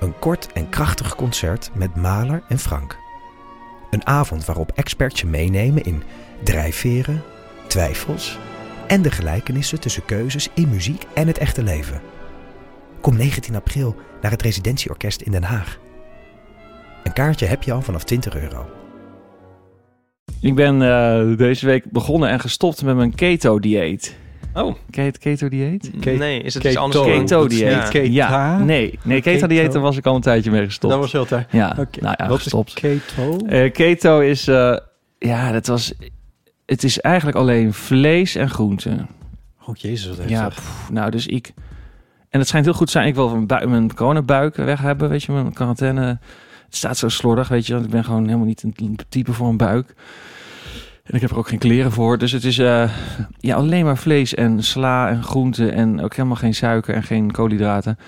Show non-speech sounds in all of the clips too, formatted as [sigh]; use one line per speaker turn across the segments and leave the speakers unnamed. Een kort en krachtig concert met Maler en Frank. Een avond waarop experts je meenemen in drijfveren, twijfels en de gelijkenissen tussen keuzes in muziek en het echte leven. Kom 19 april naar het Residentieorkest in Den Haag. Een kaartje heb je al vanaf 20 euro.
Ik ben eh, deze week begonnen en gestopt met mijn keto-dieet.
Oh.
Ken je het keto-dieet?
Ke-
nee, is het
keto.
iets anders? dan-
Keto-dieet.
Ja.
Keta?
Ja, nee. Nee, keto-dieet, daar was ik al een tijdje mee gestopt.
Dat was heel tijd.
Ja,
Oké.
nou ja,
Wat
gestopt.
is keto?
Eh, keto is, eh, ja, dat was, het is eigenlijk alleen vlees en groenten.
Oh jezus, wat
Ja,
heftig.
pff, nou, dus ik, en het schijnt heel goed te zijn, ik wil mijn, bui- mijn coronabuik weg hebben, weet je, mijn quarantaine. Het staat zo slordig, weet je, want ik ben gewoon helemaal niet een type voor een buik. En ik heb er ook geen kleren voor, dus het is eh, ja, alleen maar vlees en sla en groenten en ook helemaal geen suiker en geen koolhydraten.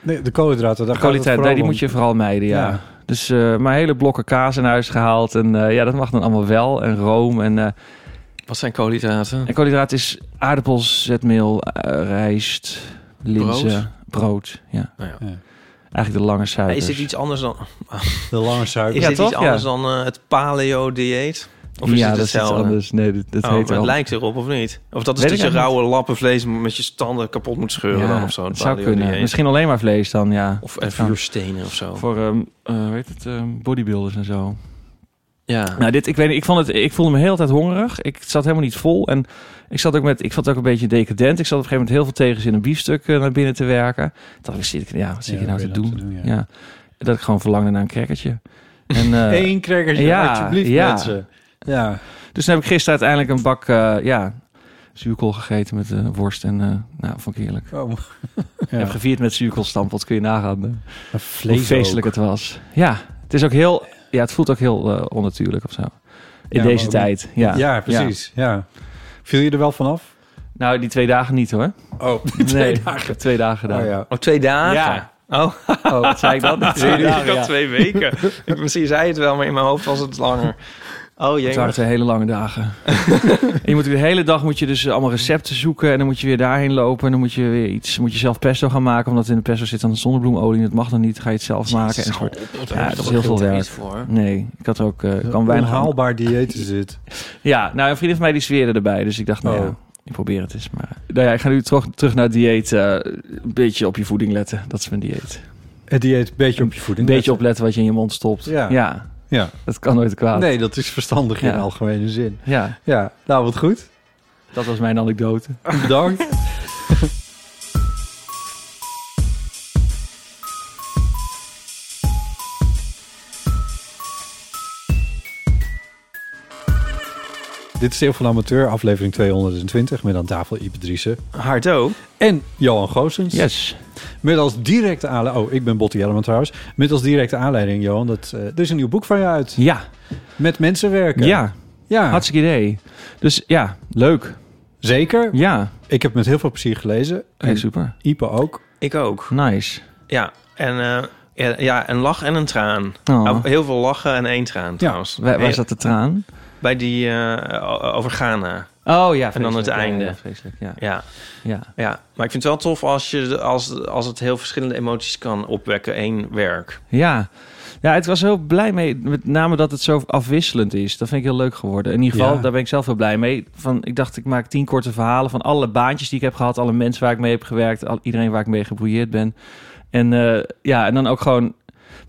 Nee, de koolhydraten, daar
De
gaat het
kwaliteit, nee,
vooral
die moet
om.
je vooral mijden, ja.
Ja.
Dus eh mijn hele blokken kaas in huis gehaald. En eh, ja, dat mag dan allemaal wel. En room en, eh
Wat zijn koolhydraten?
en koolhydraten is aardappels, zetmeel, eh, rijst, linzen, brood. ja.
Nou ja.
Ja.
Eigenlijk de lange
Ja,
suikers.
Is dit iets anders dan,
De lange suiker.
is
Ja,
dit
toch?
iets anders
Ja.
dan eh, het paleo-dieet? Of is
ja,
het
dat is iets
hetzelfde?
anders. Nee, dat, dat
Oh,
heet
maar
wel.
het lijkt erop of niet? Of dat is
Weet
dat
ik
je
eigenlijk
rauwe lappen vlees met je tanden kapot moet scheuren
Ja,
dan of zo.
het
Het
zou
paleo-dieet.
kunnen. Misschien alleen maar vlees dan, ja.
Of
Dat
en
kan.
vuurstenen of zo.
Voor, ehm eh, hoe heet het, ehm, bodybuilders en zo.
Ja.
Nou, dit, ik weet niet, ik, vond het, ik voelde me heel de hele tijd hongerig. Ik zat helemaal niet vol. En ik zat ook met, ik vond het ook een beetje decadent. Ik zat op een gegeven moment heel veel tegens in een biefstuk eh, naar binnen te werken. Toen dacht ik, zit ik, ja, wat zit
Ja,
ik nou
wat
te
ben je nou
doen?
te doen,
ja.
ja.
Dat ik gewoon verlangde naar een crackertje. En,
[laughs]
eh,
Eén crackertje,
Ja,
alsjeblieft
ja.
mensen. Ja.
dus toen heb ik gisteren uiteindelijk een bak, eh, ja, zuurkool gegeten met eh, worst. En eh, nou, vond ik heerlijk. [laughs]
Oh.
Ik heb
ja.
gevierd met zuurkoolstampot, kun je nagaan. hè.
Een
Hoe
vlees
feestelijk
ook.
het was. Ja, het is ook heel, ja, het voelt ook heel eh, onnatuurlijk of zo. In
Ja,
deze
maar-
tijd, ja.
Ja, precies. Ja. Viel je er wel vanaf?
Nou, die twee dagen niet hoor.
[laughs] Oh,
nee, ik heb twee dagen gedaan.
Oh, ja.
Oh, twee dagen?
Ja. [laughs]
Oh,
Oh, wat zei ik dan?
[laughs] twee
[laughs] Twee dagen,
ik
ja.
had twee weken. ik, misschien zei het wel, maar in mijn hoofd was het langer. Oh
Het
jee.
waren twee hele lange dagen. [laughs] En je moet de hele dag moet je dus allemaal recepten zoeken. En dan moet je weer daarheen lopen. En dan moet je weer iets. Moet je zelf pesto gaan maken. Omdat in de pesto zit dan zonnebloemolie. En dat mag dan niet. Ga je het zelf maken. En een soort. Ja, dat is heel veel werk.
Voor.
Nee, ik had ook. eh, ik kan
Een
weinig aan-
haalbaar dieet is dit.
Ja, nou, een vriendin van mij die zweerde erbij. Dus ik dacht, nou
Oh.
ja, ik probeer het eens. Maar nou ja, ik ga nu terug, terug naar het dieet. eh, een beetje op je voeding letten. Dat is mijn dieet.
Het dieet een beetje op je voeding.
Een beetje opletten wat je in je mond stopt.
Ja.
ja
Ja.
dat kan nooit kwaad.
Nee, dat is verstandig
Ja.
in algemene zin.
Ja,
Ja, nou wat goed.
dat was mijn anekdote.
Bedankt. [laughs] Dit is heel van Amateur, aflevering 220, met aan tafel Ipe Driessen
Hardo.
en Johan Goossens.
Yes.
Met als directe aanleiding... Oh, ik ben Botti Jellema trouwens. Met als directe aanleiding, Johan, dat, eh, er is een nieuw boek van je uit.
Ja,
Met mensen werken.
ja,
ja
hartstikke idee. Dus ja, leuk.
zeker.
Ja,
Ik heb het met heel veel plezier gelezen.
Hey,
En
super.
Ipe ook.
Ik ook.
Nice.
Ja, en eh, ja, ja, een lach en een traan.
Oh,
Nou, Heel veel lachen en één traan trouwens.
waar, waar zat de traan?
Bij die eh, o- over Ghana.
Oh ja,
En dan het
vreselijk. Ja,
einde.
Ja, vreselijk, ja.
Ja,
ja.
ja. Maar ik vind het wel tof als, je, de- als, als het heel verschillende emoties kan opwekken. één werk.
Ja. Ja, ik was heel blij mee. Met name dat het zo afwisselend is. Dat vind ik heel leuk geworden. In ieder geval,
Ja.
daar ben ik zelf heel blij mee. Van, ik dacht, ik maak tien korte verhalen van alle baantjes die ik heb gehad. Alle mensen waar ik mee heb gewerkt. Al, iedereen waar ik mee gebrouilleerd ben. En eh, ja, en dan ook gewoon...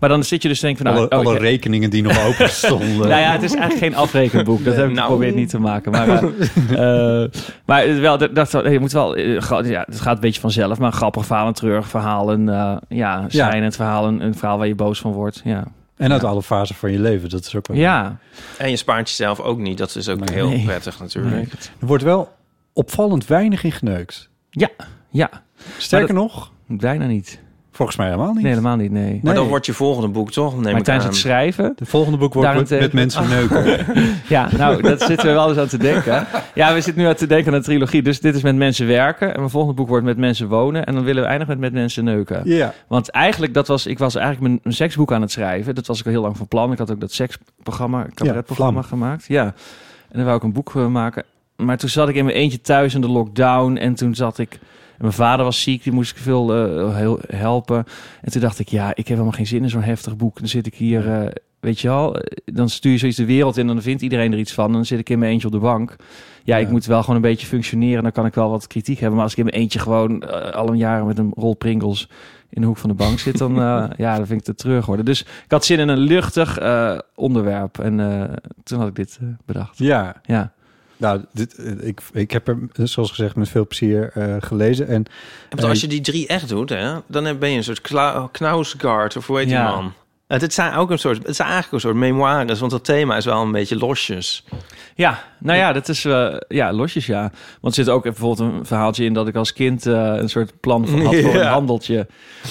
Maar dan zit je dus denk ik van... Nou,
alle
oh, ik-
alle rekeningen die nog
[laughs]
open stonden.
Nou ja, het is eigenlijk geen afrekenboek. Dat heb ik
Nou.
geprobeerd niet te maken. Maar, eh, eh, maar het wel, dat- dacht wel, hey, je moet wel. eh, gra- ja, het gaat een beetje vanzelf, maar een grappig verhaal, een treurig verhaal, een eh ja, schrijnend verhaal, een, een verhaal waar je boos van wordt. Ja,
En uit alle fasen van je leven, dat is ook wel...
ja.
En je spaart jezelf ook niet. Dat is ook
Nee.
heel
Nee.
prettig natuurlijk.
Er wordt wel opvallend weinig in geneukt.
ja,
Sterker nog,
bijna niet.
Volgens mij helemaal niet.
Nee, helemaal niet, nee.
Maar dan
Nee.
wordt je volgende boek toch? Neem
maar
ik aan.
tijdens het schrijven,
De volgende boek wordt met,
Daarentegen-
met
[laughs]
mensen neuken.
ja, nou, dat zitten we wel eens aan te denken. Ja, we zitten nu aan te denken aan een trilogie. Dus dit is met mensen werken. En mijn volgende boek wordt met mensen wonen. En dan willen we eindigen met met mensen neuken.
ja.
Want eigenlijk, dat was, ik was eigenlijk mijn, mijn seksboek aan het schrijven. Dat was ik al heel lang van plan. Ik had ook dat seksprogramma, cabaretprogramma
Vlam.
gemaakt. Ja. En dan wou ik een boek eh, maken. Maar toen zat ik in mijn eentje thuis in de lockdown. En toen zat ik... en Mijn vader was ziek, die moest ik veel eh, heel, helpen. En toen dacht ik, ja, ik heb helemaal geen zin in zo'n heftig boek. Dan zit ik hier, eh, weet je wel... eh, Dan stuur je zoiets de wereld in en dan vindt iedereen er iets van. En dan zit ik in mijn eentje op de bank. Ja,
Ja.
ik moet wel gewoon een beetje functioneren. Dan kan ik wel wat kritiek hebben. Maar als ik in mijn eentje gewoon eh, al een jaar met een rol pringels in de hoek van de bank zit, dan, eh, ja, dan vind ik het terug worden. Dus ik had zin in een luchtig eh, onderwerp. En eh, toen had ik dit eh, bedacht.
ja.
Ja.
Nou, dit, eh, ik, ik heb hem, eh, zoals gezegd, met veel plezier eh, gelezen. En
En want als je die drie echt doet, hè, dan heb- ben je een soort kla- knausgaard of hoe heet
Ja.
die man? Het, het zijn ook een soort, het zijn eigenlijk een soort memoires, want dat thema is wel een beetje losjes.
Ja, nou ja, dat is eh, ja, losjes ja. Want er zit ook bijvoorbeeld een verhaaltje in dat ik als kind eh, een soort plan van had voor
[laughs]
een
Ja.
handeltje.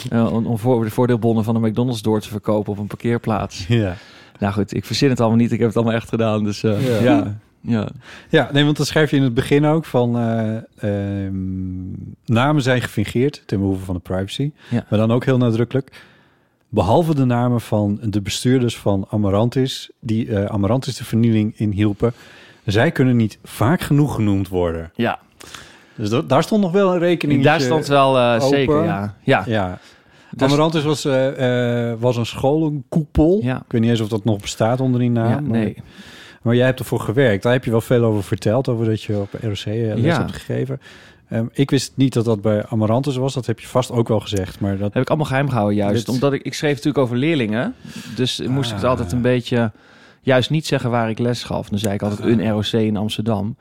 eh, om, om voor, de voordeelbonnen van de McDonald's door te verkopen op een parkeerplaats.
ja.
Nou goed, ik verzin het allemaal niet. Ik heb het allemaal echt gedaan. Dus eh,
Ja.
ja. ja.
ja, nee, want dan schrijf je in het begin ook van... eh, ehm, namen zijn gefingeerd ten behoeve van de privacy.
Ja.
Maar dan ook heel nadrukkelijk. Behalve de namen van de bestuurders van Amarantis... die eh, Amarantis de vernieling inhielpen. Zij kunnen niet vaak genoeg genoemd worden.
ja.
Dus dat- daar stond nog wel een rekening.
Daar stond wel eh,
open.
zeker, ja. Ja, dus-
Ja.
Daar
Amarantis was, eh, eh, was een scholenkoepel.
Ja.
Ik weet niet eens of dat nog bestaat onder die naam.
ja,
maar-
nee.
Maar, jij hebt ervoor gewerkt. Daar heb je wel veel over verteld. Over dat je op ROC les
Ja.
hebt gegeven. Ehm, ik wist niet dat dat bij Amarantis was. Dat heb je vast ook wel gezegd. Maar dat,
Heb ik allemaal geheim gehouden juist.
Dit-
Omdat ik, ik schreef natuurlijk over leerlingen. Dus moest ik het
Ah.
altijd een beetje... Juist niet zeggen waar ik les gaf. Dan zei ik
Ah.
altijd een ROC in Amsterdam.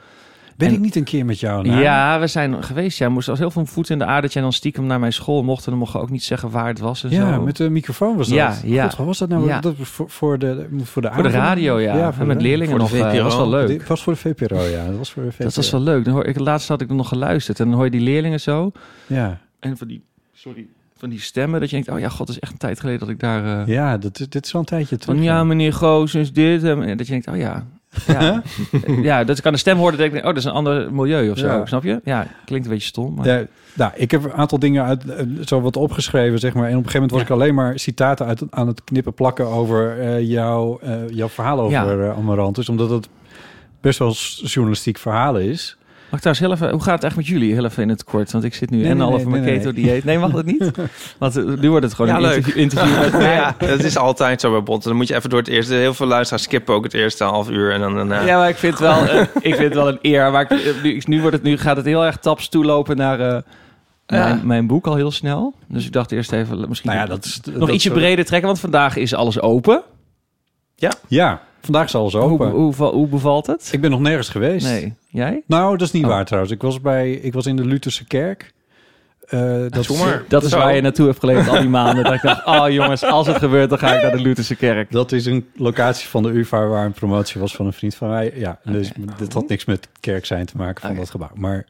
ben
en-
ik niet een keer met jou naar?
Ja, we zijn geweest. Ja, moest als heel veel voet in de aarde. Dat jij dan stiekem naar mijn school mocht. En dan mocht je ook niet zeggen waar het was en
Ja,
zo.
met de microfoon was dat.
Ja, ja.
God, wat was dat nou?
Ja.
Dat was voor, voor, de, voor de
voor de
avond?
radio, ja.
Ja, voor
en
de
met
radio.
leerlingen
Voor de
nog. eh,
VPRO.
dat was wel leuk.
Dit was voor de VPRO, ja. Dat was voor de VPRO.
Dat was wel leuk. Dan hoor, ik, laatst had ik er nog geluisterd. En dan hoor je die leerlingen zo.
Ja.
En van die, sorry, van die stemmen. Dat je denkt, oh ja, god, dat is echt een tijd geleden dat ik daar... eh,
Ja, dat, is- dit is wel een tijdje terug.
Van ja, meneer Goos is dit. En dat je denkt, oh ja. Ja, ja dat ik aan de stem hoorde, denk ik, oh, dat is een ander milieu of zo.
Ja.
Snap je? Ja, klinkt een beetje stom. Maar...
Ja, nou, ik heb een aantal dingen uit, eh, zo wat opgeschreven, zeg maar. En op een gegeven moment was ik alleen maar citaten uit, aan het knippen plakken over eh, jouw, eh, jouw verhaal over
Ja.
eh, Amarantus. Omdat het best wel s- journalistiek verhaal is.
Mag ik trouwens heel even, hoe gaat het echt met jullie? Heel even in het kort, want ik zit nu
Nee,
en
nee,
al
nee,
over mijn
nee, nee.
keto-dieet. Nee, mag dat
[laughs]
niet? Want eh, nu wordt het gewoon
Ja,
een
leuk.
interview, interview met [laughs] mij.
Ja, dat is altijd zo bij Botten. Dan moet je even door het eerste. Heel veel luisteraars skippen ook het eerste half uur en dan daarna.
Ja, maar ik vind het wel, eh, ik vind het wel een eer. Maar ik, eh, nu, ik- nu, wordt het, nu gaat het heel erg taps toelopen naar eh, mijn, mijn boek al heel snel. Dus ik dacht eerst even, misschien
Nou ja, dat is...
nog ietsje breder trekken. Want vandaag is alles open.
Ja, vandaag is alles
Hoe,
open.
hoe, hoe bevalt het?
Ik ben nog nergens geweest.
Nee, jij?
Nou, dat is niet
Oh.
waar trouwens. Ik was, bij, ik was in de Lutherse kerk. Eh, dat
Doe maar.
Dat is
Zo.
waar je naartoe hebt geleefd al die maanden. Dat ik dacht, oh jongens, als het gebeurt, dan ga ik naar de Lutherse kerk.
Dat is een locatie van de UvA waar een promotie was van een vriend van mij. Ja, dus dit had niks met kerk zijn te maken van
Oké.
dat gebouw. Maar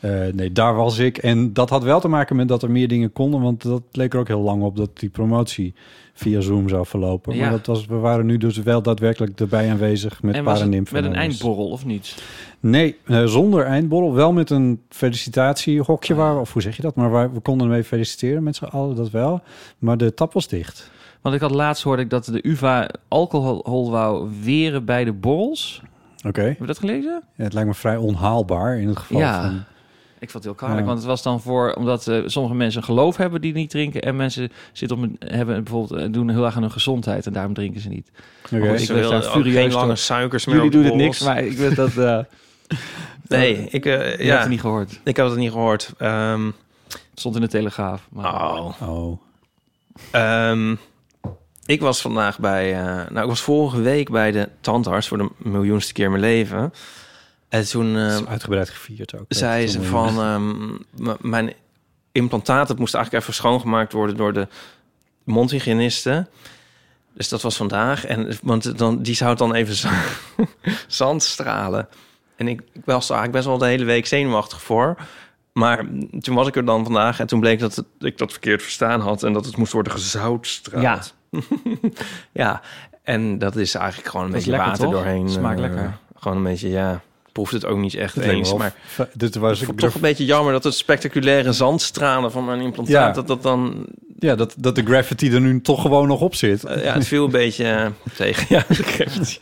eh, nee, daar was ik. En dat had wel te maken met dat er meer dingen konden. Want dat leek er ook heel lang op dat die promotie via Zoom zou verlopen.
Ja.
Maar dat was, we waren nu dus wel daadwerkelijk erbij aanwezig met
en was het
Paranimf.
met
en
een
alles.
eindborrel of niet?
Nee, eh, zonder eindborrel. Wel met een felicitatiehokje
Ah.
waar we, of hoe zeg je dat? Maar waar, we konden mee feliciteren met z'n allen, dat wel. Maar de tap was dicht.
Want ik had laatst hoorde ik dat de UvA alcohol wou weren bij de borrels.
Oké.
Heb je dat gelezen?
Het lijkt me vrij onhaalbaar in het geval
Ja.
van...
Ik vond het heel kwalijk,
Ja.
want het was dan voor... Omdat eh, sommige mensen geloof hebben die niet drinken... en mensen zitten op, een- hebben bijvoorbeeld, eh, doen heel erg aan hun gezondheid... en daarom drinken ze niet.
Oké.
Oh,
Dus
ik
ze
werd
wilden
daar
ook
furieus
geen lange
door.
suikers meer.
Jullie
op de
doen het niks,
borrels.
maar ik weet dat... [laughs] eh
Nee, ik, eh,
ja.
ja,
het niet gehoord.
ik had het niet gehoord. Ehm,
Het stond in de Telegraaf. Maar...
oh.
Oh.
Ehm, ik was vandaag bij... eh, nou, ik was vorige week bij de tandarts voor de miljoenste keer in mijn leven. En toen eh,
is uitgebreid gevierd ook.
zei
Dat
ze
is
van...
allemaal-
ehm, m- mijn implantaat, dat moest eigenlijk even schoongemaakt worden door de mondhygiëniste. Dus dat was vandaag. En, want dan, die zou het dan even [laughs] za- zand stralen. En ik, ik was er eigenlijk best wel de hele week zenuwachtig voor. Maar toen was ik er dan vandaag en toen bleek dat het- ik dat verkeerd verstaan had en dat het moest worden gezoutstraald. Ja. ja, en dat is eigenlijk gewoon een
Dat is
beetje
lekker,
water
toch?
doorheen.
Smaakt
eh,
lekker.
Gewoon een beetje, ja, ik proefde het ook niet echt
Dit
eh, eens. Maar
dit was
ik vond het toch een beetje jammer dat het spectaculaire zandstralen van mijn implantaat,
Ja.
dat dat dan,
ja, dat, dat de graffiti er nu toch gewoon nog op zit.
eh, ja, het viel [laughs] een beetje eh, tegen. Ja, ik geef het.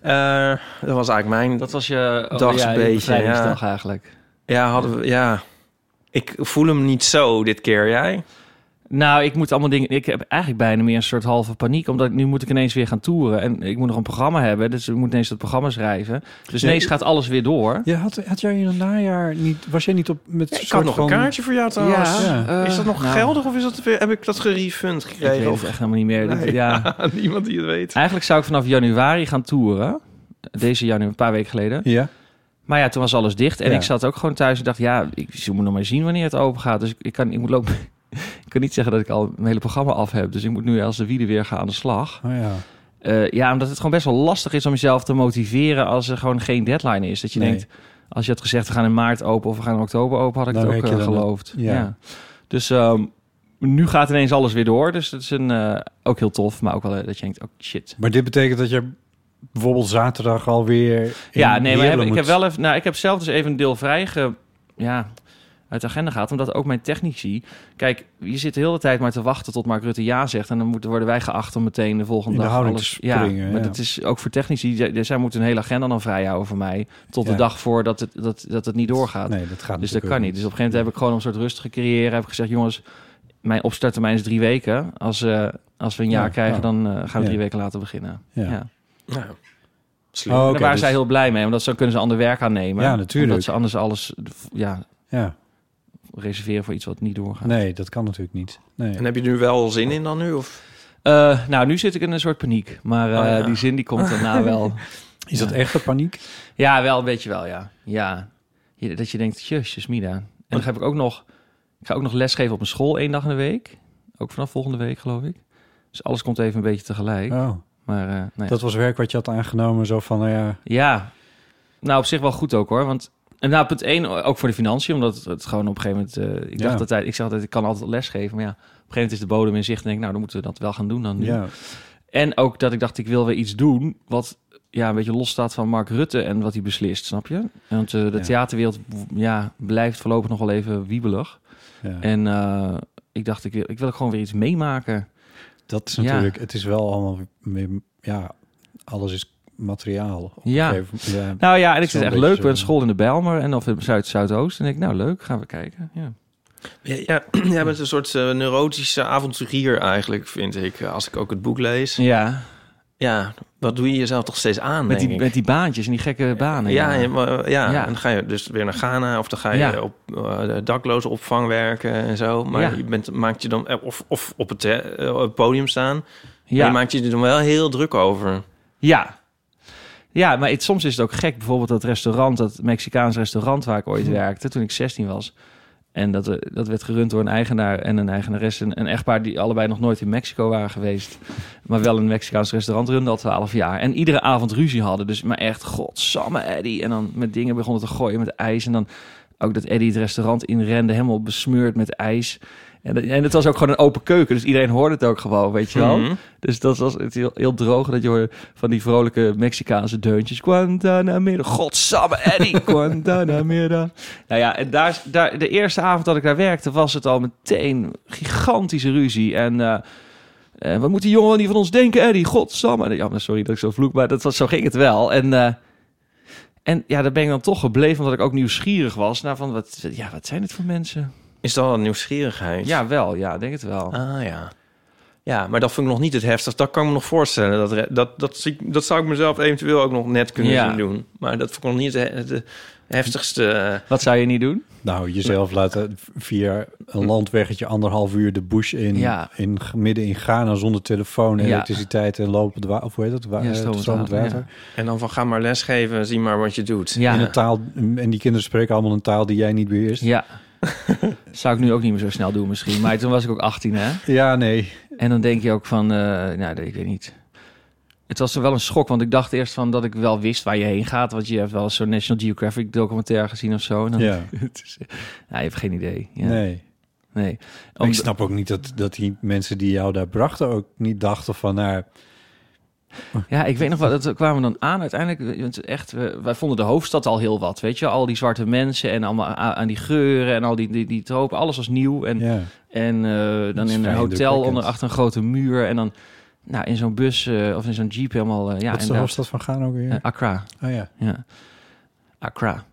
Eh, dat was eigenlijk mijn,
Dat was je oh,
Dags
ja,
een
je
beetje,
bevrijdingsdag eigenlijk.
ja, hadden we, ja, ik voel hem niet zo dit keer, jij?
Nou, ik moet allemaal dingen. Ik heb eigenlijk bijna meer een soort halve paniek. Omdat ik- nu moet ik ineens weer gaan toeren. En ik moet nog een programma hebben. Dus ik moet ineens dat programma schrijven. Dus
Ja,
ineens
ik-
gaat alles weer door.
Ja, had, had jij in het najaar niet... Was jij niet op met
Ik
soort
had nog
van...
een kaartje voor jou trouwens.
Ja.
eh,
is dat nog
nou,
geldig of is dat weer, heb ik dat gerefund
Ik weet
gekregen?
het
Of [laughs]
echt helemaal niet meer. Dit- ja.
niemand die het weet.
Eigenlijk zou ik vanaf januari gaan toeren. Deze januari, een paar weken geleden.
Ja,
Maar ja, toen was alles dicht. En
Ja.
ik zat ook gewoon thuis en dacht, ja, ik ze moet nog maar zien wanneer het open gaat. Dus ik, ik, kan, ik moet lopen. [laughs] Ik kan niet zeggen dat ik al mijn hele programma af heb. Dus ik moet nu als de wielen weer gaan aan de slag.
oh ja.
Eh, ja, omdat het gewoon best wel lastig is om jezelf te motiveren als er gewoon geen deadline is. Dat je
Nee.
denkt, als je had gezegd we gaan in maart open of we gaan in oktober open, had ik
Dan
het ook
werk je
eh,
dan
geloofd.
het- ja.
Dus ehm, nu gaat ineens alles weer door. Dus dat is een, eh, ook heel tof, maar ook wel eh, dat je denkt, oh shit.
Maar dit betekent dat je bijvoorbeeld zaterdag alweer... in
ja, nee, maar
Heerlen
heb- ik
moet-
heb wel even, nou, ik heb zelf dus even een deel vrij ge, ja, uit de agenda gehad, omdat ook mijn technici, kijk, je zit de hele tijd maar te wachten tot Mark Rutte ja zegt en dan moeten worden wij geacht om meteen de volgende
In de
dag
houding
alles.
te springen,
maar
ja.
dat is ook voor technici, zij, zij moeten een hele agenda dan vrijhouden voor mij tot de
Ja.
dag voordat het dat dat het niet doorgaat.
Nee, dat gaat
dus dat
natuurlijk
kan
ook Oh,
niet. Dus op een gegeven moment heb ik gewoon een soort rust gecreëerd, heb ik gezegd, jongens, mijn opstarttermijn is drie weken. Als eh, als we een jaar
Ja,
krijgen,
ja.
dan eh, gaan we
Ja.
drie weken later beginnen.
Ja.
Nou, slim.
Oh,
En
oké,
daar waren
dus-
zij heel blij mee, omdat zo kunnen ze ander werk aannemen.
Ja, natuurlijk.
Omdat ze anders alles ja,
Ja,
reserveren voor iets wat niet doorgaat.
nee, dat kan natuurlijk niet. Nee.
En heb je er nu wel zin in dan nu? Of?
Eh, nou, nu zit ik in een soort paniek. Maar eh,
Oh, ja.
die zin die komt daarna
[laughs]
wel.
Is dat
Ja.
echt een paniek?
Ja, wel een beetje wel, ja. ja. Je- Dat je denkt, jezus mina. En dan heb ik ook nog... Ik ga ook nog lesgeven op een school één dag in de week. Ook vanaf volgende week, geloof ik. Dus alles komt even een beetje tegelijk.
Oh,
Maar eh, nee.
dat was werk wat je had aangenomen, zo van, nou ja...
Ja, nou op zich wel goed ook hoor. Want en nou, punt één, ook voor de financiën, omdat het, het gewoon op een gegeven moment. eh, ik dacht
Ja.
altijd, ik zeg altijd, ik kan altijd lesgeven. Maar ja, op een gegeven moment is de bodem in zicht. En denk ik, nou, dan moeten we dat wel gaan doen dan nu.
Ja,
En ook dat ik dacht, ik wil weer iets doen wat ja, een beetje los staat van Mark Rutte en wat hij beslist, snap je? Want eh, de
Ja.
theaterwereld ja, blijft voorlopig nog wel even wiebelig.
ja.
En eh, ik dacht, ik wil, ik wil ook gewoon weer iets meemaken.
Dat is
Ja.
natuurlijk, het is wel allemaal, weer- ja, alles is materiaal. op een
Ja.
gegeven moment. ja.
Nou ja, en ik
Zo'n
zit echt
beetje
leuk bij een
zo.
school in de Bijlmer en of in Zuid-Zuidoost. En ik, nou leuk, gaan we kijken. Ja.
Ja, ja, [clears throat] jij bent een soort eh, neurotische avonturier eigenlijk, vind ik. eh, Als ik ook het boek lees.
ja.
Ja, wat doe je jezelf toch steeds aan,
Met die,
denk ik.
met die baantjes en die gekke banen.
ja, ja, maar, eh, ja,
Ja.
en dan ga je dus weer naar Ghana of dan ga je
Ja.
op eh dakloze opvang werken en zo. Maar
Ja.
je bent, maakt je dan, eh, of, of op het eh, eh, op het podium staan. Maar
Ja,
je maakt je er dan wel heel druk over.
ja. Ja, maar het, soms is het ook gek. Bijvoorbeeld dat restaurant, dat Mexicaans restaurant waar ik ooit werkte toen ik 16 was. En dat, eh, dat werd gerund door een eigenaar en een eigenares. Een, een echtpaar die allebei nog nooit in Mexico waren geweest. Maar wel een Mexicaans restaurant runden al 12 jaar. En iedere avond ruzie hadden. Dus maar echt, godsamme Eddie. En dan met dingen begonnen te gooien met ijs. En dan ook dat Eddie het restaurant inrende, helemaal besmeurd met ijs. En, dat- en het was ook gewoon een open keuken. Dus iedereen hoorde het ook gewoon, weet je wel.
Mhm.
Dus dat was het heel, heel droog dat je hoorde van die vrolijke Mexicaanse deuntjes. Guantanamera. Godsamme, Eddie. Guantanamera. Nou ja, en daar, daar, de eerste avond dat ik daar werkte was het al meteen gigantische ruzie. En eh, eh, wat moet die jongen wel niet van ons denken, Eddie? Godsamme. Ja, maar sorry dat ik zo vloek, maar dat was, zo ging het wel. En... eh, en ja, daar ben ik dan toch gebleven, omdat ik ook nieuwsgierig was. Naar van, wat, ja, wat zijn het voor mensen?
Is dat al een nieuwsgierigheid?
Ja, wel. Ja, ik denk het wel.
Ah ja. Ja, maar dat vind ik nog niet het heftigst. Dat kan ik me nog voorstellen. Dat, re- dat, dat, zie ik- dat zou ik mezelf eventueel ook nog net kunnen
Ja.
zien doen. Maar dat vond ik nog niet het, he- het heftigste. eh,
Wat zou je niet doen?
Nou, jezelf laten via een landweggetje anderhalf uur de bush in,
Ja.
in midden in Ghana zonder telefoon, en
Ja.
elektriciteit en lopend water, of hoe heet dat? Wa-
Ja,
eh,
stromend
stromend
water,
water.
En dan van ga maar lesgeven, zie maar wat je doet.
Ja.
In een taal, en die kinderen spreken allemaal een taal die jij niet beheerst.
Ja. Zou ik nu ook niet meer zo snel doen misschien. Maar toen was ik ook 18, hè?
Ja, nee.
En dan denk je ook van, eh, nou, ik weet niet. Het was wel een schok, want ik dacht eerst van dat ik wel wist waar je heen gaat. Want je hebt wel eens zo'n National Geographic documentaire gezien of zo. En dan,
Ja.
[laughs] het is- ja, je hebt geen idee. Ja, nee.
Nee. Maar
Om-
ik snap ook niet dat, dat die mensen die jou daar brachten ook niet dachten van... Nou,
Ja, ik weet nog wel, dat kwamen we dan aan uiteindelijk. want Echt, we- wij vonden de hoofdstad al heel wat, weet je. Al die zwarte mensen en allemaal a- aan die geuren en al die, die, die tropen. Alles was nieuw en,
ja.
en eh,
Dat
dan
is
in een
vrij
hotel
indrukwekkend.
onder achter een grote muur. En dan nou, in zo'n bus eh, of in zo'n jeep helemaal... eh, ja,
Wat is de
inderdaad.
hoofdstad van Ghana ook weer?
Eh, Accra.
oh ja.
Ja. Accra.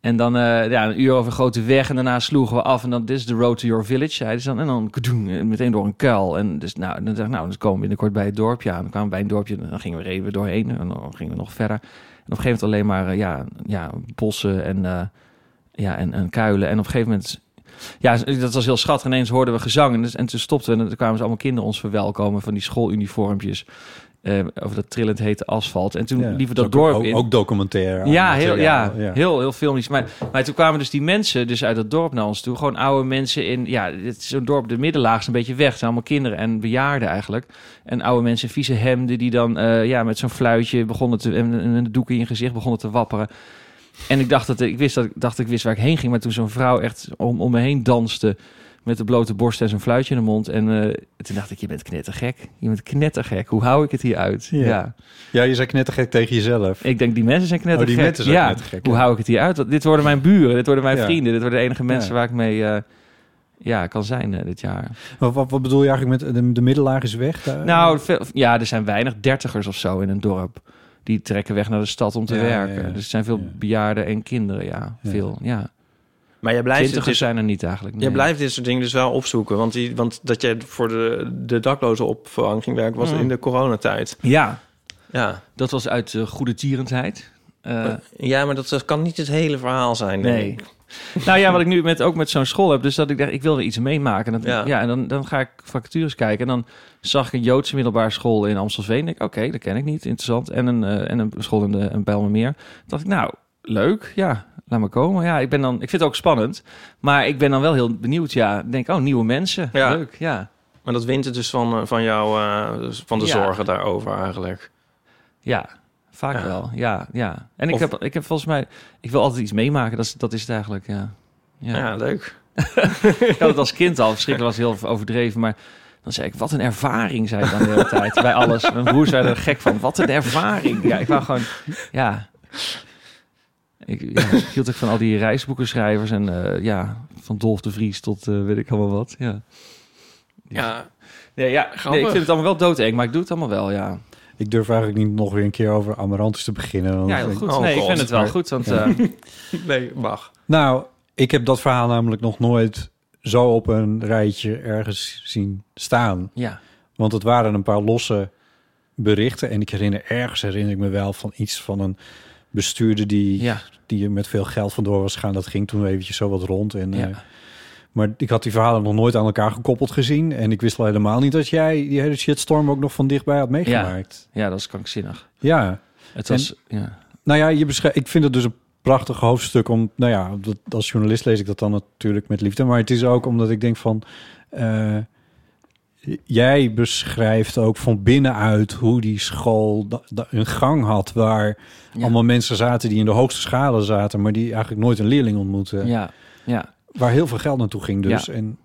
En dan eh, ja, een uur over een grote weg en daarna sloegen we af. En dan, this is the road to your village, zeiden ze dan. En dan kadoen, eh, meteen door een kuil. En dus, nou, dan dacht ik, nou, dan komen we binnenkort bij het dorpje aan. Dan kwamen we bij een dorpje en dan gingen we, reden we doorheen. En dan gingen we nog verder. En op een gegeven moment alleen maar eh, ja, ja, bossen en, eh, ja, en, en kuilen. En op een gegeven moment... Ja, dat was heel schattig. Ineens hoorden we gezang. En, dus- en toen stopten we. En toen kwamen ze allemaal kinderen ons verwelkomen van die schooluniformpjes. eh, over dat trillend hete asfalt. En toen
Ja.
liepen we
Is
dat
ook-
dorp
ook,
in.
Ook documentaire.
Ja, heel,
materiaal,
ja, heel, heel filmisch. Maar, maar toen kwamen dus die mensen dus uit dat dorp naar ons toe. Gewoon oude mensen in, ja, het is zo'n dorp, de middenlaag is een beetje weg. Het zijn allemaal kinderen en bejaarden eigenlijk. En oude mensen in vieze hemden die dan eh, ja, met zo'n fluitje begonnen te, en, en een doek in je gezicht begonnen te wapperen. En ik dacht dat ik wist dat ik dacht ik wist waar ik heen ging, maar toen zo'n vrouw echt om, om me heen danste met de blote borst en zo'n fluitje in de mond. En eh, toen dacht ik, je bent knettergek. Je bent knettergek. Hoe hou ik het hier uit?
Ja.
ja.
Ja, je zei knettergek tegen jezelf.
Ik denk, die mensen zijn knettergek.
Oh, die mensen zijn
ja.
knettergek,
Hoe
ja.
hou ik het hier uit? Want Dit worden mijn buren, dit worden mijn
Ja.
vrienden. Dit worden de enige mensen
Ja.
waar ik mee eh, ja, kan zijn eh, dit jaar.
Wat, wat, wat bedoel je eigenlijk met de, de middellaag is weg? daar?
nou, veel- ja, er zijn weinig dertigers of zo in een dorp. Die trekken weg naar de stad om te
Ja, ja,
werken.
ja.
Dus er zijn veel
Ja.
bejaarden en kinderen, ja.
Ja.
Veel, ja.
Maar jij blijft het
Twintigers
dus
zijn er niet eigenlijk.
Je
nee.
blijft dit soort dingen dus wel opzoeken. Want, die, want dat jij voor de, de dakloze opvang ging werken was
Mm.
in de coronatijd.
Ja,
Ja.
dat was uit eh, goede tierendheid.
Oh.
Eh,
ja, maar dat, dat kan niet het hele verhaal zijn. denk
Nee.
ik.
nou ja, wat ik nu met, ook met zo'n school heb, dus dat ik dacht, ik wil er iets meemaken. En Dat, ja.
Ja.
en dan, dan ga ik vacatures kijken. En dan zag ik een Joodse middelbare school in Amstelveen. Ik, oké, dat ken ik niet, interessant. En een, eh, en een school in, de, in Bijlmermeer. Toen dacht ik, nou, leuk, ja, laat maar komen. Ja, ik, ben dan, ik vind het ook spannend, maar ik ben dan wel heel benieuwd. Ja, Ik denk, oh, nieuwe mensen,
Ja.
leuk, ja.
Maar dat wint het dus van, eh, van jou, eh, van de
Ja.
zorgen daarover eigenlijk.
Ja, vaak
Ja.
wel, ja, ja. En ik,
Of-
heb, ik heb volgens mij, ik wil altijd iets meemaken, dat is, dat is het eigenlijk, ja.
Ja, leuk.
Ik had het als kind al. Verschrikkelijk was heel overdreven, maar dan zei ik, wat een ervaring, zei ik dan de hele tijd. Bij alles. Mijn broers werden er gek van. Wat een ervaring. Ja, ik wou gewoon, ja. Ik, ja, ik hield ook van al die reisboekenschrijvers en eh, ja, van Dolf de Vries tot eh, weet ik allemaal wat. Ja.
Ja.
Nee, ja, nee, ik vind het allemaal wel doodeng, maar ik doe het allemaal wel, ja.
Ik durf eigenlijk niet nog weer een keer over Amaranthus te beginnen. want
Ja,
ik-
heel goed.
Oh
nee, ik
God.
vind het wel goed, want eh,
Nee, mag.
Nou, ik heb dat verhaal namelijk nog nooit zo op een rijtje ergens zien staan.
ja.
Want het waren een paar losse berichten. En ik herinner ergens, herinner ik me wel van iets van een bestuurder die,
Ja,
die er met veel geld vandoor was gegaan. Dat ging toen eventjes zo wat rond. En,
ja.
eh, maar ik had die verhalen nog nooit aan elkaar gekoppeld gezien. En ik wist al helemaal niet dat jij die hele shitstorm ook nog van dichtbij had meegemaakt.
ja, dat is krankzinnig.
ja.
Het was, ja.
Nou ja, je beschrijft. ik vind het dus een prachtig hoofdstuk om... Nou ja, dat, als journalist lees ik dat dan natuurlijk met liefde. Maar het is ook omdat ik denk van... eh, jij beschrijft ook van binnenuit hoe die school da- da- een gang had... waar
Ja.
allemaal mensen zaten die in de hoogste schade zaten... maar die eigenlijk nooit een leerling ontmoetten.
ja, ja.
Waar heel veel geld naartoe ging dus.
Ja.
En,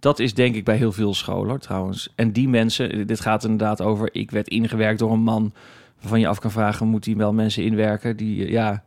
Dat is denk ik bij heel veel scholen hoor, trouwens. En die mensen, dit gaat inderdaad over... ik werd ingewerkt door een man waarvan je af kan vragen... moet hij wel mensen inwerken die, eh, ja...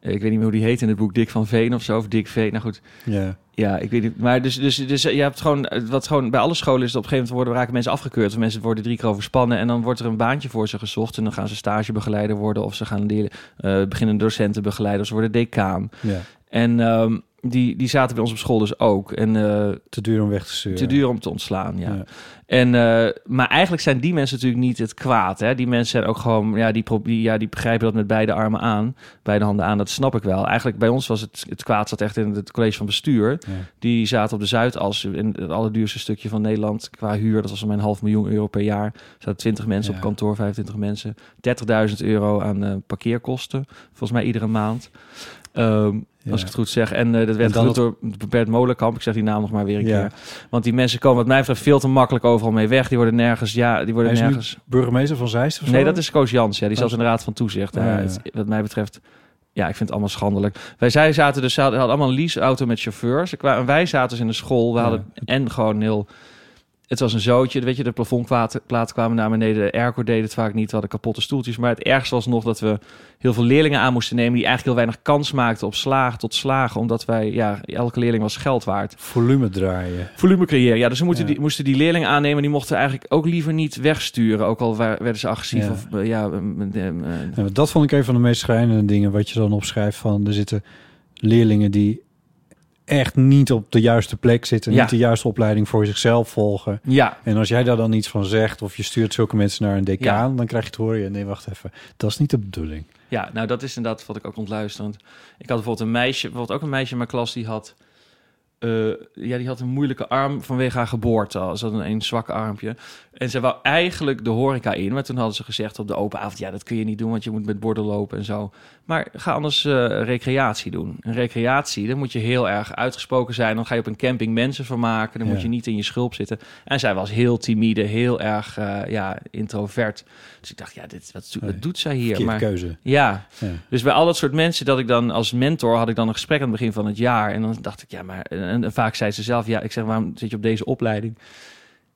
eh, Ik weet niet meer hoe die heet in het boek, Dick van Veen of zo, of Dick Veen. Nou goed,
ja.
ja, ik weet niet. Maar dus, dus, dus eh, je hebt gewoon, eh, wat gewoon bij alle scholen is dat op een gegeven moment worden, raken mensen afgekeurd. Of mensen worden drie keer overspannen en dan wordt er een baantje voor ze gezocht. En dan gaan ze stagebegeleider worden of ze gaan leren, eh beginnen docentenbegeleider of ze worden decaan.
ja,
En ehm, die, die zaten bij ons op school dus ook. En eh,
te duur om weg te sturen.
te duur om te ontslaan, ja.
Ja.
En, eh, maar eigenlijk zijn die mensen natuurlijk niet het kwaad. Hè? Die mensen zijn ook gewoon, ja die, pro- die, ja, die begrijpen dat met beide armen aan, beide handen aan. Dat snap ik wel. Eigenlijk bij ons was het, het kwaad zat echt in het college van bestuur.
Ja.
Die zaten op de Zuidas, in het allerduurste stukje van Nederland qua huur. Dat was om een half miljoen euro per jaar. Er zaten 20 mensen
Ja.
op kantoor, 25 mensen. 30.000 euro aan eh, parkeerkosten, volgens mij iedere maand. Ehm,
Ja.
Als ik het goed zeg. En eh, dat
En
werd
dan
gedoe door Bert Molenkamp. Ik zeg die naam nog maar weer een
Ja.
keer. Want die mensen komen wat mij betreft veel te makkelijk overal mee weg. Die worden nergens... Ja, die worden
Hij is nu
nergens...
Burgemeester van Zeist of zo?
Nee, dat is Koos Jans. Ja, die zat in de Raad van Toezicht.
Ah,
Ja,
ja.
het- wat mij betreft, ja, ik vind het allemaal schandelijk. Wij zij zaten dus, ze hadden hadden allemaal een leaseauto met chauffeurs. Ik wa- En wij zaten dus in de school. We
Ja.
hadden en gewoon heel... Het was een zootje, weet je, de plafondplaten kwamen naar beneden. De airco deed het vaak niet, we hadden kapotte stoeltjes. Maar het ergste was nog dat we heel veel leerlingen aan moesten nemen... die eigenlijk heel weinig kans maakten op slagen tot slagen. Omdat wij, ja, elke leerling was geld waard
Volume draaien.
volume creëren. Ja, dus ze moeten
Ja.
die, moesten die leerlingen aannemen. Die mochten eigenlijk ook liever niet wegsturen. Ook al wa- werden ze agressief.
Ja.
Of, eh, ja, ehm, ehm, eh,
Ja, want Nou, dat vond ik een van de meest schrijnende dingen wat je dan opschrijft van er zitten leerlingen die echt niet op de juiste plek zitten,
Ja.
niet de juiste opleiding voor zichzelf volgen.
ja.
En als jij daar dan iets van zegt of je stuurt zulke mensen naar een decaan, dan krijg je te horen, ja, nee wacht even, dat is niet de bedoeling.
ja, nou dat is inderdaad wat ik ook ontluisterend. Ik had bijvoorbeeld een meisje, bijvoorbeeld ook een meisje in mijn klas die had... eh, ja, die had een moeilijke arm vanwege haar geboorte. al. Ze had een, een zwak armpje. En ze wou eigenlijk de horeca in. Maar toen hadden ze gezegd op de open avond... ja, dat kun je niet doen, want je moet met borden lopen en zo. Maar ga anders eh, recreatie doen. Een recreatie, dan moet je heel erg uitgesproken zijn. Dan ga je op een camping mensen vermaken. Dan moet
Ja.
je niet in je schulp zitten. En zij was heel timide, heel erg eh, ja, introvert. Dus ik dacht, ja, dit, wat, doet- wat
Nee,
doet zij hier?
Verkeerde
Maar,
keuze.
ja,
Ja.
dus bij al dat soort mensen dat ik dan als mentor had ik dan een gesprek aan het begin van het jaar. En dan dacht ik, ja, maar en, en vaak zei ze zelf, ja, ik zeg, waarom zit je op deze opleiding?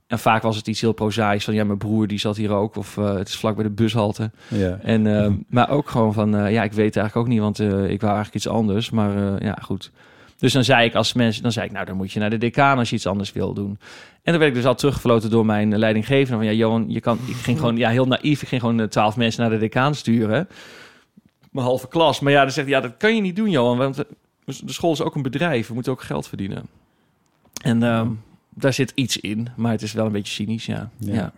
En vaak was het iets heel prozaïs van, ja, mijn broer die zat hier ook. Of eh, het is vlak bij de bushalte.
Ja.
En, eh, Maar ook gewoon van, eh, ja, ik weet eigenlijk ook niet, want eh, ik wou eigenlijk iets anders. Maar eh, ja, goed. Dus dan zei ik als mensen, dan zei ik, nou, dan moet je naar de decaan als je iets anders wil doen. En dan werd ik dus al teruggefloten door mijn eh, leidinggevende. Van ja, Johan, je kan, ik ging gewoon, ja, heel naïef, ik ging gewoon eh, twaalf mensen naar de decaan sturen. Mijn halve klas. Maar ja, dan zegt hij, ja, dat kan je niet doen, Johan, want eh, de school is ook een bedrijf. We moeten ook geld verdienen. En ehm, daar zit iets in, maar het is wel een beetje cynisch, ja.
Ja.
ja.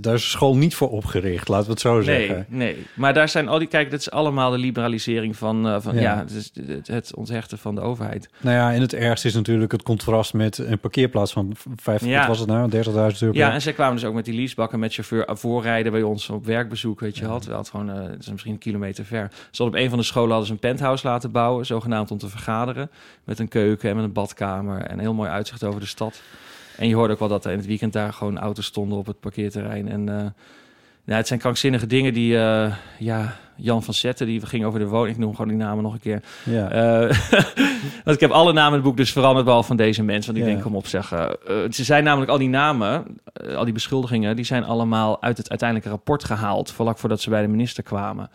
Daar is school niet voor opgericht, laten we het zo
Nee,
zeggen.
nee. Maar daar zijn al die... Kijk, dat is allemaal de liberalisering van... eh, van ja,
Ja.
het, is het, het onthechten van de overheid.
Nou ja, en het ergste is natuurlijk het contrast met een parkeerplaats van v- vijf,
Ja.
wat was het nou, 30.000 euro.
Ja, en zij kwamen dus ook met die leasebakken met chauffeur eh, voorrijden bij ons op werkbezoek. Weet je, had wel het gewoon... eh, het is misschien een kilometer ver. Ze hadden op een van de scholen hadden ze een penthouse laten bouwen. Zogenaamd om te vergaderen. Met een keuken en met een badkamer. En een heel mooi uitzicht over de stad. En je hoorde ook wel dat er in het weekend daar gewoon auto's stonden op het parkeerterrein. En eh, nou, het zijn krankzinnige dingen die... eh, ja, Jan van Zetten, die ging over de woning. Ik noem gewoon die namen nog een keer.
ja.
Eh, [laughs] want ik heb alle namen in het boek dus veranderd, behalve van deze mensen. Want ik
Ja.
denk, kom op zeggen. ze zijn namelijk al die namen, eh, al die beschuldigingen... die zijn allemaal uit het uiteindelijke rapport gehaald... vlak voordat ze bij de minister kwamen.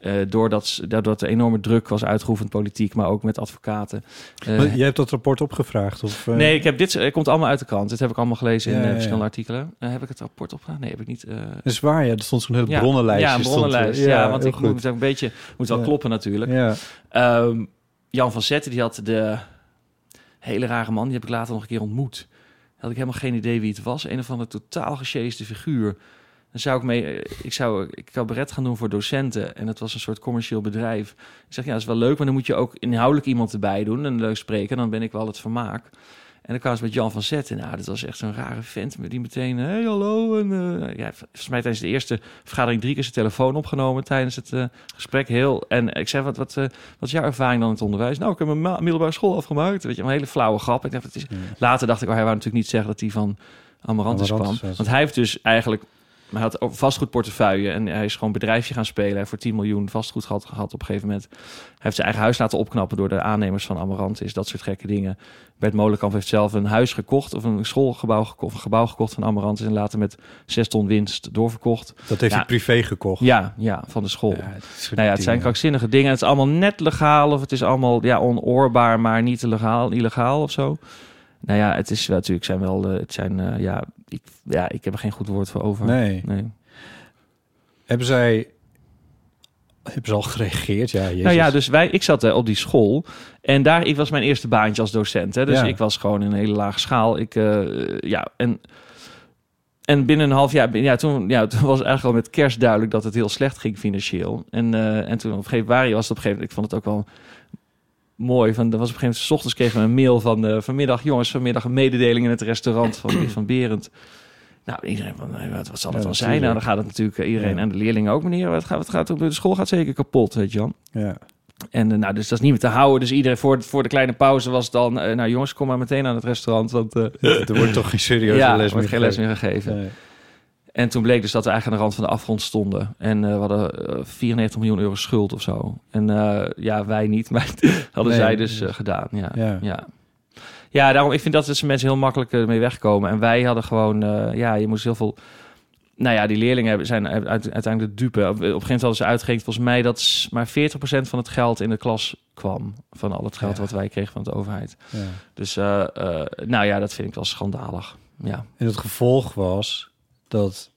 Eh, doordat, ze- doordat er enorme druk was uitgeoefend politiek... maar ook met advocaten. Eh,
Maar jij hebt dat rapport opgevraagd? Of, eh,
Nee, ik heb dit, het komt allemaal uit de krant. Dit heb ik allemaal gelezen in eh,
Ja, ja, ja.
verschillende artikelen. Eh, heb ik het rapport opgegaan? Nee, heb ik niet. eh,
Dat is waar, ja. Er stond zo'n hele bronnenlijstje.
Ja, een
stond er.
bronnenlijst. Ja, want
heel
ik moet ook een beetje... moet wel
Ja.
kloppen natuurlijk.
Ja.
Ehm, Jan van Zetten, die had de hele rare man, die heb ik later nog een keer ontmoet. Had ik helemaal geen idee wie het was. Een of andere totaal gesjeesde figuur. Dan zou ik mee, eh, ik zou ik cabaret gaan doen voor docenten. En dat was een soort commercieel bedrijf. Ik zeg, ja, dat is wel leuk, maar dan moet je ook inhoudelijk iemand erbij doen. En leuk spreken, dan ben ik wel het vermaak. En dan kwamen ze met Jan van Zetten. Nou, dat was echt zo'n rare vent. met Die meteen, hey, hallo. En, eh, ja, volgens mij tijdens de eerste vergadering drie keer zijn telefoon opgenomen. Tijdens het eh, gesprek heel... En ik zei, wat, wat, eh, wat is jouw ervaring dan in het onderwijs? Nou, ik heb mijn ma- middelbare school afgemaakt. Weet je, een hele flauwe grap. Ik dacht, het is... Later dacht ik, oh, hij wou natuurlijk niet zeggen dat hij van Amarantis kwam.
Amarantis was het.
Want hij heeft dus eigenlijk... Hij had ook vastgoedportefeuille en hij is gewoon bedrijfje gaan spelen. Hij heeft voor 10 miljoen vastgoed gehad, gehad op een gegeven moment. Hij heeft zijn eigen huis laten opknappen door de aannemers van Amarantis. Dat soort gekke dingen. Bert Molenkamp heeft zelf een huis gekocht of een schoolgebouw gekocht, een gebouw gekocht van Amarantis en later met zes ton winst doorverkocht.
Dat heeft
Ja.
hij privé gekocht.
Ja, ja, van de school.
het is
nou ja, het zijn krankzinnige dingen. Het is allemaal net legaal of het is allemaal ja, onoorbaar, maar niet legaal, illegaal of zo. Nou ja, het is wel, natuurlijk zijn wel, eh, het zijn, eh, ja, ik, ja, ik heb er geen goed woord voor over.
Nee.
nee.
Hebben zij... Hebben ze al gereageerd? Ja, jezus.
Nou ja, dus wij, ik zat eh, op die school en daar ik was mijn eerste baantje als docent. Hè, dus
Ja.
ik was gewoon in een hele lage schaal. Ik, eh, ja, en, en binnen een half jaar, bin- ja, toen, ja, toen was eigenlijk al met kerst duidelijk dat het heel slecht ging financieel. En, eh, en toen op een gegeven januari was het op een gegeven moment, ik vond het ook wel mooi. Van, er was op een gegeven moment, 's ochtends kregen we een mail van eh, vanmiddag, jongens, vanmiddag een mededeling in het restaurant van, van Berend. Nou, iedereen van, eh, wat, wat zal het
Ja,
dan zijn? Nou,
natuurlijk.
dan gaat het natuurlijk eh, iedereen
Ja.
eh, en de leerlingen ook, meneer. Wat gaat, wat gaat, op de school gaat zeker kapot, weet je wel.
Ja.
En eh, nou, dus dat is niet meer te houden. Dus iedereen voor, voor de kleine pauze was dan... eh, nou jongens, kom maar meteen aan het restaurant. Want eh,
er wordt toch geen serieuze
ja,
les
er wordt
meer
geen les meer
gegeven.
gegeven.
Nee.
En toen bleek dus dat we eigenlijk aan de rand van de afgrond stonden. En eh, we hadden eh, 94 miljoen euro schuld of zo. En eh, ja, wij niet, [laughs] maar hadden
Nee,
zij dus
dus-
eh, gedaan. Ja.
Ja.
Ja. ja. daarom, ik vind dat dus mensen heel makkelijk eh, ermee wegkomen. En wij hadden gewoon, eh, ja, je moest heel veel... Nou ja, die leerlingen hebben- zijn uit- uiteindelijk de dupe. Op, op een gegeven moment hadden ze uitgerekend, volgens mij, dat s- maar 40% van het geld in de klas kwam. Van al het geld
Ja.
wat wij kregen van de overheid.
Ja.
Dus, eh, eh, nou ja, dat vind ik wel schandalig. Ja.
En het gevolg was dat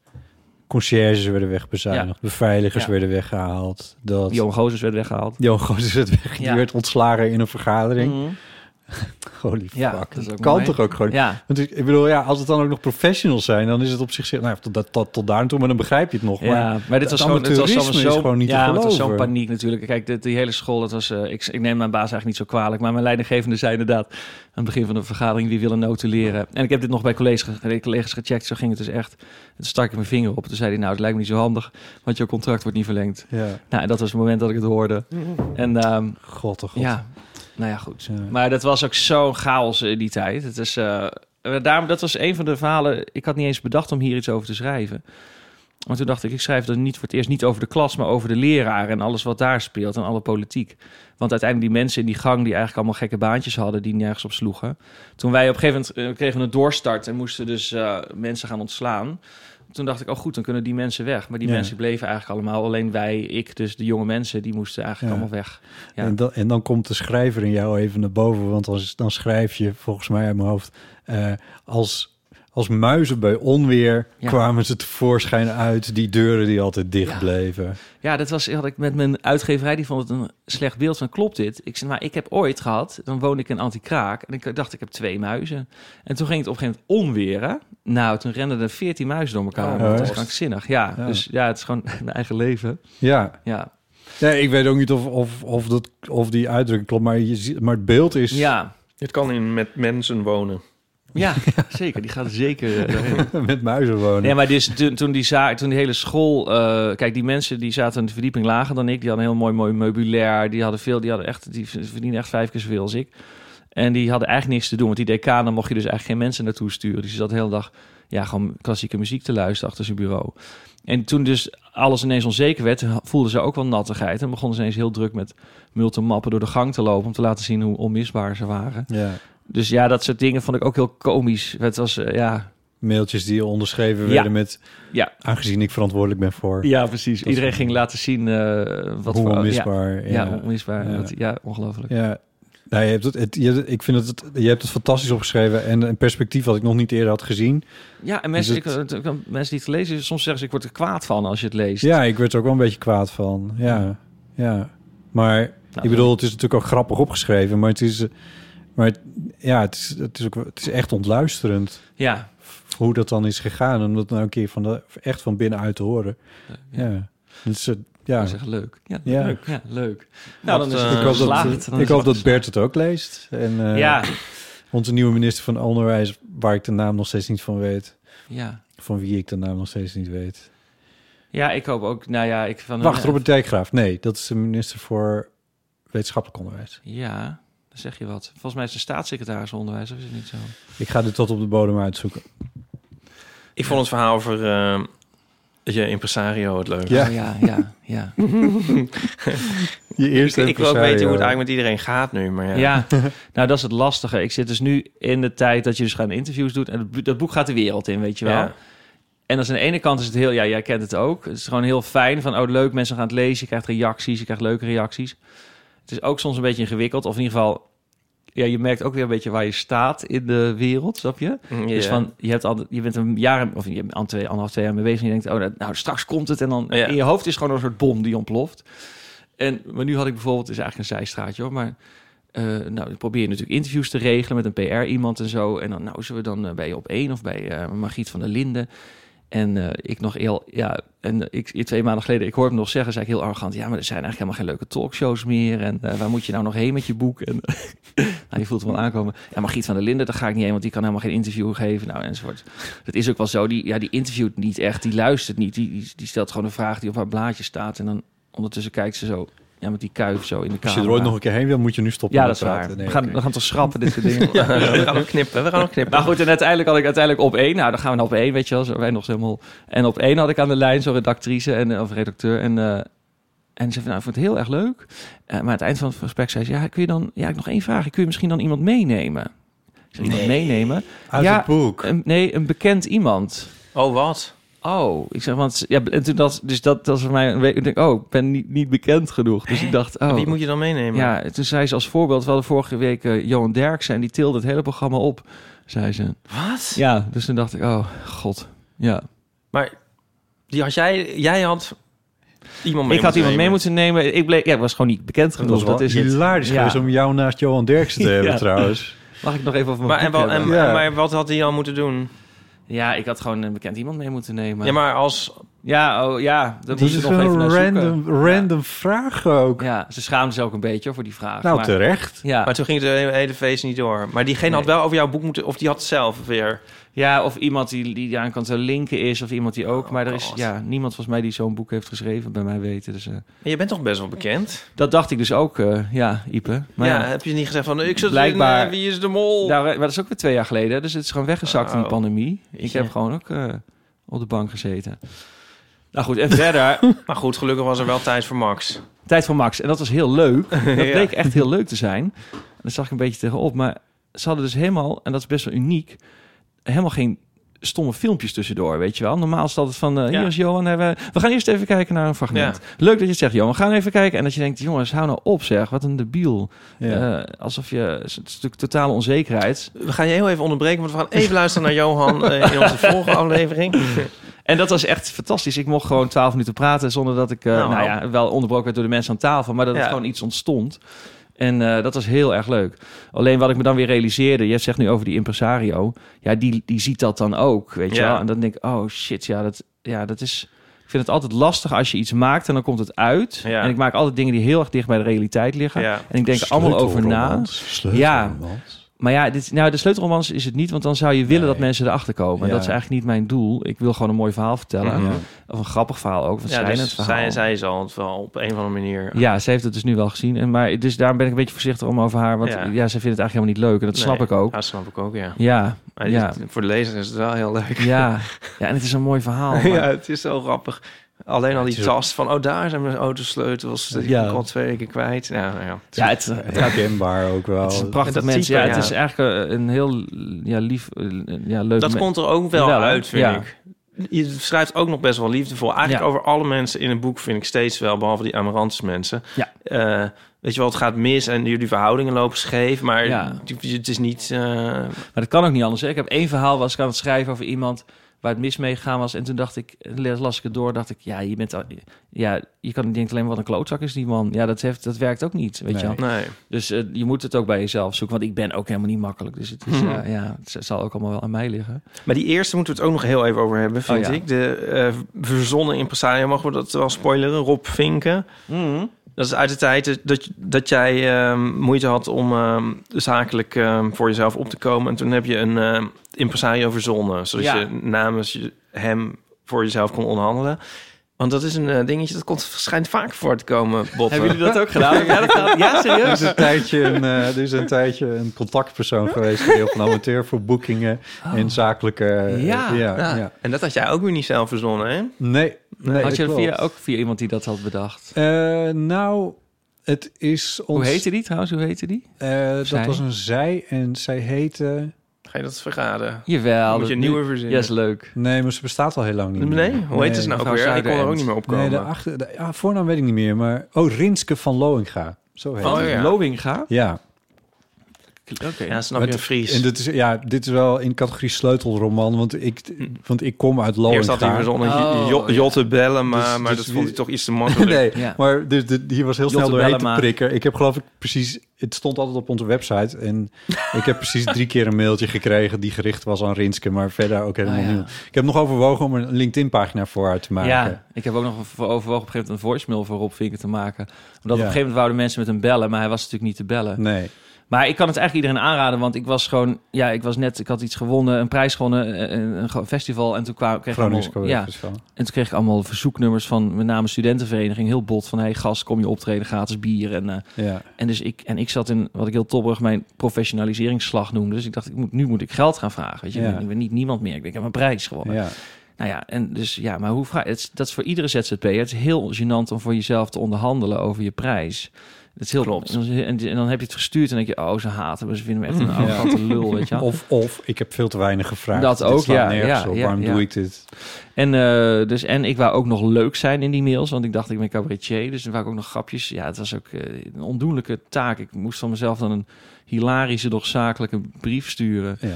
conciërges werden wegbezuinigd, beveiligers
Ja.
werden weggehaald, dat
Johan Gozes werd weggehaald.
Johan Goos werd weg, die
Ja.
werd ontslagen in een vergadering.
Mhm.
Holy
Ja,
fuck,
dat is
dat,
ook
kan
mooi.
toch ook gewoon.
Ja,
Want ik ik bedoel, ja, als het dan ook nog professionals zijn, dan is het op zich, nou, ja, tot, dat- tot, tot daar en toe, maar dan begrijp je het nog. Maar
ja, maar dit
dat
was gewoon, dit was
amateurisme
allemaal
is
zo,
gewoon niet te
ja, maar het was zo'n
geloven.
paniek natuurlijk. Kijk, dit, die hele school, dat was, eh, ik, ik neem mijn baas eigenlijk niet zo kwalijk, maar mijn leidinggevende zei inderdaad aan het begin van de vergadering, wie willen notuleren? En ik heb dit nog bij collega's, ge- collega's gecheckt, zo ging het dus echt. Toen stak ik mijn vinger op, toen zei hij, nou, het lijkt me niet zo handig, want jouw contract wordt niet verlengd.
ja,
Nou, en dat was het moment dat ik het hoorde. En ehm,
god, oh god.
ja, nou ja, goed.
Ja.
Maar dat was ook zo'n chaos in die tijd. Het is, eh, eh, daarom, dat was een van de verhalen. Ik had niet eens bedacht om hier iets over te schrijven. Maar toen dacht ik, ik schrijf dan niet voor het eerst niet over de klas, maar over de leraar en alles wat daar speelt en alle politiek. Want uiteindelijk die mensen in die gang die eigenlijk allemaal gekke baantjes hadden, die nergens op sloegen. Toen wij op een gegeven moment eh, kregen een doorstart en moesten dus eh, mensen gaan ontslaan. Toen dacht ik, oh goed, dan kunnen die mensen weg. Maar die
Ja.
mensen bleven eigenlijk allemaal. Alleen wij, ik, dus de jonge mensen, die moesten eigenlijk
Ja.
allemaal weg. Ja.
En, dan, en dan komt de schrijver in jou even naar boven, want als, dan schrijf je volgens mij uit mijn hoofd eh, als, als muizen bij onweer
Ja.
kwamen ze tevoorschijn uit die deuren die altijd dicht
Ja.
bleven.
Ja, dat was had ik met mijn uitgeverij. Die vond het een slecht beeld van klopt dit? Ik zei, maar ik heb ooit gehad, dan woonde ik in Antikraak en ik dacht ik heb twee muizen. En toen ging het op een gegeven moment onweren. Nou, toen renden er veertien muizen door elkaar.
Oh,
dat
echt?
is krankzinnig. Ja,
Ja.
dus ja, het is gewoon [laughs] mijn eigen leven.
Ja,
Ja,
nee, ik weet ook niet of, of, of, dat, of die uitdrukking klopt, maar, je, ziet- maar het beeld is...
ja,
Het kan in met mensen wonen.
ja, zeker. Die gaat er zeker. eh, doorheen.
[laughs] met muizen wonen.
Nee, maar dus, toen, toen, die zaak, toen die hele school... eh, kijk, die mensen die zaten een verdieping lager dan ik. Die hadden een heel mooi, mooi meubilair. Die, hadden veel, die, hadden echt, die verdienen echt vijf keer zoveel als ik. En die hadden eigenlijk niks te doen. Want die decanen mocht je dus eigenlijk geen mensen naartoe sturen. Dus ze zat de hele dag ja, gewoon klassieke muziek te luisteren achter zijn bureau. En toen dus alles ineens onzeker werd, voelden ze ook wel nattigheid. En begonnen ze ineens heel druk met multimappen door de gang te lopen... om te laten zien hoe onmisbaar ze waren.
Ja,
Dus ja, dat soort dingen vond ik ook heel komisch. Het was, eh, ja...
mailtjes die onderschreven
Ja.
werden met...
Ja.
Aangezien ik verantwoordelijk ben voor...
Ja, precies.
Dat-
Iedereen ging laten zien eh, wat
Hoe
voor...
onmisbaar.
Ja,
ja.
ja, onmisbaar.
Ja.
Dat- Ja, ongelooflijk.
Ja. Nou, je hebt het, het- je, hebt het- ik vind dat het, je hebt het fantastisch opgeschreven en een perspectief wat ik nog niet eerder had gezien.
Ja, en mensen,
Dus het-
ik- ik- mensen die het lezen, dus soms zeggen ze... ik word er kwaad van als je het leest.
Ja, ik werd er ook wel een beetje kwaad van. Ja, ja. Maar
Nou,
ik bedoel, het is natuurlijk ook grappig opgeschreven, maar het is, eh, maar het- ja, het is, het is ook, het is echt ontluisterend
Ja,
hoe dat dan is gegaan, om dat nou een keer van de, echt van binnenuit te horen.
ja.
Ja, Het is, eh,
ja.
ja.
Zeg, leuk. Ja,
Ja.
leuk. Ja, leuk. Nou, dan
Wat,
is het
eh,
Ik hoop,
geslaagd.
dat,
Dan
ik
is het
hoop dat Bert het ook leest. En eh,
Ja,
onze nieuwe minister van Onderwijs, waar ik de naam nog steeds niet van weet.
ja.
Van wie ik de naam nog steeds niet weet.
Ja, ik hoop ook... Nou ja, ik van...
Wacht, Robert Dijkgraaf. Nee, dat is de minister voor wetenschappelijk onderwijs.
Ja, dan zeg je wat. Volgens mij is de staatssecretaris onderwijs, of is het niet zo?
Ik ga dit tot op de bodem uitzoeken.
Ik vond het verhaal over eh, je impresario het leuk.
Ja,
Oh, ja, ja, ja.
je eerste
Ik, ik wil ook weten hoe het eigenlijk met iedereen gaat nu. Maar ja.
Ja, [laughs] nou dat is het lastige. Ik zit dus nu in de tijd dat je dus gaan interviews doet. En het bu- dat boek gaat de wereld in, weet je wel.
Ja.
En als aan de ene kant is het heel, ja, jij kent het ook. Het is gewoon heel fijn van, oh leuk, mensen gaan het lezen. Je krijgt reacties, je krijgt leuke reacties. Het is ook soms een beetje ingewikkeld. Of in ieder geval, ja, je merkt ook weer een beetje waar je staat in de wereld, snap je?
Mm, Ja.
Dus van, je, hebt al, je bent een jaar, of je bent aan twee, anderhalf, twee jaar mee bezig. En je denkt, oh, dat- nou, straks komt het. En dan
Ja.
in je hoofd is gewoon een soort bom die ontploft. En, maar nu had ik bijvoorbeeld, het is eigenlijk een zijstraatje hoor, maar... eh, nou, dan probeer je natuurlijk interviews te regelen met een PR-iemand en zo. En dan, nou, zullen we dan eh, bij op één of bij eh Margriet van der Linden. En eh, ik nog heel, ja, en ik, ik- twee maanden geleden, ik hoorde hem nog zeggen, zei ik heel arrogant, ja, maar er zijn eigenlijk helemaal geen leuke talkshows meer. En eh, waar moet je nou nog heen met je boek? En nou, je voelt hem wel aankomen. Ja, Margriet van der Linden, daar ga ik niet heen, want die kan helemaal geen interview geven. Nou, enzovoort. Dat is ook wel zo. Die, ja, die interviewt niet echt, die luistert niet. Die, die, die stelt gewoon een vraag die op haar blaadje staat. En dan ondertussen kijkt ze zo ja, met die kuif zo in de
Als
camera.
je er ooit nog een keer heen wil, moet je nu stoppen
Ja, dat
met
is waar.
praten. Nee,
we, gaan,
oké.
we gaan toch schrappen,
[laughs]
dit soort dingen.
Ja, we
eh,
gaan nog knippen, we gaan nog knippen.
Maar goed, en uiteindelijk had ik uiteindelijk op één. Nou, dan gaan we naar op één, weet je wel. Zo, wij nog zo helemaal... En op één had ik aan de lijn zo'n redactrice en, eh, of redacteur. En, eh, en ze zei, van, nou, ik vond het heel erg leuk. Eh, maar aan het eind van het gesprek zei ze... Ja, kun je dan... Ja, ik heb nog één vraag. Kun je misschien dan iemand meenemen? Ik zei, iemand meenemen?
Uit
Ja,
het boek.
Een- nee, een bekend iemand.
Oh, wat?
Oh, ik zeg, want ja, en toen dat, dus dat, dat was voor mij, een week- ik denk, oh, ik ben niet, niet bekend genoeg. Dus ik dacht, oh,
Wie moet je dan meenemen?
ja, toen zei ze als voorbeeld, we hadden vorige week eh, Johan Derksen en die tilde het hele programma op, zei ze.
Wat?
Ja, dus toen dacht ik, oh, god, ja.
Maar die had jij, jij had iemand mee
ik had iemand
moeten
mee
nemen.
moeten nemen, ik bleek, ja, ik was gewoon niet bekend
Dat,
genoeg,
was
dat is het.
hilarisch
Ja.
geweest om jou naast Johan Derksen te
[laughs]
hebben
Ja.
trouwens.
Mag ik nog even over mijn
Maar, en,
boek
wel, en,
hebben?
Ja.
maar wat had hij dan moeten doen?
Ja, ik had gewoon een bekend iemand mee moeten nemen.
Ja, maar als...
ja, oh, ja, dat
Dat
moest
is
ik nog even
een
naar
random,
zoeken.
random vraag ook.
Ja, ze schaamden zich ook een beetje hoor, voor die vraag.
nou,
maar-
terecht.
Ja.
Maar toen ging het hele, hele feest niet door. Maar diegene had
Nee.
wel over jouw boek moeten... Of die had zelf weer...
Ja, of iemand die, die aan kan te linken is, of iemand die ook.
Oh,
maar er is
God.
ja, niemand volgens mij die zo'n boek heeft geschreven, bij mij weten. Dus, eh,
Maar je bent toch best wel bekend?
dat dacht ik dus ook, eh, ja, Ipe. Maar
ja,
ja,
heb je niet gezegd van... Ik zit
Blijkbaar-
in eh, Wie is de Mol?
daar- maar dat is ook weer twee jaar geleden, dus het is gewoon weggezakt in de
Oh,
pandemie. Ik
je.
heb gewoon ook eh, op de bank gezeten. Nou goed, en
[laughs]
verder,
Maar goed, gelukkig was er wel tijd voor Max.
tijd van Max. En dat was heel
[laughs]
leuk. Dat
Ja.
bleek echt heel leuk te zijn. En daar zag ik een beetje tegenop. Maar ze hadden dus helemaal, en dat is best wel uniek, helemaal geen stomme filmpjes tussendoor, weet je wel. Normaal is het altijd van, eh,
Ja.
hier is Johan, hè, we, we gaan eerst even kijken naar een fragment. Leuk dat je het zegt, Johan, we gaan even kijken. En dat je denkt, jongens, hou nou op zeg, wat een debiel.
Ja.
Eh, alsof je, het is natuurlijk totale onzekerheid.
We gaan je heel even onderbreken, want we gaan even luisteren naar Johan eh, [laughs] in onze volgende aflevering.
En dat was echt fantastisch. Ik mocht gewoon twaalf minuten praten zonder dat ik, eh,
Nou,
nou ja, wel onderbroken werd door de mensen aan tafel, maar dat het
Ja.
gewoon iets ontstond. En eh, dat was heel erg leuk. Alleen wat ik me dan weer realiseerde, jij zegt nu over die impresario, ja, die, die ziet dat dan ook, weet je
Ja.
wel. En dan denk ik, oh shit, ja, dat, ja, dat is... Ik vind het altijd lastig als je iets maakt en dan komt het uit.
Ja.
En ik maak altijd dingen die heel erg dicht bij de realiteit liggen.
Ja.
En ik denk er allemaal over na.
Sleutelromans.
Maar ja, dit, nou, de sleutelromans is het niet, want dan zou je willen
Nee.
dat mensen erachter komen. En
Ja.
Dat is eigenlijk niet mijn doel. Ik wil gewoon een mooi verhaal vertellen.
Mhm.
Ja.
Of een grappig verhaal ook. Van
Ja,
zijn
dus
het verhaal.
zij, zij zal het wel op een of andere manier...
Ja, ze heeft het dus nu wel gezien. En, maar dus daarom ben ik een beetje voorzichtig om over haar. Want ja,
Ja.
ze vindt het eigenlijk helemaal niet leuk. En dat snap
Nee,
ik ook.
Ja, snap ik ook, ja.
Ja,
Maar
ja,
dit- voor de lezer is het wel heel leuk. [laughs]
ja. ja, en het is een mooi verhaal. Maar,
Ja,
ja.
het is zo grappig. Alleen al die tas van, oh, daar zijn mijn autosleutels. Die
Ja.
ja. ik al twee weken kwijt. Ja, nou ja.
het,
Herkenbaar ook wel.
het is een prachtig
dat
mens.
type,
Ja, het
ja.
is eigenlijk eh, een heel ja, lief, eh, ja, leuk
Dat
me-
komt er ook wel,
Wel, hè?
uit, vind
Ja.
ik. Je schrijft ook nog best wel liefdevol. Eigenlijk
Ja.
over alle mensen in het boek vind ik steeds wel, behalve die Amarantis mensen.
Ja.
Eh, weet je wel, het gaat mis en jullie verhoudingen lopen scheef, maar
Ja.
die- het is niet... eh,
Maar dat kan ook niet anders. hè. Ik heb één verhaal was ik aan het schrijven over iemand waar het mis mee gegaan was. En toen dacht ik, las ik het door, dacht ik, ja, je bent al, ja, je kan niet denken alleen wat een klootzak is die man. Ja, dat, heeft, dat werkt ook niet, weet je wel.
Nee.
nee.
Dus eh, je moet het ook bij jezelf zoeken, want ik ben ook helemaal niet makkelijk. Dus het, is, eh, ja, het zal ook allemaal wel aan mij liggen.
Maar die eerste moeten we het ook nog heel even over hebben, vind
Oh, ja.
ik. De eh, verzonnen impresario, mogen we dat wel spoileren? Rob Vinken.
Mhm.
Dat is uit de tijd dat, dat jij ehm, moeite had om ehm, zakelijk ehm, voor jezelf op te komen. En toen heb je een ehm, impresario verzonnen. Zodat
Ja.
je namens je- hem voor jezelf kon onderhandelen. Want dat is een eh, dingetje dat komt, schijnt vaak voor te
[laughs]
komen, Bob.
dat ook
[laughs]
gedaan? ja, dat gedaan? ja,
Er
serieus?
is, een tijdje een, eh, er is een tijdje een contactpersoon geweest, die heel van amateur voor boekingen en zakelijke. eh,
Ja.
ja,
Oh. Ja.
ja.
En dat had jij ook weer niet zelf verzonnen, hè?
Nee, nee.
Had je
dat
dat via,
klopt.
ook via iemand die dat had bedacht?
Eh, nou, het is ons.
Hoe heette die trouwens? Hoe heette die?
eh,
Zij?
dat was een zij en zij heette.
Ga je dat verraden?
Jawel.
Moet je een
dat-
nieuwe
Ja,
verzinnen?
is leuk.
Nee, maar ze bestaat al heel lang niet.
Nee?
meer.
Hoe heet ze nou ook
mevrouw
weer? Ik kon er
Zuiderend.
ook niet meer opkomen.
Nee, de achter, de, ah, voornaam weet ik niet meer, maar oh Rinske van Loinga, zo heet.
Oh,
ze.
ja.
Lowinga?
Ja,
Oké.
Ja, snap je,
Maar
een Fries.
en dit is, ja, dit is wel in categorie sleutelroman, want ik, want ik kom uit Loinga.
Hm. Eerst had hij verzonnen
Oh,
jo-
ja.
Jotte bellen, maar,
Dus-
maar
dus
dat vond hij
wie-
[laughs] toch iets te makkelijk.
[laughs] Nee,
Ja.
maar dus de, hier was heel
Jotte
snel doorheen te
Bellema.
prikken. Ik heb geloof ik precies het stond altijd op onze
[laughs]
website. En ik heb precies drie keer een mailtje gekregen die gericht was aan Rinske, maar verder ook helemaal
Ah, ja.
niet. Ik heb nog overwogen om er een LinkedIn-pagina voor haar te maken.
Ja, ik heb ook nog voor- overwogen op een gegeven moment een voicemail voor Rob Vinken te maken. Omdat op een
Ja.
gegeven moment wouden mensen met hem bellen, maar hij was natuurlijk niet te bellen.
Nee.
Maar ik kan het eigenlijk iedereen aanraden, want ik was gewoon... Ja, ik was net... Ik had iets gewonnen, een prijs gewonnen, eh, een, een- een festival. En toen kwam, kreeg ik
Groningen
allemaal... Ja, en toen kreeg ik allemaal verzoeknummers van met name studentenvereniging. Heel bot van, hey gast, kom je optreden, gratis bier. En, eh,
Ja.
en, dus ik, en ik zat in, wat ik heel topperig, mijn professionaliseringsslag noemde. Dus ik dacht, ik moet, nu moet ik geld gaan vragen. Weet je,
Ja.
ik ben niet niemand meer. Ik, denk, ik heb een prijs gewonnen.
ja.
Nou ja, en dus ja, maar hoe vraag het is- Dat is voor iedere ZZP'er. Het is heel gênant om voor jezelf te onderhandelen over je prijs. Het is heel
Klopt.
En, dan- en dan heb je het gestuurd en dan denk je, oh, ze haten me, ze vinden me echt nou, een arrogante lul, weet je wel.
Of, of ik heb veel te weinig gevraagd.
Dat
Dit
ook,
slaat
ja,
nergens
ja,
op.
ja,
Waarom
ja.
doe ik dit?
En, eh, dus, en ik wou ook nog leuk zijn in die mails, want ik dacht, ik ben cabaretier, dus dan wou ik ook nog grapjes. Ja, het was ook eh, een ondoenlijke taak. Ik moest van mezelf dan een hilarische, doch zakelijke brief sturen.
Ja.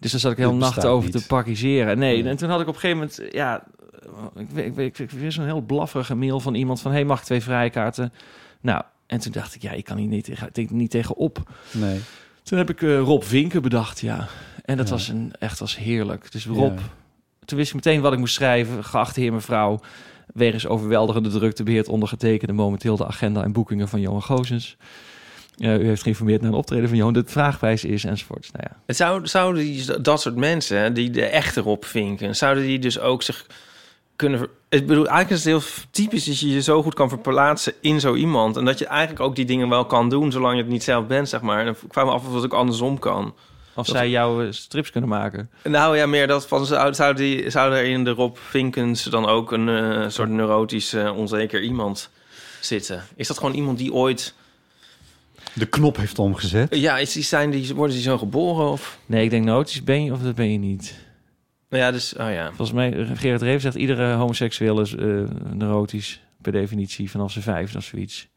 Dus daar zat ik heel
Dit
nacht
bestaat
over
niet.
te parkiseren. Nee,
Ja.
en toen had ik op een gegeven moment... Ja, ik weet, ik weet, ik weet- weer zo'n heel blafferige mail van iemand van... hey, mag ik twee vrijkaarten? Nou, en toen dacht ik, ja, ik kan hier niet, tegen, ik- niet tegenop.
Nee.
Toen heb ik eh, Rob Winken bedacht, ja. En dat
Ja.
was een, echt was heerlijk. Dus Rob,
Ja.
toen wist ik meteen wat ik moest schrijven. Geachte heer mevrouw, wegens overweldigende drukte beheert ondergetekende momenteel de agenda en boekingen van Johan Gozens. Eh, u heeft geïnformeerd naar een optreden van Johan, de vraagprijs is enzovoorts. Nou ja.
Het zou, zouden die, dat soort mensen, hè, die de echte Rob vinken, zouden die dus ook zich kunnen... ver- Ik bedoel, eigenlijk is het heel typisch dat je je zo goed kan verplaatsen in zo iemand. En dat je eigenlijk ook die dingen wel kan doen, zolang je het niet zelf bent, zeg maar. En dan kwam af of het ook andersom kan.
Of
Dat-
zij jouw eh, strips kunnen maken.
Nou ja, meer dat van, zou, zou, die, zou er in de Rob Vinkens dan ook een eh, soort neurotisch, eh, onzeker iemand zitten? Is dat gewoon iemand die ooit...
De knop heeft omgezet.
Ja, is die zijn die, worden die zo geboren of...
Nee, ik denk notisch ben je of dat ben je niet.
Nou ja, dus, oh ja.
Volgens mij, eh, Gerard Reven zegt... iedere homoseksueel is eh, neurotisch per definitie vanaf zijn vijfde of zoiets.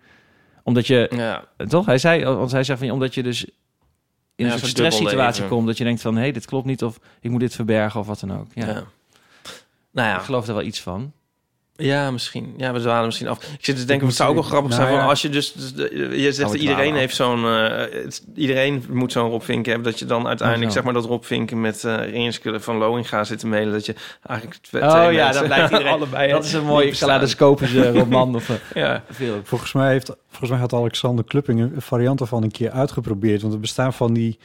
Omdat je,
Ja,
eh, toch? Hij zei, want hij zegt van... omdat je dus in
Ja,
een
zo'n
soort stresssituatie
dubbelleven.
komt... dat je denkt van, hé, hey, dit klopt niet... of ik moet dit verbergen of wat dan ook. Ja.
ja. Nou
Ik
ja,
geloof daar wel iets van.
Ja, misschien. Ja, we dwalen misschien af. Ik zit te denken, het
moet
zou ook wel
zien.
grappig
Nou
zijn van
ja.
als je dus... dus de- je zegt,
we
iedereen
dwalen
heeft zo'n... eh, het- iedereen moet zo'n Rob Vinken hebben. Dat je dan uiteindelijk,
Oh, zo.
zeg maar, dat Rob Vinken met eh Rinske van Loinga zit te mailen. Dat je eigenlijk twee
Oh
twee
ja,
mensen-
dan blijkt [laughs] iedereen-
[laughs] allebei.
dat is een mooie [laughs] kaleidoscopische roman of eh,
Ja.
film.
Volgens mij, heeft, volgens mij had Alexander Klupping een variant ervan een keer uitgeprobeerd. Want er bestaan van die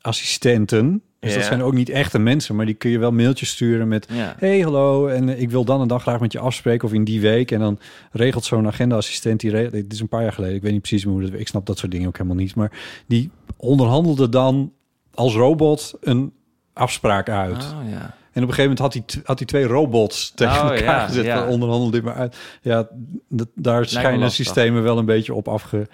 agenda-assistenten. Dus dat
Ja.
zijn ook niet echte mensen, maar die kun je wel mailtjes sturen met...
Ja.
Hey, hallo, en eh, ik wil dan en dan graag met je afspreken of in die week. En dan regelt zo'n agenda-assistent, die regelt, dit is een paar jaar geleden, ik weet niet precies meer hoe dat... Ik snap dat soort dingen ook helemaal niet, maar die onderhandelde dan als robot een afspraak uit.
Oh, ja.
En op een gegeven moment had hij, t- had hij twee robots [laughs] tegen
Oh,
elkaar
ja,
gezet.
ja.
van Onderhandel dit maar uit. Ja, d- daar schijnen
lastig.
systemen wel een beetje op afgericht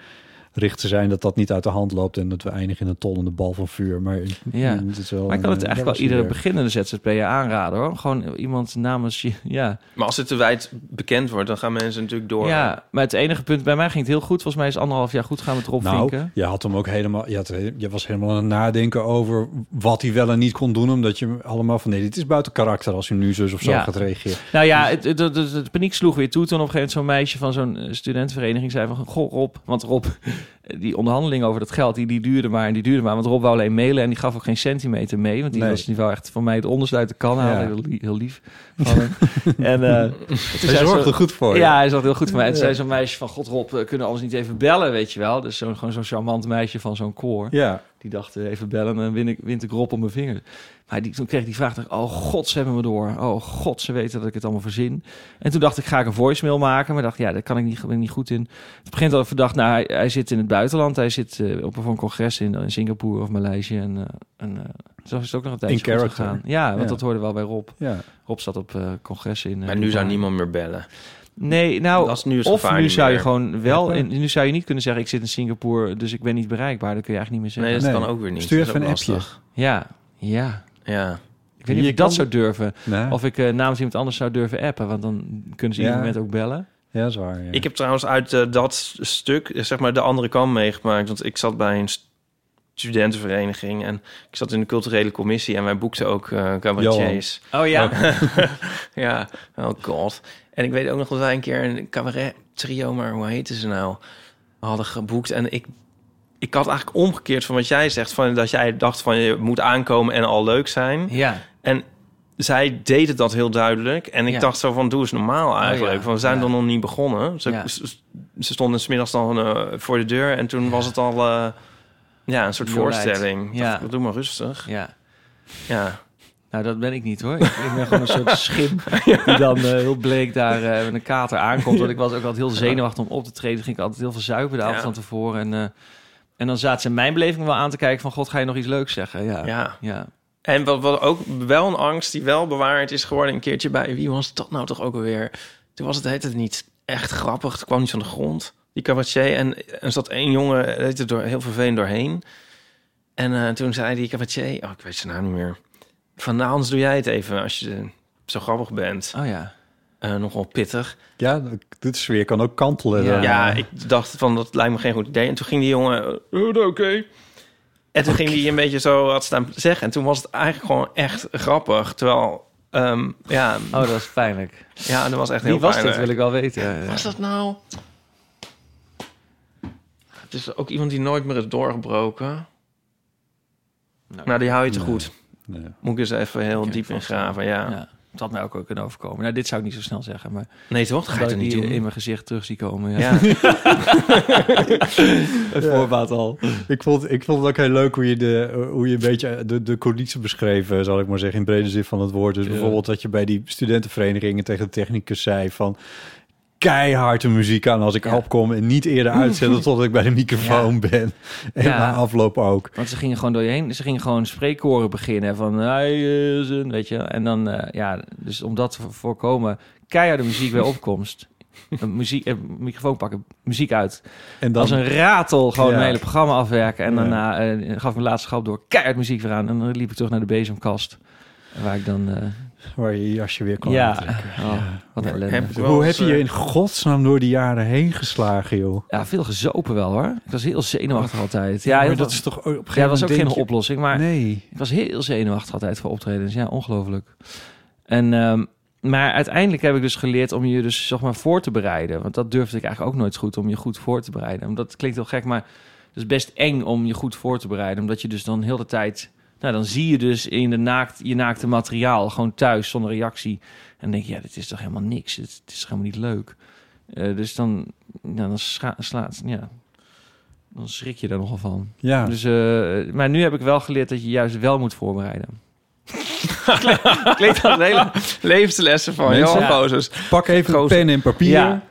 te zijn. Dat dat niet uit de hand loopt en dat we eindigen in een tollende bal van vuur. Maar,
Ja.
het is wel
Maar ik kan
een,
het
eh,
eigenlijk wel
dat
iedere
is weer-
beginnende ZZP'er aanraden, hoor. Gewoon iemand namens je... [laughs] Ja.
Maar als het te wijd bekend wordt, dan gaan mensen natuurlijk door.
Ja, maar het enige punt bij mij ging het heel goed. Volgens mij is anderhalf jaar goed gaan met Rob
Nou,
Vinken.
je had hem ook helemaal. Je, had, je was helemaal aan het nadenken over wat hij wel en niet kon doen. Omdat je hem allemaal van nee, dit is buiten karakter als hij nu zus of zo
Ja.
gaat reageren.
Nou ja, het, het, het- het- het paniek sloeg weer toe. Toen op een gegeven moment zo'n meisje van zo'n eh, studentenvereniging zei van... Goh Rob, want Rob, [laughs] die onderhandeling over dat geld, die, die duurde maar en die duurde maar. Want Rob wou alleen mailen en die gaf ook geen centimeter mee. Want die
Nee.
was die wou echt van mij het onderste uit de kan halen.
Ja.
Heel, li- heel lief van
[laughs]
hem. en, eh, toen zei
Hij
ze-
zorgde goed voor je.
Ja, hij zat heel goed voor mij. En toen zei zo'n meisje van... God Rob, eh, kunnen we anders niet even bellen, weet je wel? Dus zo'n, gewoon zo'n charmant meisje van zo'n koor.
ja.
Die dacht, eh, even bellen, dan win ik, wint ik Rob op mijn vinger. Maar die, toen kreeg ik die vraag, dacht, ik, oh god, ze hebben me door. Oh god, ze weten dat ik het allemaal verzin. En toen dacht ik, ga ik een voicemail maken? Maar dacht, ja, daar kan ik niet, ben ik niet goed in. Het begint al verdacht, nou, hij, hij zit in het buitenland. Hij zit eh, op een, voor een congres in, in Singapore of Maleisië. En, eh, en eh, zo is het ook nog een tijdje goed
character.
gegaan. Ja, want
Ja.
dat hoorde wel bij Rob.
ja.
Rob zat op eh, congressen in... eh,
Maar nu zou
Dubai.
niemand meer bellen.
Nee, nou,
dat is nu het
of
gevaar
nu
niet
zou je
meer.
gewoon wel... In, nu zou je niet kunnen zeggen, ik zit in Singapore, dus ik ben niet bereikbaar. Dat kun je eigenlijk niet meer zeggen.
Nee, dat
Nee.
kan ook weer niet.
Stuur
Dat is
even
ook
een appje.
lastig.
Ja, ja.
Ja.
Ik weet niet
Je
of ik dat
kan-
zou durven.
Nee.
Of ik eh, namens iemand anders zou durven appen. Want dan kunnen ze
Ja.
ieder moment ook bellen.
ja, dat is waar. Ja.
Ik heb trouwens uit eh, dat s- stuk, eh, zeg maar, de andere kant meegemaakt. Want ik zat bij een st- studentenvereniging en ik zat in de culturele commissie en wij boekten ook eh cabaretiers.
Oh ja.
[laughs] ja, oh god. En ik weet ook nog dat wij een keer een cabaret trio, maar hoe heette ze nou? hadden geboekt. En ik, ik had eigenlijk omgekeerd van wat jij zegt. Van dat jij dacht van je moet aankomen en al leuk zijn.
Ja.
En zij deden dat heel duidelijk. En ik
Ja. Oh,
dacht zo van, doe eens normaal eigenlijk.
ja.
Van, we zijn
Ja.
dan nog niet begonnen. Ze,
Ja.
ze- ze stonden smiddags dan eh, voor de deur. En toen was het al eh, ja, een soort
You're right.
voorstelling.
Ja.
Ja. Doe maar rustig.
ja.
Ja.
Nou, dat ben ik niet hoor. Ik, ik ben gewoon een
[laughs]
soort schim die dan eh, heel bleek daar eh, met een kater aankomt. Want ik was ook altijd heel zenuwachtig om op te treden. Ging ik altijd heel veel zuipen de avond
Ja.
van tevoren. En, eh, en dan zaten ze in mijn beleving wel aan te kijken van... God, ga je nog iets leuks zeggen? Ja. ja.
ja. En wat, wat ook wel een angst die wel bewaard is geworden een keertje bij... Wie was dat nou toch ook alweer? Toen was het, heet het niet echt grappig. Het kwam niet van de grond. Die cabaretier. En er zat één jongen, heet het door, heel vervelend doorheen. En eh, toen zei die cabaretier... Oh, ik weet zijn naam niet meer. Van, nou, anders doe jij het even als je eh, zo grappig bent.
Oh ja.
Eh, nogal pittig.
Ja, de sfeer kan ook kantelen.
Ja.
daarna.
Ja, ik dacht van, dat lijkt me geen goed idee. En toen ging die jongen... eh, oh, oké. En toen ging hij een beetje zo wat staan zeggen. En toen was het eigenlijk gewoon echt grappig. Terwijl, ehm, ja,
Oh, dat was pijnlijk.
ja, dat was echt
Wie
heel
was
pijnlijk.
dat, wil ik wel weten. Ja, ja.
Was dat nou? Het is ook iemand die nooit meer is doorgebroken.
Nou,
Nou, die hou je te
Nee.
goed.
Ja.
Moet ik eens even heel
Oké,
diep in
vast.
graven, ja.
ja. Het had mij ook wel kunnen overkomen. Nou, dit zou ik niet zo snel zeggen, maar...
Nee, toch? Dat ga je
dat
toch
ik
niet
die in
doen?
mijn gezicht terug zie komen. Ja.
[laughs] Ja.
Voorbaat al.
Ik, vond, ik vond het ook heel leuk hoe je, de, hoe je een beetje de, de coalitie beschreven, zal ik maar zeggen, in brede zin van het woord. Dus
Ja.
bijvoorbeeld dat je bij die studentenverenigingen tegen de technicus zei van keihard de muziek aan als ik
Ja.
opkom en niet eerder
[laughs]
uitzetten totdat ik bij de microfoon ben. [laughs] En
Ja.
na afloop ook.
Want ze gingen gewoon door je heen. Ze gingen gewoon spreekkoren beginnen. Van, hey, eh, zin, weet je. En dan, eh, ja, dus om dat te voorkomen, keiharde muziek
[laughs]
bij opkomst. Een muziek, eh, microfoon pakken, muziek uit.
En dan,
Als een ratel gewoon
Ja.
mijn hele programma afwerken. En
Ja.
daarna eh, gaf ik mijn laatste schap door keihard muziek weer aan. En dan liep ik terug naar de bezemkast. Waar ik dan... eh,
waar je je jasje weer kon
ja,
aantrekken.
oh, wat een ellende.
Heb ik wel
Hoe heb
eens,
je je
eh,
in godsnaam door die jaren heen geslagen, joh?
Ja, veel gezopen wel hoor. Ik was heel zenuwachtig altijd. Ja,
maar
heel-
dat is toch ook op een
ja,
gegeven
dat was ook
moment
geen
denk je-
oplossing. Maar
Nee.
Ik was heel zenuwachtig altijd voor optredens. Ja, ongelooflijk. En, ehm, maar uiteindelijk heb ik dus geleerd om je dus zeg maar voor te bereiden. Want dat durfde ik eigenlijk ook nooit goed, om je goed voor te bereiden. Omdat het klinkt heel gek, maar het is best eng om je goed voor te bereiden. Omdat je dus dan heel de tijd... Nou, dan zie je dus in de naakt, je naakte materiaal gewoon thuis zonder reactie. En dan denk je, ja, dit is toch helemaal niks. Het, het is toch helemaal niet leuk. Eh, dus dan, nou, dan scha- slaat... Ja, dan schrik je daar nogal van.
Ja.
Dus, eh, maar nu heb ik wel geleerd dat je juist wel moet voorbereiden.
Klinkt als een hele [laughs] levenslessen van
Mensen,
Johan
ja.
Bozes.
Pak even een
Gozer.
pen en papier.
Ja.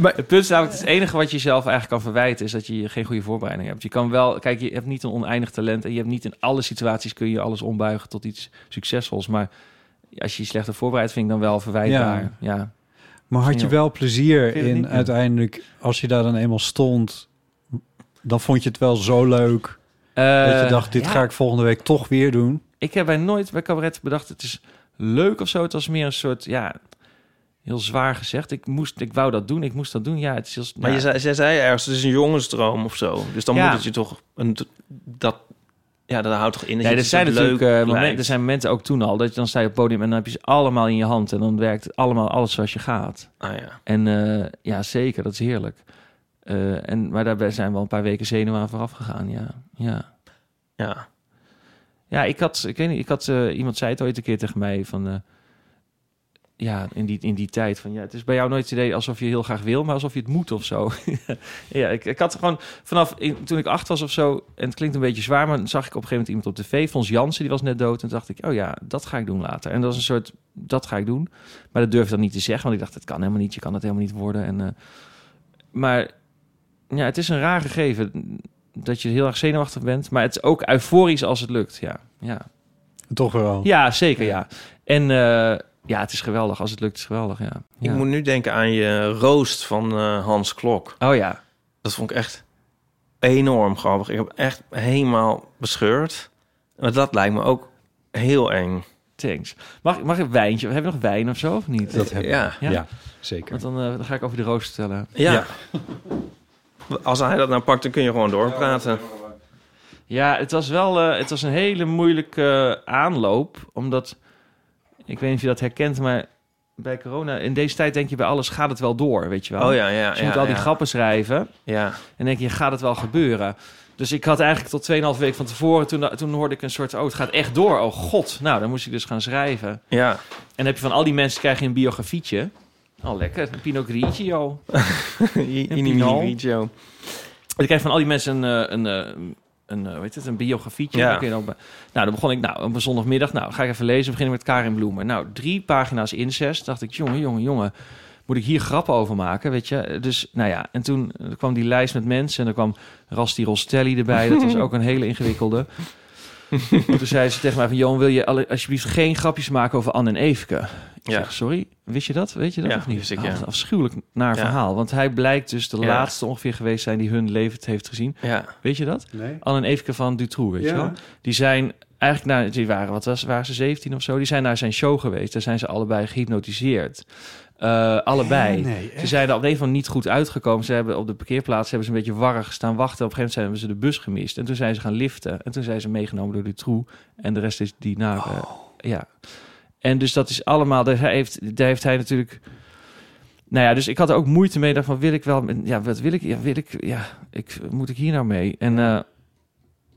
Maar het punt is namelijk, het enige wat je jezelf eigenlijk kan verwijten... is dat je geen goede voorbereiding hebt. Je kan wel... Kijk, je hebt niet een oneindig talent... en je hebt niet in alle situaties kun je alles ombuigen tot iets succesvols. Maar als je je slechter voorbereid vindt, dan wel verwijtbaar. Ja.
Ja. Maar had je
Misschien
wel plezier
Vind je het
in
niet?
uiteindelijk, als je daar dan eenmaal stond, dan vond je het wel zo leuk dat je
Eh,
dacht, dit
ja,
ga ik volgende week toch weer doen.
Ik heb bij nooit bij cabaret bedacht, het is leuk of zo. Het was meer een soort, ja... Heel zwaar gezegd. Ik moest, ik wou dat doen. Ik moest dat doen. Ja, het is heel,
Maar
ja.
je zei, zij zei ergens, het is een jongensdroom of zo. Dus dan
Ja.
moet het je toch... Een, dat, ja, dat houdt toch in dat
Nee,
je
er
het
zijn
soort
natuurlijk
leuk
eh, momenten,
lijkt.
er zijn momenten ook toen al dat je dan sta je op het podium en dan heb je ze allemaal in je hand en dan werkt allemaal alles zoals je gaat.
Ah, ja.
En eh, ja, zeker, dat is heerlijk. Eh, en, maar daarbij zijn wel een paar weken zenuwen aan vooraf gegaan. Ja, ja.
ja.
ja ik had, ik weet niet, ik had eh, iemand zei het ooit een keer tegen mij van. eh, ja, in die, in die tijd van ja, het is bij jou nooit het idee alsof je heel graag wil, maar alsof je het moet of zo. [laughs] ja, ik, ik had gewoon vanaf in- toen ik acht was of zo, en het klinkt een beetje zwaar, maar dan zag ik op een gegeven moment iemand op tv, Fons Jansen, die was net dood. En toen dacht ik, oh ja, dat ga ik doen later. En dat was een soort, dat ga ik doen. Maar dat durfde ik dan niet te zeggen, want ik dacht, het kan helemaal niet, je kan het helemaal niet worden. En, eh, maar ja, het is een raar gegeven dat je heel erg zenuwachtig bent, maar het is ook euforisch als het lukt. Ja, ja.
Toch wel.
Ja, zeker ja. En eh, ja, het is geweldig. Als het lukt, is het geweldig, ja.
Ik
Ja.
moet nu denken aan je roost van eh, Hans Klok.
Oh ja.
Dat vond ik echt enorm grappig. Ik heb echt helemaal bescheurd. Maar dat lijkt me ook heel eng.
Thanks. Mag, mag ik een wijntje? Hebben we nog wijn of zo, of niet?
Dat heb ik.
Ja.
Ja?
Ja. zeker.
Want dan, eh, dan ga ik over de roos vertellen.
Ja.
Ja.
[laughs] Als hij dat nou pakt, dan kun je gewoon doorpraten.
Ja, het was wel eh, het was een hele moeilijke eh, aanloop. Omdat, ik weet niet of je dat herkent, maar bij corona, in deze tijd denk je bij alles, gaat het wel door, weet je wel.
Oh ja, ja.
Dus je
ja,
moet al die
ja.
grappen schrijven
Ja.
en denk je, gaat het wel gebeuren? Dus ik had eigenlijk tot 2,5 week van tevoren, toen, toen hoorde ik een soort, oh het gaat echt door, oh god. Nou, dan moest ik dus gaan schrijven. En
ja. [laughs]
dan heb je van al die mensen krijg je een biografietje. Oh lekker, een Pinot Grigio. Pinal.
Video.
Dus ik kreeg van al die mensen een, eh, een, eh, een, eh, hoe heet het, een biografietje.
Ja.
Dan kun je dan be- nou, dan begon ik nou, op een zondagmiddag. Nou, ga ik even lezen. Beginnen met Karin Bloemen. Nou, drie pagina's incest. Dacht ik, jongen, jongen, jongen. Moet ik hier grappen over maken, weet je? Dus, nou ja, en toen eh, kwam die lijst met mensen... en er kwam Rasti Rostelli erbij. Dat was ook een hele ingewikkelde. [laughs] toen zei ze tegen mij van... Johan, wil je alle- alsjeblieft geen grapjes maken over Anne en Eveke? Ik
Ja.
zeg, sorry, wist je dat? Weet je dat
Ja,
of niet?
wist ik,
Ah,
ja.
wat een afschuwelijk naar
Ja.
verhaal. Want hij blijkt dus de
Ja.
laatste ongeveer geweest zijn... die hun leven heeft gezien.
Ja.
Weet je dat?
Nee.
Anne en Eveke van Dutroux, weet je wel? Die zijn eigenlijk naar... Die waren, wat was, waren ze, 17 of zo? Die zijn naar zijn show geweest. Daar zijn ze allebei gehypnotiseerd. Eh, allebei.
Nee,
ze zijn er op een van niet goed uitgekomen. Ze hebben op de parkeerplaats hebben ze een beetje warrig staan wachten. Op een gegeven moment hebben ze de bus gemist. En toen zijn ze gaan liften. En toen zijn ze meegenomen door Dutroux. En de rest is die na... eh,
Oh.
ja. En dus dat is allemaal... Daar heeft, daar heeft hij natuurlijk... Nou ja, dus ik had er ook moeite mee. Dacht van, wil ik wel... Ja, wat wil ik? Ja, wil ik... Ja, ik, moet ik hier nou mee? En, eh, en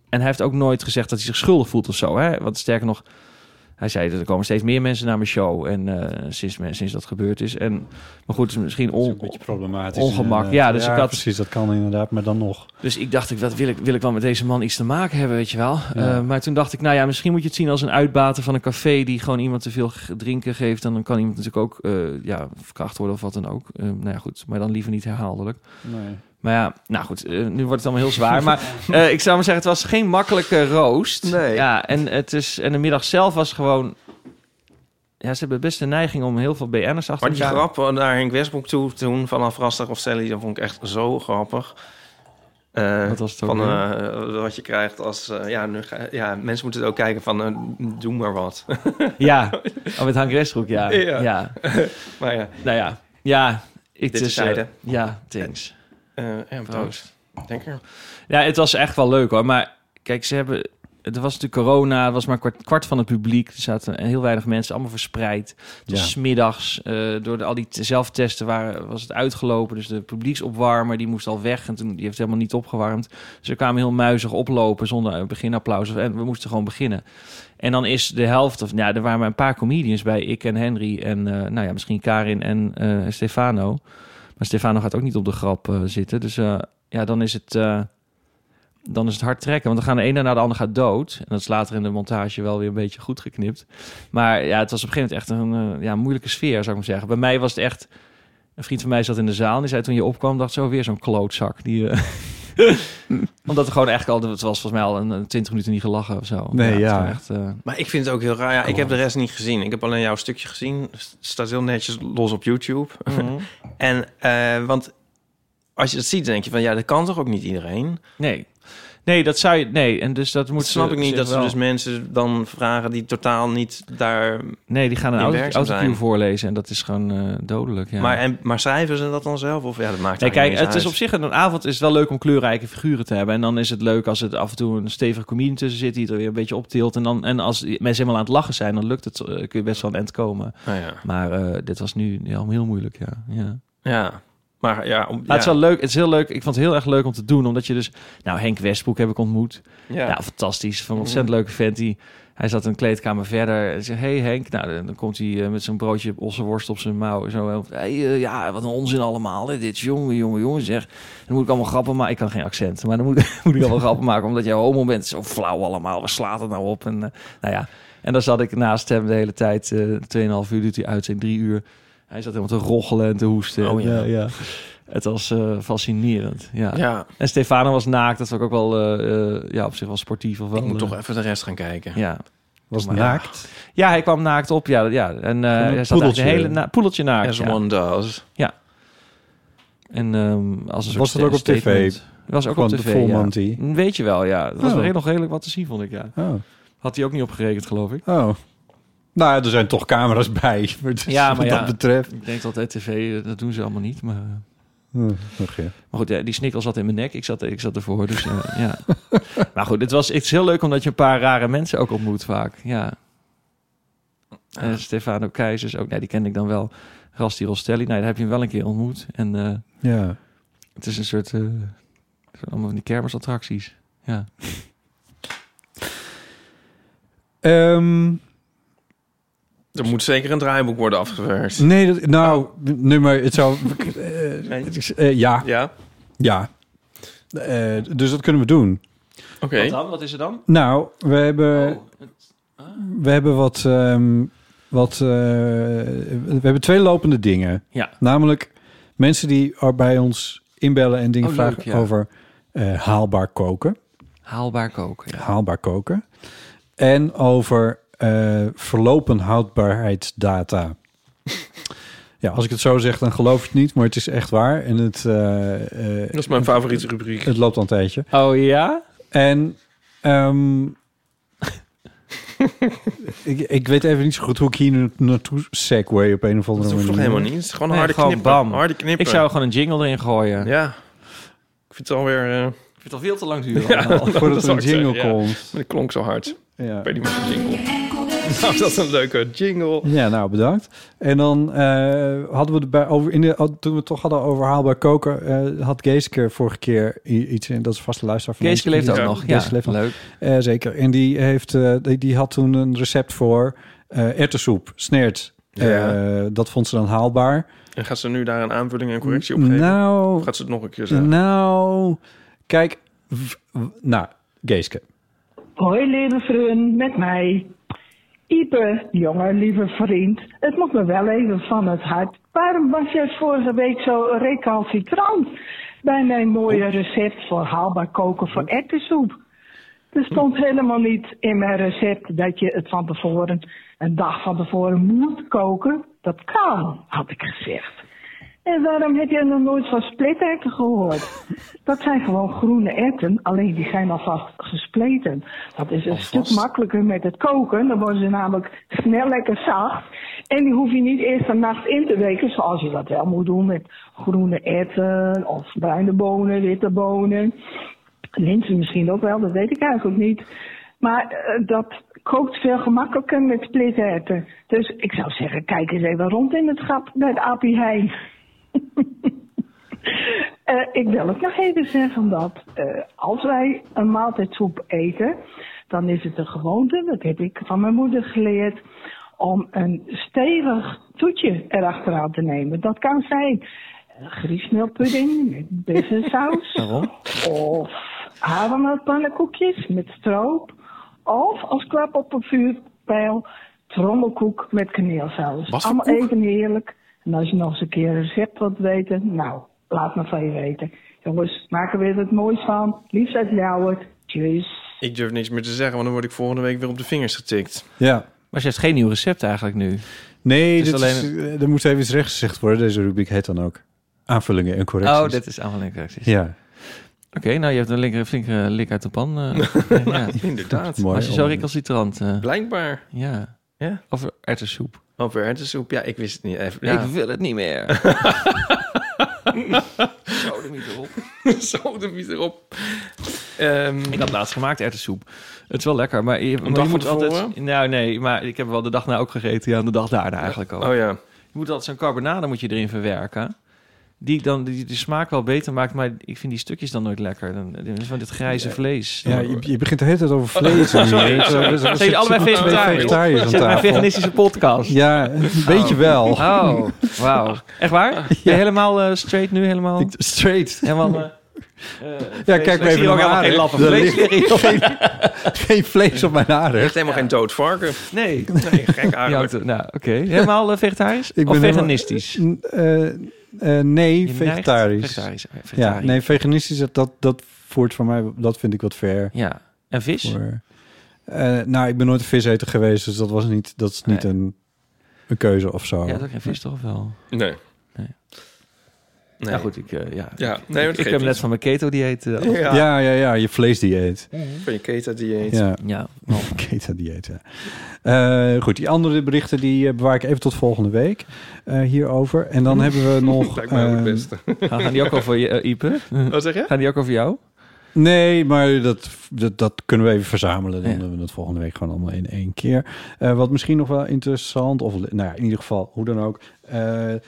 hij heeft ook nooit gezegd dat hij zich schuldig voelt of zo. Hè? Want sterker nog, hij zei dat er komen steeds meer mensen naar mijn show. En eh, sinds, men- sinds dat gebeurd is. En, maar goed, het is misschien
Dat is
on,
een beetje problematisch.
ongemak.
inderdaad.
Ja, dus ik had-
precies, dat kan inderdaad, maar dan nog.
Dus ik dacht, ik, wat wil, ik, wil ik wel met deze man iets te maken hebben, weet je wel.
Ja.
Eh, maar toen dacht ik, nou ja, misschien moet je het zien als een uitbater van een café... die gewoon iemand te veel g- drinken geeft. En dan kan iemand natuurlijk ook eh, ja, verkracht worden of wat dan ook. Eh, nou ja, goed, maar dan liever niet herhaaldelijk.
Nee.
Maar ja, nou goed, eh, nu wordt het allemaal heel zwaar.
[laughs]
Maar eh, ik zou maar zeggen, het was geen makkelijke roost.
Nee.
Ja, en, het is, en de middag zelf was gewoon... Ja, ze hebben best de neiging om heel veel BN'ers achter
Maar die
elkaar-
grappen naar Henk Westbroek toe toen vanaf Rastig of Sally, dat vond ik echt zo grappig. Eh,
Wat was het ook
van
weer?
eh, wat je krijgt als eh, ja, nu ga- ja, mensen moeten het ook kijken van eh, doe maar wat. [laughs]
Ja, [laughs] oh, met Hank Westbroek, ja.
Ja.
ja.
maar ja,
Nou ja, ja. Ik
Dit
dus,
terzijde.
eh, ja, thanks.
eh ja, proost.
Oh.
Denk er.
Ja, het was echt wel leuk hoor. Maar kijk, ze hebben. Er was natuurlijk corona, er was maar kwart, kwart van het publiek. Er zaten heel weinig mensen, allemaal verspreid. Dus
Ja.
smiddags, eh, door de- al die t- zelftesten waren, was het uitgelopen. Dus de publieksopwarmer, die moest al weg. En toen, die heeft helemaal niet opgewarmd. Ze kwamen heel muizig oplopen zonder een beginapplaus. En we moesten gewoon beginnen. En dan is de helft, of nou, er waren maar een paar comedians bij. Ik en Henry en eh, nou ja, misschien Karin en eh, Stefano. Maar Stefano gaat ook niet op de grap eh, zitten. Dus eh, ja, dan is het... eh, dan is het hard trekken. Want dan gaan de ene naar de ander gaat dood. En dat is later in de montage wel weer een beetje goed geknipt. Maar ja, het was op een gegeven moment echt een eh, ja, moeilijke sfeer, zou ik maar zeggen. Bij mij was het echt... Een vriend van mij zat in de zaal en die zei toen je opkwam... dacht zo weer zo'n klootzak. Die, eh, [laughs] Omdat er gewoon eigenlijk al... Het was volgens mij al een twintig minuten niet gelachen of zo.
Nee,
het is
ja.
gewoon Echt, eh,
Maar ik vind het ook heel raar. Ja, ik heb de rest niet gezien. Ik heb alleen jouw stukje gezien. Het staat heel netjes los op YouTube.
Mhm.
[laughs] en eh, want als je dat ziet, dan denk je van ja, dat kan toch ook niet iedereen?
Nee. Nee, dat zou je... Nee, en dus dat moet...
Dat snap ik niet dat ze
wel-
dus mensen dan vragen die totaal niet daar.
Nee, die gaan een
in
auto,
werkzaam
autocue
zijn.
voorlezen en dat is gewoon eh, dodelijk. Ja.
Maar, en, maar schrijven ze dat dan zelf? Of ja, dat maakt
Nee, kijk,
eigenlijk niet
het
eens
is op zich een avond is het wel leuk om kleurrijke figuren te hebben. En dan is het leuk als het af en toe een stevige comedian tussen zit die het er weer een beetje optilt. En, dan, en als die mensen helemaal aan het lachen zijn, dan lukt het, eh, kun je best wel aan het eind komen.
uit. Nou ja.
Maar eh, dit was nu heel, heel moeilijk, ja. ja.
Ja, maar ja, om,
Maar het is
ja.
wel leuk, het is heel leuk. Ik vond het heel erg leuk om te doen, omdat je dus... Nou, Henk Westbroek heb ik ontmoet.
Ja. Mm-hmm.
Ja, Nou, fantastisch. Van een ontzettend leuke vent. Die, hij zat een kleedkamer verder. En zei, hey Henk. Nou, dan, dan komt hij eh, met zijn broodje ossenworst op zijn mouw. Zo, heel- hey, eh, ja, wat een onzin allemaal. Hè. Dit, jongen, jongen, jongen, zeg. Dan moet ik allemaal grappen maken. Ik kan geen accent, maar dan moet, moet ik [laughs] allemaal grappen maken. Omdat jij homo bent. Zo flauw allemaal. Waar slaat het nou op? En, eh, nou ja. En dan zat ik naast hem de hele tijd. eh 2,5 uur doet hij uit zijn drie uur. Hij zat helemaal te roggelen en te hoesten.
Oh, ja.
ja, Het was eh, fascinerend. Ja.
ja,
En Stefano was naakt. Dat was ook wel eh, eh, ja, op zich wel sportief. Of wel,
ik moet
eh,
toch even de rest gaan kijken.
ja.
Was
Maar-
naakt.
ja, hij kwam naakt op. Ja, ja. En eh hij zat eigenlijk
poedeltje.
een hele na poedeltje naakt.
As
ja.
one does.
En ehm, als een soort
Was dat ook op
sta-
tv?
statement. Was ook
Gewoon
op
de
tv,
full
ja. Mm,
Monty?
Weet je wel, ja. Dat was
Oh.
nog heel- nog redelijk wat te zien, vond ik, ja.
Oh.
Had hij ook niet opgerekend, geloof ik.
oh. Nou, ja, er zijn toch camera's bij. [laughs] Dus
Ja,
ja,
maar
maar wat
ja.
dat betreft.
Ik denk altijd tv, eh, dat doen ze allemaal niet. Maar, eh,
Hm, ach ja.
maar goed, ja, die snikkel zat in mijn nek. Ik zat, ik zat ervoor, dus eh, [laughs] ja. Maar goed, het was het is heel leuk omdat je een paar rare mensen ook ontmoet vaak. Ja. Eh, Stefano Keizers ook. Nee, die kende ik dan wel. Rasti Rostelli. Nee, daar heb je hem wel een keer ontmoet. En eh,
Ja.
het is een soort... eh, soort allemaal van die kermisattracties. Ja.
Ehm,
Er moet zeker een draaiboek worden afgewerkt.
nee, dat, nou,
Oh.
nee, maar het
[laughs]
zou... eh,
Nee.
het is- eh, ja,
Ja,
ja. Eh, dus dat kunnen we doen.
oké.
dan? Wat is er dan?
Nou, we hebben,
Oh.
we hebben wat... ehm, wat eh, we hebben twee lopende dingen.
Ja.
Namelijk mensen die er bij ons inbellen en dingen
Oh, leuk,
vragen
ja.
over eh, haalbaar koken.
Haalbaar koken. Ja.
haalbaar koken. En over eh, verlopen
[laughs]
houdbaarheidsdata. ja, als ik het zo zeg, dan geloof je het niet, maar het is echt waar. En het, eh, eh,
Dat is mijn favoriete rubriek.
het loopt al een tijdje.
Oh ja?
En
[laughs]
ehm, ik, ik weet even niet zo goed hoe ik hier nu naartoe segway op een of
Dat
andere
hoeft
manier.
toch helemaal niet? Het is gewoon
Nee,
harde
gewoon
knippen.
bam.
Harde knippen.
Ik zou gewoon een jingle erin gooien.
Ja. Ik vind het alweer... eh,
Ik vind het al veel te lang duren. allemaal.
Voordat
Dat
er
zou
een
ik
jingle
zeggen, ja.
komt.
maar het klonk zo hard. Ik
Ja.
weet niet meer van jingle. [laughs] Nou, dat is een leuke jingle.
Ja, nou bedankt. En dan eh, hadden we het bij over in de, oh, toen we het toch hadden over haalbaar koken, eh, had Geeske vorige keer i- iets in. Dat is vaste luisteraar van
Geeske
ons.
leeft ook
Ja,
nog. Ja,
Geeske leeft nog.
leuk.
Eh, zeker. En die heeft, eh, die, die had toen een recept voor eh erwtensoep, snert.
Ja.
Eh, dat vond ze dan haalbaar.
En gaat ze nu daar een aanvulling en correctie op geven?
Nou,
Of gaat ze het nog een keer zeggen?
nou, kijk, w- w- nou, Geeske.
Hoi lieve vriend, met mij. Ipe, jongen, lieve vriend. Het moet me wel even van het hart. Waarom was jij vorige week zo recalcitrant bij mijn mooie recept voor haalbaar koken voor erwtensoep? Er stond helemaal niet in mijn recept dat je het van tevoren, een dag van tevoren moet koken. Dat kan, had ik gezegd. En waarom heb jij nog nooit van splitterten gehoord? Dat zijn gewoon groene erwten, alleen die zijn alvast gespleten. Dat is een stuk makkelijker met het koken. Dan worden ze namelijk snel lekker zacht. En die hoef je niet eerst een nacht in te weken, zoals je dat wel moet doen met groene erwten of bruine bonen, witte bonen. Linzen misschien ook wel, dat weet ik eigenlijk niet. Maar eh, dat kookt veel gemakkelijker met splitterten. Dus ik zou zeggen, kijk eens even rond in het schap bij de Appie Heijn. Eh, ik wil ook nog even zeggen dat eh, als wij een maaltijdsoep eten, dan is het een gewoonte, dat heb ik van mijn moeder geleerd, om een stevig toetje erachteraan te nemen. Dat kan zijn eh, griesmeelpudding met bessensaus.
Waarom?
Of havermelkpannenkoekjes met stroop. Of als klap op een vuurpijl trommelkoek met kaneelsaus.
Wat voor
Allemaal
koek?
even heerlijk. En als je nog eens een keer een recept wilt weten, nou, laat me van je weten. Jongens, maak er weer wat moois van. Liefst uit Ljouwert. Tjus.
Ik durf niks meer te zeggen, want dan word ik volgende week weer op de vingers getikt.
Ja.
Maar ze heeft geen nieuw recept eigenlijk nu.
Nee,
Het is
dit is eh, er moet even iets recht gezegd worden. Deze rubriek heet dan ook aanvullingen en correcties.
Oh, dit is allemaal een correcties.
Ja.
Oké, nou je hebt een linker flinke lik uit de pan. [laughs] eh. ja.
Inderdaad.
Mooi.
Als je zo recalcitrant... eh,
Blijkbaar.
ja.
Ja.
Of erwtensoep.
Over hertensoep. Ja, ik wist het niet. Even, ja.
Ik wil het niet meer. [laughs] Zo, de niet erop.
Zo, de vies erop. Ehm,
Ik had laatst gemaakt erwtensoep. Het is wel lekker, maar je, maar
dag
je moet
van
altijd...
tevoren?
Nou nee, maar ik heb wel de dag na ook gegeten. Ja, en de dag daarna eigenlijk al.
oh ja.
Je moet altijd zo'n carbonade moet je erin verwerken. Die dan die de smaak wel beter maakt, maar ik vind die stukjes dan nooit lekker. Dan, dan is van dit grijze vlees.
Ja, je, je begint de hele tijd over vlees. en
Oh. [laughs] sorry,
nu.
sorry.
Er
Zijn
zitten
jullie allebei
twee
vegetariër?
vegetariërs aan
Zit mijn
tafel.
veganistische podcast.
Ja, een beetje wel.
Oh, wauw. Echt waar? Ben je helemaal eh, straight nu? Helemaal?
Ik- Straight.
helemaal
[laughs]
eh,
Ja,
vlees-
kijk maar
Ik
even
zie
naar
ook helemaal geen
mijn haren.
lap van
Er
vlees.
ligt geen, [laughs] geen vlees op mijn
Je
haren.
hebt helemaal geen dood varken.
nee.
Nee, [laughs] gek
Ja,
eigenlijk.
oké. nou, oké. Helemaal eh, vegetarisch?
Ik
of
ben helemaal-
veganistisch?
Eh, eh, nee,
Je neigt-
vegetarisch.
Vegetarisch. eh, oké,
Ja,
vegetarisch.
nee, veganistisch, dat- dat, dat voert van mij, dat vind ik wat ver.
Ja. En vis?
Voor, Eh, nou, ik ben nooit een viseter geweest, dus dat, was niet, dat is niet
Nee.
een, een keuze of zo.
Ja, dat ook geen vis toch of wel?
Nee.
Nee.
Nee.
Nou goed, ik, eh, ja.
Ja,
ik,
nee,
ik-
dat
ik
geeft
heb
niet.
net van mijn keto-dieet. eh, af-
Ja.
ja, ja, ja, je vleesdieet.
Van je keto-dieet.
Ja.
ja.
Keto-dieet, ja. Eh, goed, die andere berichten die eh, bewaar ik even tot volgende week eh, hierover. En
[laughs]
dan hebben we nog...
Lijkt mij ook het
eh,
beste.
Gaan gaan die ook over je, eh, Ipe?
Wat zeg je?
Gaan die ook over jou?
Nee, maar dat, dat, dat kunnen we even verzamelen. Dan
Ja.
doen we dat volgende week gewoon allemaal in één keer. Eh, wat misschien nog wel interessant, of nou ja, in ieder geval, hoe dan ook. eh, eh,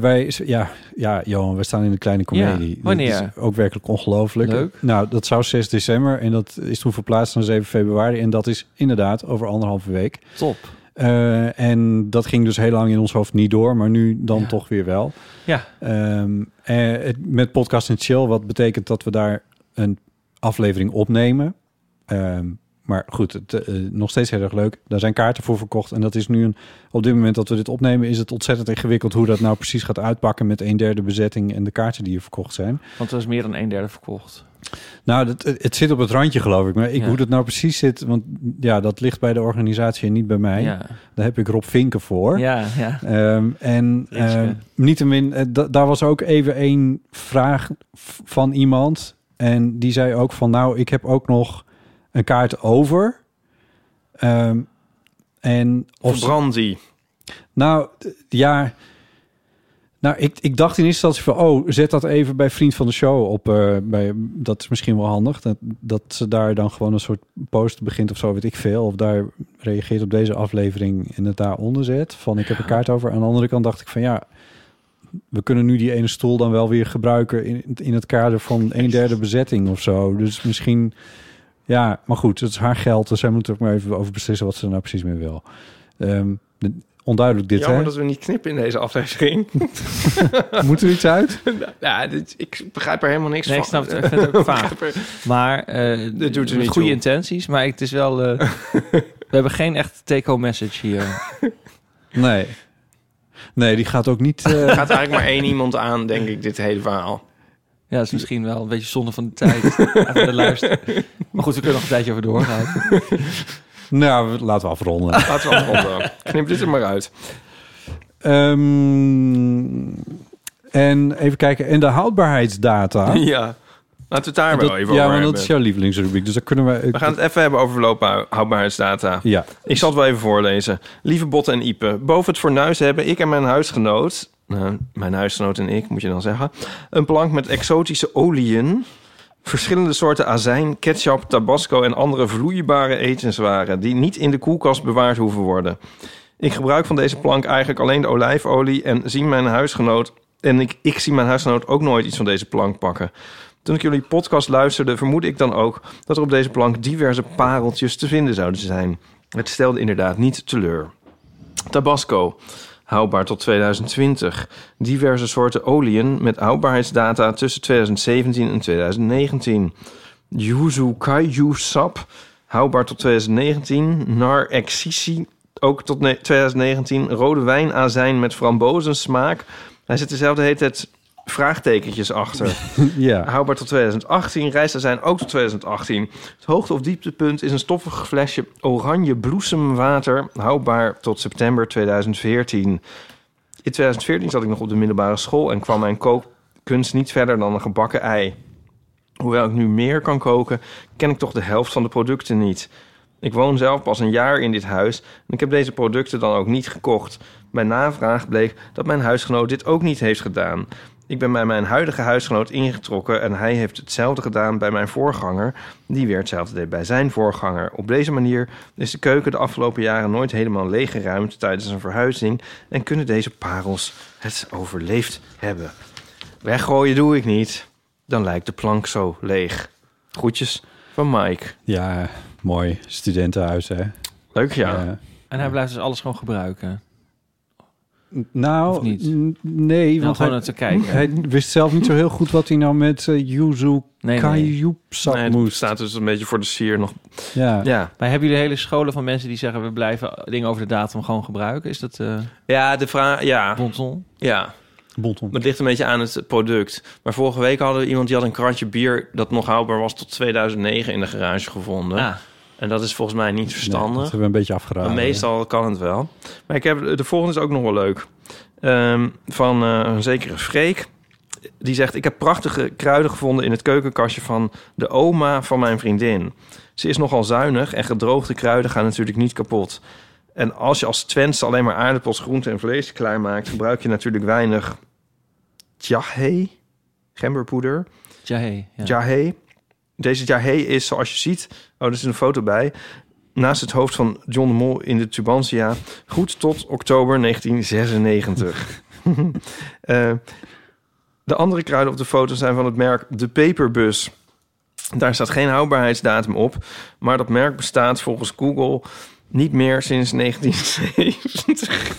wij, ja, ja, Johan, we staan in een kleine comedie.
Ja, wanneer?
Dat is ook werkelijk ongelooflijk.
Leuk.
Nou, dat zou 6 december en dat is toen verplaatst naar 7 februari. En dat is inderdaad over anderhalve week.
Top.
Eh, en dat ging dus heel lang in ons hoofd niet door, maar nu dan
Ja.
toch weer wel.
Ja.
Ehm, eh, het- met podcast en chill, wat betekent dat we daar een aflevering opnemen. Ehm, maar goed, het, eh, nog steeds heel erg leuk. Daar zijn kaarten voor verkocht. En dat is nu een. Op dit moment dat we dit opnemen, is het ontzettend ingewikkeld hoe dat nou precies gaat uitpakken met een derde bezetting en de kaarten die er verkocht zijn.
Want er was meer dan een derde verkocht.
Nou, dat, het zit op het randje, geloof ik. Maar ik,
Ja.
hoe dat nou precies zit, want ja, dat ligt bij de organisatie en niet bij mij.
Ja.
Daar heb ik Rob Vinken voor.
Ja, ja.
Ehm, en
Ritske.
ehm, niettemin, eh, da- daar was ook even één vraag v- van iemand. En die zei ook van, nou, ik heb ook nog een kaart over. Ehm, en of ze-
Verbrand die.
nou, d- ja. Nou, ik, ik dacht in eerste instantie van... oh, zet dat even bij Vriend van de Show op. eh, bij, dat is misschien wel handig. Dat, dat ze daar dan gewoon een soort post begint of zo, weet ik veel. Of daar reageert op deze aflevering en het daaronder zet. Van, ik heb een kaart over. Aan de andere kant dacht ik van, ja... we kunnen nu die ene stoel dan wel weer gebruiken... in, in het kader van een derde bezetting of zo. Dus misschien... Ja, maar goed, het is haar geld. Dus zij moet er ook maar even over beslissen wat ze er nou precies mee wil. Ehm, de- onduidelijk dit,
Jammer
hè?
dat we niet knippen in deze aflevering.
Moet er iets uit?
ja, dit, ik begrijp er helemaal niks
Nee, ik
van.
snap het. Ik vind
[laughs]
het ook vaag. Maar eh
Dit doet er
met
niet
goede
toe.
intenties. Maar het is wel...
[laughs]
eh, we hebben geen echt take-home message hier.
Nee. Nee, die gaat ook niet... eh,
Er gaat eigenlijk maar één iemand aan, denk ik, dit hele verhaal.
Ja, dat is misschien wel een beetje zonde van de tijd. Even de luisteren. Maar goed, we kunnen nog een tijdje over doorgaan.
nou, laten we afronden.
Laten we afronden. Knip dit er maar uit.
Ehm, en even kijken. En de houdbaarheidsdata.
Ja. Laten we het daar
Dat-
wel even
ja,
over
want
hebben.
dat is jouw lievelingsrubriek. Dus daar kunnen we...
We gaan het even hebben over verloopbaar- houdbaarheidsdata.
Ja.
Ik zal het wel even voorlezen. Lieve Botte en Ipe, boven het fornuis hebben ik en mijn huisgenoot... nou, mijn huisgenoot en ik, moet je dan zeggen... een plank met exotische oliën... verschillende soorten azijn, ketchup, tabasco... en andere vloeibare etenswaren... die niet in de koelkast bewaard hoeven worden. Ik gebruik van deze plank eigenlijk alleen de olijfolie... en zie mijn huisgenoot... en ik, ik zie mijn huisgenoot ook nooit iets van deze plank pakken... Toen ik jullie podcast luisterde, vermoedde ik dan ook dat er op deze plank diverse pareltjes te vinden zouden zijn. Het stelde inderdaad niet teleur. Tabasco, houdbaar tot 2020. Diverse soorten oliën met houdbaarheidsdata tussen 2017 en 2019. Yuzu Kaiju sap, houdbaar tot 2019. Nar Exici, ook tot ne- 2019. Rode wijnazijn met frambozensmaak. Hij zit dezelfde hele tijd vraagtekentjes achter. [laughs]
ja.
Houdbaar tot 2018. Reizen zijn ook tot 2018. Het hoogte- of dieptepunt is een stoffig flesje oranje bloesemwater. Houdbaar tot september 2014. In 2014 zat ik nog op de middelbare school en kwam mijn kookkunst niet verder dan een gebakken ei. Hoewel ik nu meer kan koken, ken ik toch de helft van de producten niet. Ik woon zelf pas een jaar in dit huis en ik heb deze producten dan ook niet gekocht. Bij navraag bleek dat mijn huisgenoot dit ook niet heeft gedaan. Ik ben bij mijn huidige huisgenoot ingetrokken en hij heeft hetzelfde gedaan bij mijn voorganger, die weer hetzelfde deed bij zijn voorganger. Op deze manier is de keuken de afgelopen jaren nooit helemaal leeggeruimd tijdens een verhuizing en kunnen deze parels het overleefd hebben. Weggooien doe ik niet, dan lijkt de plank zo leeg. Groetjes van Mike.
ja, mooi. Studentenhuis, hè?
Leuk ja.
Ja.
En hij blijft dus alles gewoon gebruiken.
nou,
Of niet?
n- nee,
Om
want
gewoon
hij,
naar te kijken.
hij wist zelf niet zo heel goed wat hij nou met eh, Yuzu
Nee, nee.
Kajoepsap
Nee, het
moest.
staat dus een beetje voor de sier nog.
Ja.
Ja,
Maar hebben jullie hele scholen van mensen die zeggen... we blijven dingen over de datum gewoon gebruiken? Is dat eh
ja de vraag. Ja,
bonton?
ja.
Bonton.
Maar het ligt een beetje aan het product. Maar vorige week hadden we iemand die had een kratje bier dat nog houdbaar was tot 2009 in de garage gevonden.
Ah,
En dat is volgens mij niet
Nee, dat
verstandig.
hebben we een beetje
maar
afgeraden.
meestal kan het wel. Maar ik heb, de volgende is ook nog wel leuk. Ehm, van eh, een zekere Freek. Die zegt, ik heb prachtige kruiden gevonden in het keukenkastje van de oma van mijn vriendin. Ze is nogal zuinig en gedroogde kruiden gaan natuurlijk niet kapot. En als je als Twents alleen maar aardappels, groenten en vlees klaarmaakt... gebruik je natuurlijk weinig tjahe, gemberpoeder.
Jahe. Ja.
Jahé. Deze Jahé is, zoals je ziet... Oh, er is een foto bij. Naast het hoofd van John de Mol in de Tubantia. Goed tot oktober 1996. [laughs] Eh, de andere kruiden op de foto zijn van het merk De Paperbus. Daar staat geen houdbaarheidsdatum op. Maar dat merk bestaat volgens Google... Niet meer sinds 1970.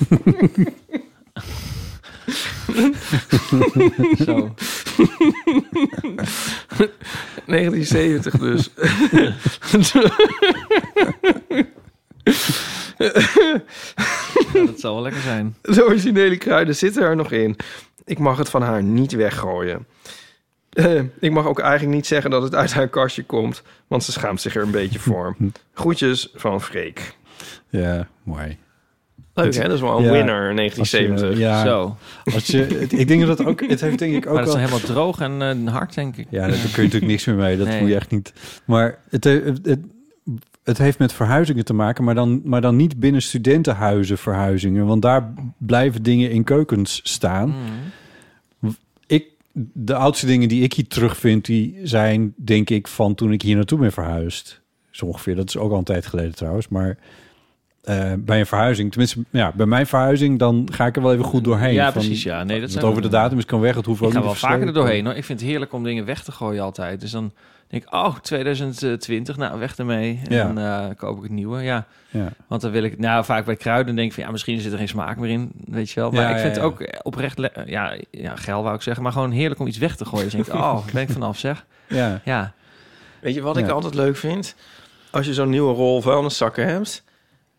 Zo.
1970 dus.
Ja, dat zal wel lekker zijn.
De originele kruiden zitten er nog in. Ik mag het van haar niet weggooien. Eh, ik mag ook eigenlijk niet zeggen dat het uit haar kastje komt, want ze schaamt zich er een beetje voor. Groetjes van Freek.
Ja, mooi.
Leuk hè, dat is wel een
Ja.
winner
Als je-
1970.
ja,
Zo.
Als je, het- ik denk dat het ook... Het heeft denk ik
[laughs]
ook
Maar dat
wel-
is dan helemaal droog en eh, hard, denk ik.
Ja, daar kun je natuurlijk niks meer mee. Dat
Nee.
moet je echt niet. Maar het, het, het, het heeft met verhuizingen te maken, maar dan, maar dan niet binnen studentenhuizen verhuizingen. Want daar blijven dingen in keukens staan.
Mm.
Ik, de oudste dingen die ik hier terugvind, die zijn denk ik van toen ik hier naartoe ben verhuisd. Zo ongeveer. Dat is ook al een tijd geleden trouwens. Maar eh, bij een verhuizing, tenminste ja, bij mijn verhuizing, dan ga ik er wel even goed doorheen.
Ja,
Van,
precies. Ja, nee, dat
wat
zijn
over de datum is kan weg, het hoeft ook
Ik ga
niet
wel
te
vaker er
versleten.
doorheen hoor. Ik vind het heerlijk om dingen weg te gooien altijd. Dus dan denk ik, oh, 2020, nou weg ermee. En
Ja.
dan eh, koop ik het nieuwe. Ja,
Ja.
want dan wil ik, nou vaak bij kruiden denk ik van, ja, misschien zit er geen smaak meer in, weet je wel. Maar
Ja,
ik
ja,
vind
ja.
het ook eh, oprecht, le- eh, ja, ja, geil wou ik zeggen, maar gewoon heerlijk om iets weg te gooien. Dus ik denk, oh, daar ben ik vanaf zeg.
Ja.
Ja,
Weet je wat ik
Ja.
altijd leuk vind? Als je zo'n nieuwe rol vuilniszakken hebt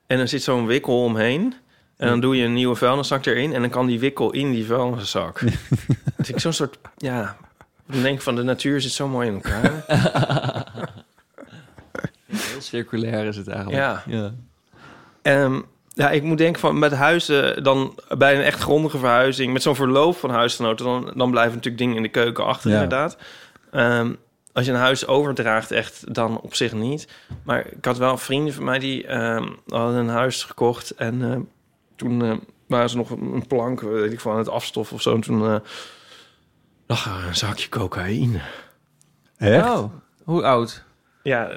en er zit zo'n wikkel omheen. En dan doe je een nieuwe vuilniszak erin en dan kan die wikkel in die vuilniszak.
[laughs]
dus ik zo'n soort, ja, dan denk ik van de natuur zit zo mooi in elkaar.
heel circulair is het eigenlijk.
ja. Ehm, ja, ik moet denken van met huizen, dan bij een echt grondige verhuizing, met zo'n verloop van huisgenoten, dan, dan blijven natuurlijk dingen in de keuken achter,
Ja.
inderdaad. Ehm, als je een huis overdraagt, echt dan op zich niet. Maar ik had wel vrienden van mij die ehm, hadden een huis gekocht en eh, toen eh, waren ze nog een plank, weet ik van het afstof of zo. En toen eh, lag er een zakje cocaïne.
Echt?
Oh, hoe oud?
Ja,
[laughs]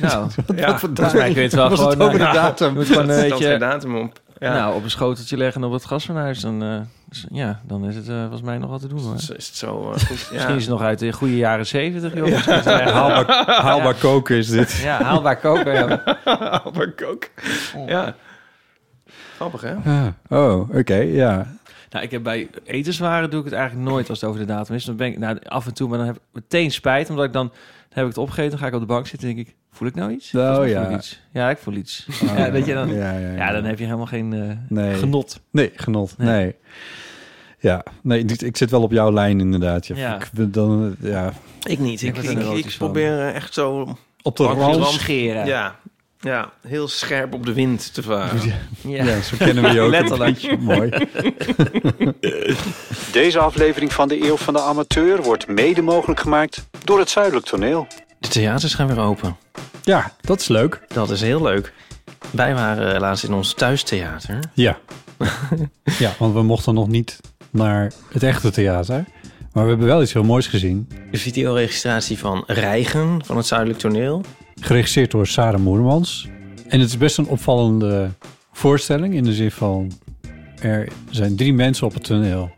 Nou,
ja
volgens mij kun je het wel gewoon...
Over de
nou,
datum.
je moet gewoon,
dat
eh,
is
weet
dan
je,
geen datum op. Ja,
Nou, op een schoteltje leggen en op het gasfornuis, dan, eh, is- ja, dan is het eh, volgens mij nog wat te doen hoor.
is, is het zo eh, goed. Ja.
Misschien is het nog uit de goede jaren zeventig, joh. Misschien is het wel echt [laughs] haalbaar,
Haalbaar, haalbaar koken is dit.
ja, haalbaar koken. Ja.
[laughs] Albert Kook. Ja. Grappig, hè?
Oh, oké, ja.
Nou, ik heb bij etenswaren doe ik het eigenlijk nooit als het over de datum is. Dan ben ik nou, af en toe, maar dan heb ik meteen spijt, omdat ik dan, dan heb ik het opgegeten, dan ga ik op de bank zitten en denk ik, voel ik nou iets?
Nou,
Volgens mij
ja.
Voel ik iets. Ja, ik voel iets. [laughs] ja, weet je, dan, ja,
ja, ja,
dan heb je helemaal geen eh,
Nee.
genot.
Nee, genot.
Nee.
Nee. Ja, nee, dit- ik zit wel op jouw lijn inderdaad. Ja.
Ja.
Ik, dan, ja.
Ik niet. Ik,
Ik word er
ik, ik
neurotisch van.
probeer eh, echt zo...
Op de
Langs je
rand.
Scheren.
Ja. ja. heel scherp op de wind te varen.
Ja.
Ja, zo kennen we
[laughs]
je ook.
Letterlijk.
Een beetje. Mooi.
[laughs] Deze aflevering van de Eeuw van de Amateur wordt mede mogelijk gemaakt door het Zuidelijk Toneel.
De theaters gaan weer open.
Ja, dat is leuk.
Dat is heel leuk. Wij waren eh, laatst in ons thuistheater.
Ja. ja, want we mochten nog niet naar het echte theater. Maar we hebben wel iets heel moois gezien.
De videoregistratie van Reigen van het Zuidelijk Toneel.
Geregisseerd door Sarah Moermans. En het is best een opvallende voorstelling in de zin van... er zijn drie mensen op het toneel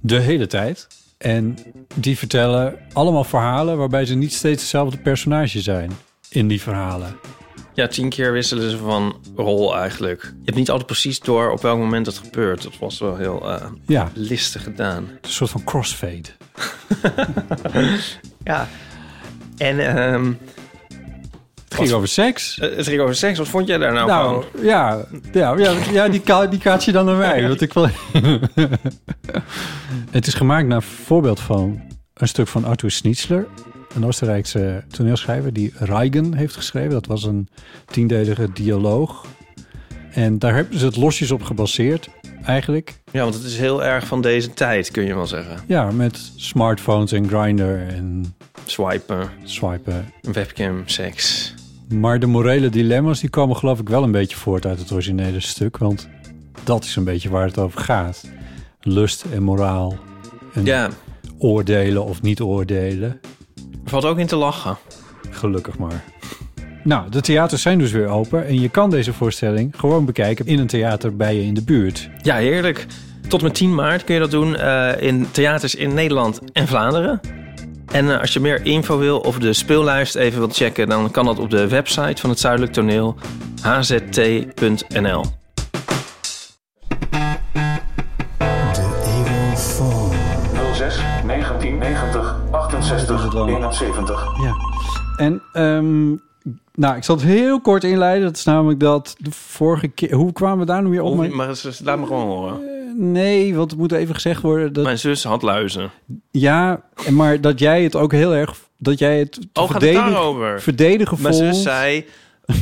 de hele tijd. En die vertellen allemaal verhalen waarbij ze niet steeds hetzelfde personage zijn in die verhalen.
Ja, tien keer wisselen ze van rol eigenlijk. Je hebt niet altijd precies door op welk moment dat gebeurt. Dat was wel heel eh,
Ja, het
listig gedaan.
is een soort van crossfade.
Ja. En ehm,
Het ging over seks.
eh, het ging over seks. Wat vond jij daar nou,
Nou,
van?
ja, ja, ja, ja die, ka die kaart je dan naar mij. Want ik wil... [laughs] het is gemaakt naar voorbeeld van een stuk van Arthur Schnitzler. Een Oostenrijkse toneelschrijver die Reigen heeft geschreven. Dat was een tiendelige dialoog. En daar hebben ze het losjes op gebaseerd, eigenlijk.
Ja, want het is heel erg van deze tijd, kun je wel zeggen.
Ja, met smartphones en grinder en
Swipen,
swipen.
webcam, seks.
Maar de morele dilemma's die komen geloof ik wel een beetje voort uit het originele stuk. Want dat is een beetje waar het over gaat. Lust en moraal. En
Ja,
oordelen of niet oordelen.
Valt ook in te lachen.
Gelukkig maar. Nou, de theaters zijn dus weer open en je kan deze voorstelling gewoon bekijken in een theater bij je in de buurt.
Ja, heerlijk. Tot en met 10 maart kun je dat doen eh, in theaters in Nederland en Vlaanderen. En eh, als je meer info wil of de speellijst even wilt checken, dan kan dat op de website van het Zuidelijk Toneel hzt.nl.
De Evil Phone.
06 1990 68 71.
Ja. En ehm, nou, ik zal het heel kort inleiden. Dat is namelijk dat de vorige keer. Hoe kwamen we daar nu weer op?
Of-
Mijn-
Oh, Maar eens- eens- laat me gewoon horen.
Nee, want het moet even gezegd worden dat
Mijn zus had luizen.
ja, en maar dat jij het ook heel erg dat jij het te
Oh, gaat het
verdedigen,
daarover?
verdedigen
Mijn
vond.
zus zei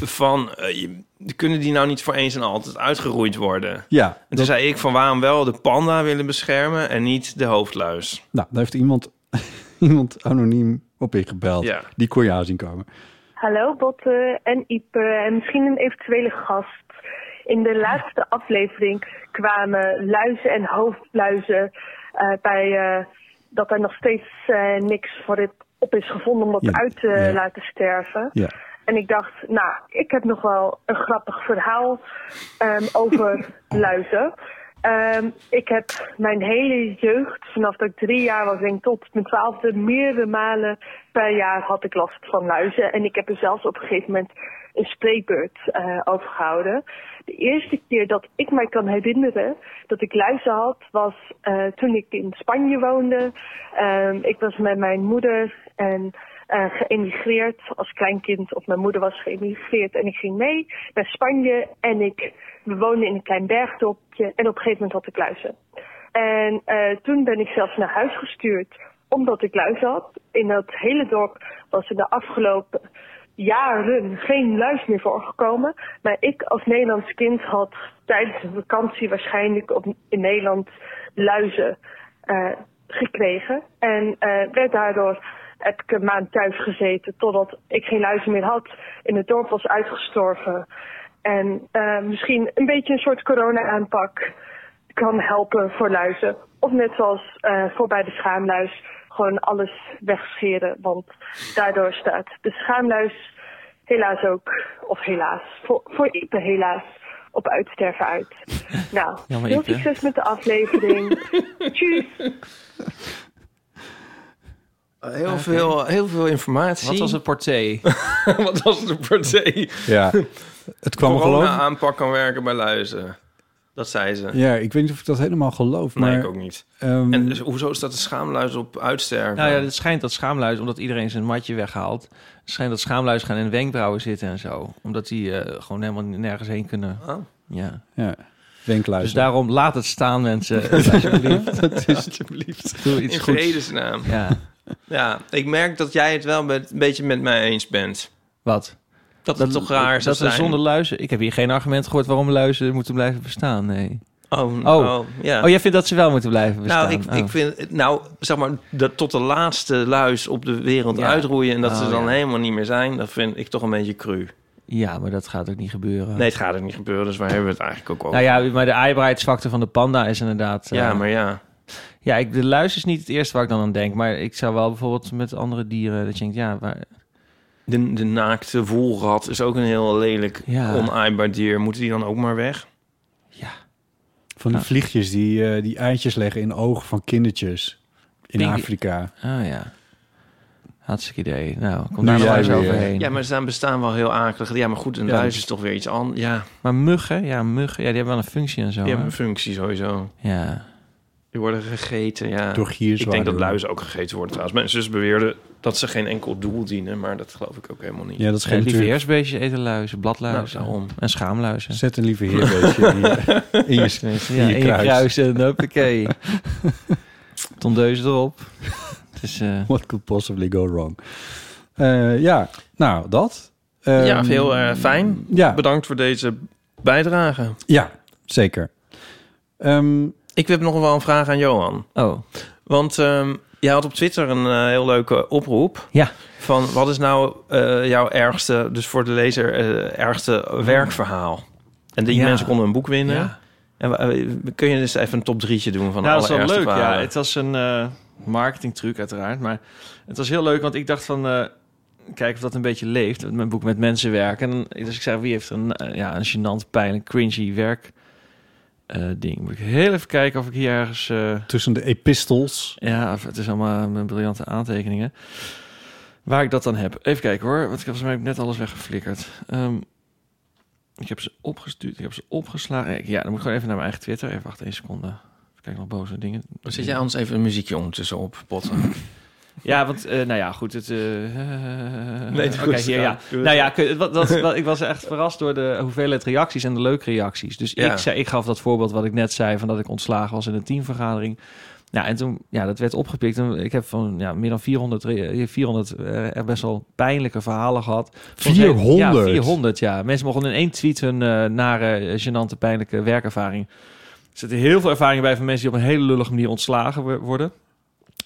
van, eh, je- kunnen die nou niet voor eens en altijd uitgeroeid worden? En
Ja,
toen
dat-
zei ik van, waarom wel de panda willen beschermen en niet de hoofdluis?
nou, daar heeft iemand [laughs] iemand anoniem op ingebeld.
Ja.
Die kon je aan zien komen.
Hallo Botte en Ipe en misschien een eventuele gast. In de laatste aflevering kwamen luizen en hoofdluizen eh, bij eh, dat er nog steeds eh, niks voor dit op is gevonden om dat
Ja,
uit te
ja.
laten sterven.
Ja.
En ik dacht, nou, ik heb nog wel een grappig verhaal ehm, over luizen. Ehm, ik heb mijn hele jeugd, vanaf dat ik drie jaar was, denk ik, tot mijn twaalfde, meerdere malen per jaar had ik last van luizen. En ik heb er zelfs op een gegeven moment een spreekbeurt eh, over gehouden. De eerste keer dat ik mij kan herinneren dat ik luizen had, was eh, toen ik in Spanje woonde. Ehm, ik was met mijn moeder en eh, geëmigreerd als kleinkind. Of mijn moeder was geëmigreerd en ik ging mee naar Spanje. En ik, we woonden in een klein bergdorpje. En op een gegeven moment had ik luizen. En eh, toen ben ik zelfs naar huis gestuurd omdat ik luizen had. In dat hele dorp was er de afgelopen jaren geen luis meer voorgekomen. Maar ik als Nederlands kind had tijdens een vakantie waarschijnlijk op, in Nederland luizen eh, gekregen. En eh, werd daardoor heb ik een maand thuis gezeten totdat ik geen luizen meer had. In het dorp was uitgestorven. En eh, misschien een beetje een soort corona-aanpak kan helpen voor luizen. Of net zoals eh, voor bij de schaamluis, gewoon alles wegscheren. Want daardoor staat de schaamluis helaas ook, of helaas, voor, voor Ipe helaas, op uitsterven
[laughs]
uit. Nou,
Jammer,
heel
Ipe.
succes met de
[laughs]
aflevering. Tjus!
Heel, veel, heel veel informatie.
Wat was het porté?
[laughs] Wat was de partij?
Ja. Het kwam geloof.
Corona aanpak kan werken bij luizen. Dat zei ze.
Ja, ik weet niet of ik dat helemaal geloof, maar
nee, ik ook niet.
ehm,
En dus hoezo staat de schaamluis op uitsterven?
nou ja, het schijnt dat schaamluis, omdat iedereen zijn matje weghaalt, schijnt dat schaamluis gaan in de wenkbrauwen zitten en zo. Omdat die eh, gewoon helemaal nergens heen kunnen.
Ah.
Ja.
ja.
Dus
Wenkluizen.
daarom laat het staan,
[laughs]
mensen. Alsjeblieft.
dat is
Alsjeblieft.
Doe
In
iets goeds.
vredesnaam.
Ja.
nou. Ja, ik merk dat jij het wel met, een beetje met mij eens bent.
Wat?
Dat, het toch raar is.
dat er zonder luizen. Ik heb hier geen argument gehoord waarom luizen moeten blijven bestaan. Nee.
Oh,
Oh.
oh, ja.
Oh, jij vindt dat ze wel moeten blijven bestaan?
nou, ik, ik
Oh.
vind, nou, zeg maar, dat tot de laatste luis op de wereld
Ja.
uitroeien... en dat ze
Oh,
dan
ja.
helemaal niet meer zijn, dat vind ik toch een beetje cru.
Ja, maar dat gaat ook niet gebeuren.
Nee, het gaat er niet gebeuren, dus waar hebben we het eigenlijk ook over?
Nou ja, maar de aaibaarheidsfactor van de panda is inderdaad... eh,
ja, maar ja.
Ja, ik, de luis is niet het eerste waar ik dan aan denk. Maar ik zou wel bijvoorbeeld met andere dieren... Dat je denkt, ja, waar,
De, de naakte woelrat is ook een heel lelijk,
Ja.
onaaibaar dier. Moeten die dan ook maar weg?
ja
Van die vliegjes die, eh, die eitjes leggen in ogen van kindertjes in
Pinky.
Afrika.
oh ja. Hartstikke idee. Nou, kom
Nu
daar nog
jij
eens
weer.
overheen.
Ja, maar ze bestaan wel heel akelig. Ja, maar goed, een
Ja.
luis is toch weer iets anders. Ja,
Maar muggen, ja, muggen. Ja, die hebben wel een functie en zo.
die
hè?
hebben een functie sowieso.
Ja.
Die worden gegeten, ja.
Door
ik denk
gierzwaarden.
dat luizen ook gegeten worden trouwens. Mijn zus beweerde dat ze geen enkel doel dienen, maar dat geloof ik ook helemaal niet.
Ja, dat
Ja,
schijnt
lieve
natuurlijk.
heersbeestjes eten luizen, bladluizen
Nou, daarom.
en schaamluizen.
Zet een lieve heer beetje in je,
[laughs]
in je, in
Ja, in
je
je
kruis.
kruis en [laughs] hoppakee. Tondeus erop. Dus, eh
What could possibly go wrong? Eh, ja, nou, dat. Ehm,
ja, heel eh, fijn.
Ja,
Bedankt voor deze bijdrage.
ja zeker. Ehm,
Ik heb nog wel een vraag aan Johan.
oh,
Want ehm, jij had op Twitter een eh, heel leuke oproep.
Ja.
Van wat is nou eh, jouw ergste, dus voor de lezer, eh, ergste werkverhaal? En die
Ja.
mensen konden een boek winnen.
ja.
En, wa- eh, kun je dus even een top drietje doen van alle
Nou, dat is wel
ergste
leuk. Ja.
verhalen?
Het was een, eh, marketingtruc uiteraard. Maar het was heel leuk, want ik dacht van... eh kijken of dat een beetje leeft. Mijn boek met mensen werken. En dan- dus ik zei, wie heeft een, eh, ja, een gênant, pijnlijk, cringy werk... eh, ding. Moet ik heel even kijken of ik hier ergens... eh,
Tussen de epistels.
ja, of het is allemaal mijn briljante aantekeningen. Waar ik dat dan heb. Even kijken hoor, want ik heb volgens mij net alles weggeflikkerd. Ehm, ik heb ze opgestuurd, ik heb ze opgeslagen. Ja, dan moet ik gewoon even naar mijn eigen Twitter. Even wachten, één seconde. Even kijken nog boze dingen.
Zet jij ons even een muziekje ondertussen op, potten?
Ja, want, eh, nou ja, goed, het... eh, eh,
Nee,
Oké,
goed,
hier,
ja.
ja.
Doe het.
Nou ja, kun- wat, dat, wat, ik was echt verrast door de hoeveelheid reacties en de leuke reacties. Dus
Ja.
ik, zei, ik gaf dat voorbeeld wat ik net zei, van dat ik ontslagen was in een teamvergadering. Nou, en toen, ja, dat werd opgepikt. En ik heb van, ja, meer dan 400, re- 400 eh, er best wel pijnlijke verhalen gehad. Soms-
400?
Ja, 400, ja. Mensen mochten in één tweet hun eh, nare, eh, gênante, pijnlijke werkervaring. Er zitten heel veel ervaringen bij van mensen die op een hele lullige manier ontslagen wo- worden.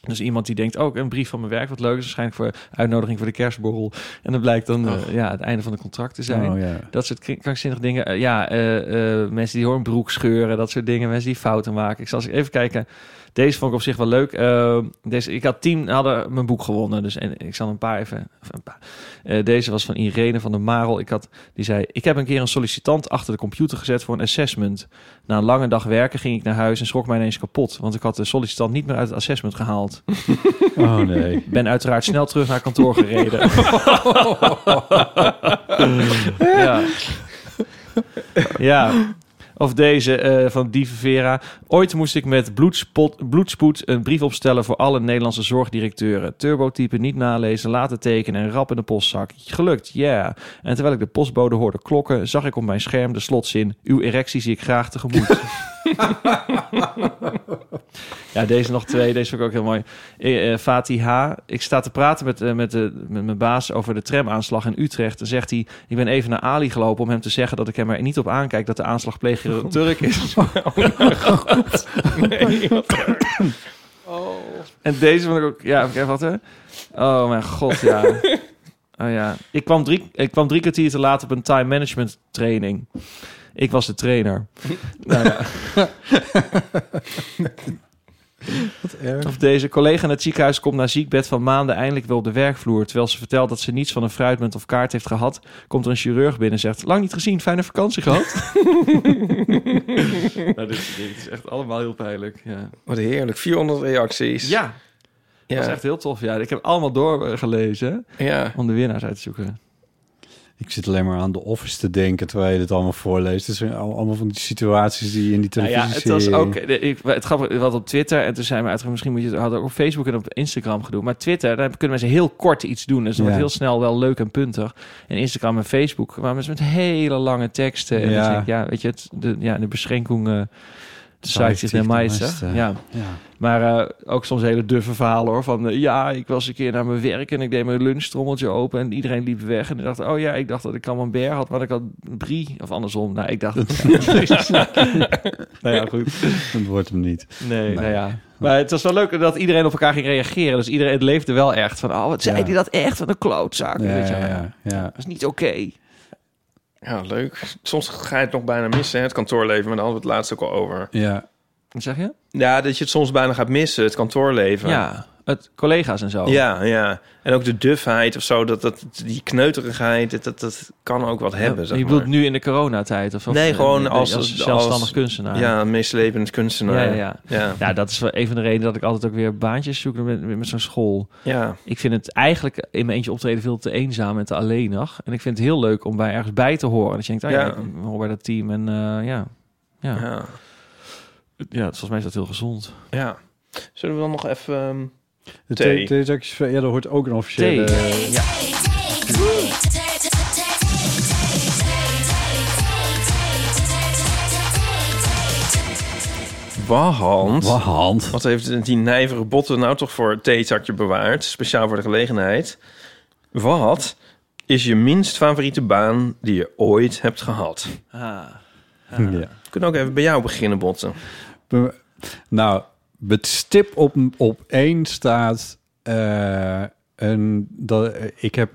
Dus iemand die denkt, ook een brief van mijn werk, wat leuk is, waarschijnlijk voor uitnodiging voor de kerstborrel. En dat blijkt dan eh, ja, het einde van het contract te zijn.
Oh, ja.
Dat soort kri- krankzinnige dingen. Eh, ja, eh, eh, mensen die hoornbroek scheuren, dat soort dingen. Mensen die fouten maken. Ik zal eens even kijken. Deze vond ik op zich wel leuk. Eh, deze, ik had tien, hadden mijn boek gewonnen. Dus en, ik zal een paar even... of een paar. Eh, deze was van Irene van der Marel. Ik had, die zei, ik heb een keer een sollicitant achter de computer gezet voor een assessment. Na een lange dag werken ging ik naar huis en schrok mij ineens kapot. Want ik had de sollicitant niet meer uit het assessment gehaald.
Oh nee.
Ben uiteraard snel terug naar kantoor gereden. ja. ja. Of deze eh, van Dieve Vera. Ooit moest ik met bloedspot, bloedspoed een brief opstellen voor alle Nederlandse zorgdirecteuren. Turbotype niet nalezen, laten tekenen en rap in de postzak. Gelukt, ja. En terwijl ik de postbode hoorde klokken, zag ik op mijn scherm de slotzin. Uw erectie zie ik graag tegemoet. Ja, deze nog twee. Deze vind ik ook heel mooi. Eh, eh, Fatih H. Ik sta te praten met, eh, met, de, met mijn baas over de tramaanslag in Utrecht. En zegt hij, ik ben even naar Ali gelopen om hem te zeggen dat ik hem er niet op aankijk dat de aanslagpleger een Turk is. [laughs] En deze vond ik ook... Ja, even wat hè? Oh mijn god, ja. Oh ja. Ik kwam drie, ik kwam drie kwartier te laat op een time management training. Ik was de trainer. nou ja. Of deze collega in het ziekenhuis komt na ziekbed van maanden eindelijk weer op de werkvloer. Terwijl ze vertelt dat ze niets van een fruitmunt of kaart heeft gehad, komt er een chirurg binnen en zegt: Lang niet gezien, fijne vakantie gehad. nou, dit, dit is echt allemaal heel pijnlijk. Ja,
Wat heerlijk, 400 reacties.
ja dat
ja.
was echt heel tof. Ja, ik heb allemaal doorgelezen
ja.
om de winnaars uit te zoeken.
Ik zit alleen maar aan de office te denken terwijl je dit allemaal voorleest. Het zijn al- allemaal van die situaties die je in die
Nou
televisie
ja, het was ook. Ik, het grappige wat op Twitter. En toen zijn we uitgegaan. Misschien moet je het hadden ook op Facebook en op Instagram gedoe. Maar Twitter, daar kunnen mensen heel kort iets doen. Dus dat
Ja.
wordt heel snel wel leuk en puntig. En Instagram en Facebook, maar mensen met hele lange teksten. En
Ja.
ja. ja, weet je, het, de, ja, de beschenking. eh de site is
Zeigt
de
zich de
meeste.
meeste.
Ja.
Ja.
Maar eh, ook soms hele duffe verhalen hoor. Van eh, ja, ik was een keer naar mijn werk en ik deed mijn lunchtrommeltje open en iedereen liep weg. En ik dacht, oh ja, ik dacht dat ik camembert had, maar ik had brie. Of andersom. Nou, ik
[laughs]
dacht... nou ja, goed.
Dat wordt hem niet.
Nee, nou ja. Maar het was wel leuk dat iedereen op elkaar ging reageren. Dus iedereen het leefde wel echt van, oh, wat zei
Ja.
die dat echt? Wat een klootzak.
Ja,
weet je.
ja, ja, ja.
Dat is niet oké.
Ja, leuk. Soms ga je het nog bijna missen, hè, het kantoorleven. Maar daar hadden we het laatst ook al over.
Ja.
Wat zeg je?
Ja, dat je het soms bijna gaat missen, het kantoorleven.
Ja, het collega's en zo.
Ja, ja. En ook de dufheid of zo, dat, dat, die kneuterigheid, dat, dat, dat kan ook wat hebben.
je
Zeg
bedoelt
maar.
nu in de coronatijd? Of, of-
Nee, gewoon
eh,
als-
zelfstandig
als-
kunstenaar.
Ja, meeslepend kunstenaar.
Ja, ja,
ja.
Nou, dat is wel een van de redenen dat ik altijd ook weer baantjes zoek met, met, met zo'n school.
Ja.
Ik vind het eigenlijk in mijn eentje optreden veel te eenzaam en te alleenig. En ik vind het heel leuk om bij ergens bij te horen. Dat je denkt, oh ja,
Ja.
ik hoor bij dat team. En eh, ja. Ja. ja,
Ja.
volgens mij is dat heel gezond.
Ja. Zullen we dan nog even... ehm,
De
Thee.
thee- theezakjes van eerder hoort ook een officiële...
Thee.
Ja.
Wahand.
Wat hand.
Wat heeft die nijvere botten nou toch voor het theezakje bewaard? Speciaal voor de gelegenheid. Wat is je minst favoriete baan die je ooit hebt gehad?
Ah.
Ja.
We kunnen ook even bij jou beginnen, Botten.
Be- Nou, met stip op, op één staat... eh, een, dat, eh, ik heb,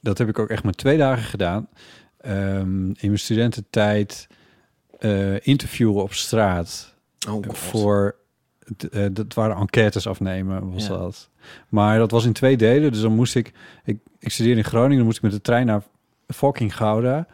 dat heb ik ook echt maar twee dagen gedaan. Ehm, in mijn studententijd eh, interviewen op straat...
Oh,
voor t- eh, dat waren enquêtes afnemen, was
Ja.
dat. Maar dat was in twee delen. Dus dan moest ik, ik, ik studeerde in Groningen, dan moest ik met de trein naar fucking Gouda.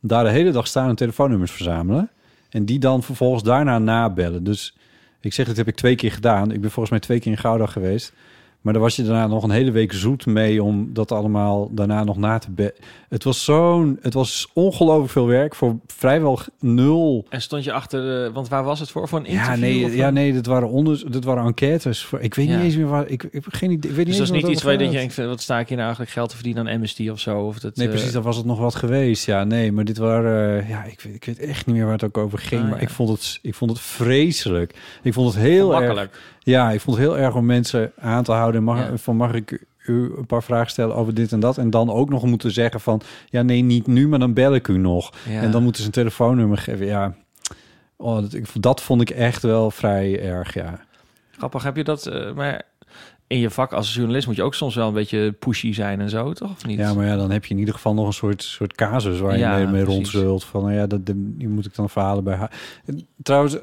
Daar de hele dag staan en telefoonnummers verzamelen. En die dan vervolgens daarna nabellen. Dus ik zeg, dit heb ik twee keer gedaan. Ik ben volgens mij twee keer in Gouda geweest. Maar daar was je daarna nog een hele week zoet mee om dat allemaal daarna nog na te be. Het was zo'n, het was ongelooflijk veel werk voor vrijwel g- nul
En stond je achter, eh, want waar was het voor? Voor een
ja,
interview?
nee,
of
ja,
een-
nee, dat waren onder, dat waren enquêtes. Voor, ik weet
Ja.
niet eens meer waar. Ik, ik heb geen idee. Ik
Dus dat
weet niet eens
is
meer
niet iets waar je
dat
denkt, wat sta ik hier nou eigenlijk geld te verdienen aan Amnesty of zo? Of dat,
Nee,
eh,
precies. Dan was het nog wat geweest. Ja, nee, maar dit waren. eh, ja, ik, weet- ik weet echt niet meer waar het ook over ging.
Ah,
maar
ja.
ik vond het, ik vond het vreselijk. Ik vond het heel erg.
Makkelijk.
Ja, ik vond het heel erg om mensen aan te houden. Mag,
Ja.
Van mag ik u een paar vragen stellen over dit en dat? En dan ook nog moeten zeggen van ja, nee, niet nu, maar dan bel ik u nog.
Ja.
En dan moeten ze een telefoonnummer geven. Ja, oh, dat, ik- dat vond ik echt wel vrij erg. Ja.
Grappig, heb je dat, eh, maar in je vak als journalist moet je ook soms wel een beetje pushy zijn en zo, toch? Of niet?
Ja, maar ja, dan heb je in ieder geval nog een soort, soort casus waar je
Ja,
mee, mee
precies.
rondzult. Van nou ja, dat, de- die moet ik dan verhalen bij haar. Trouwens,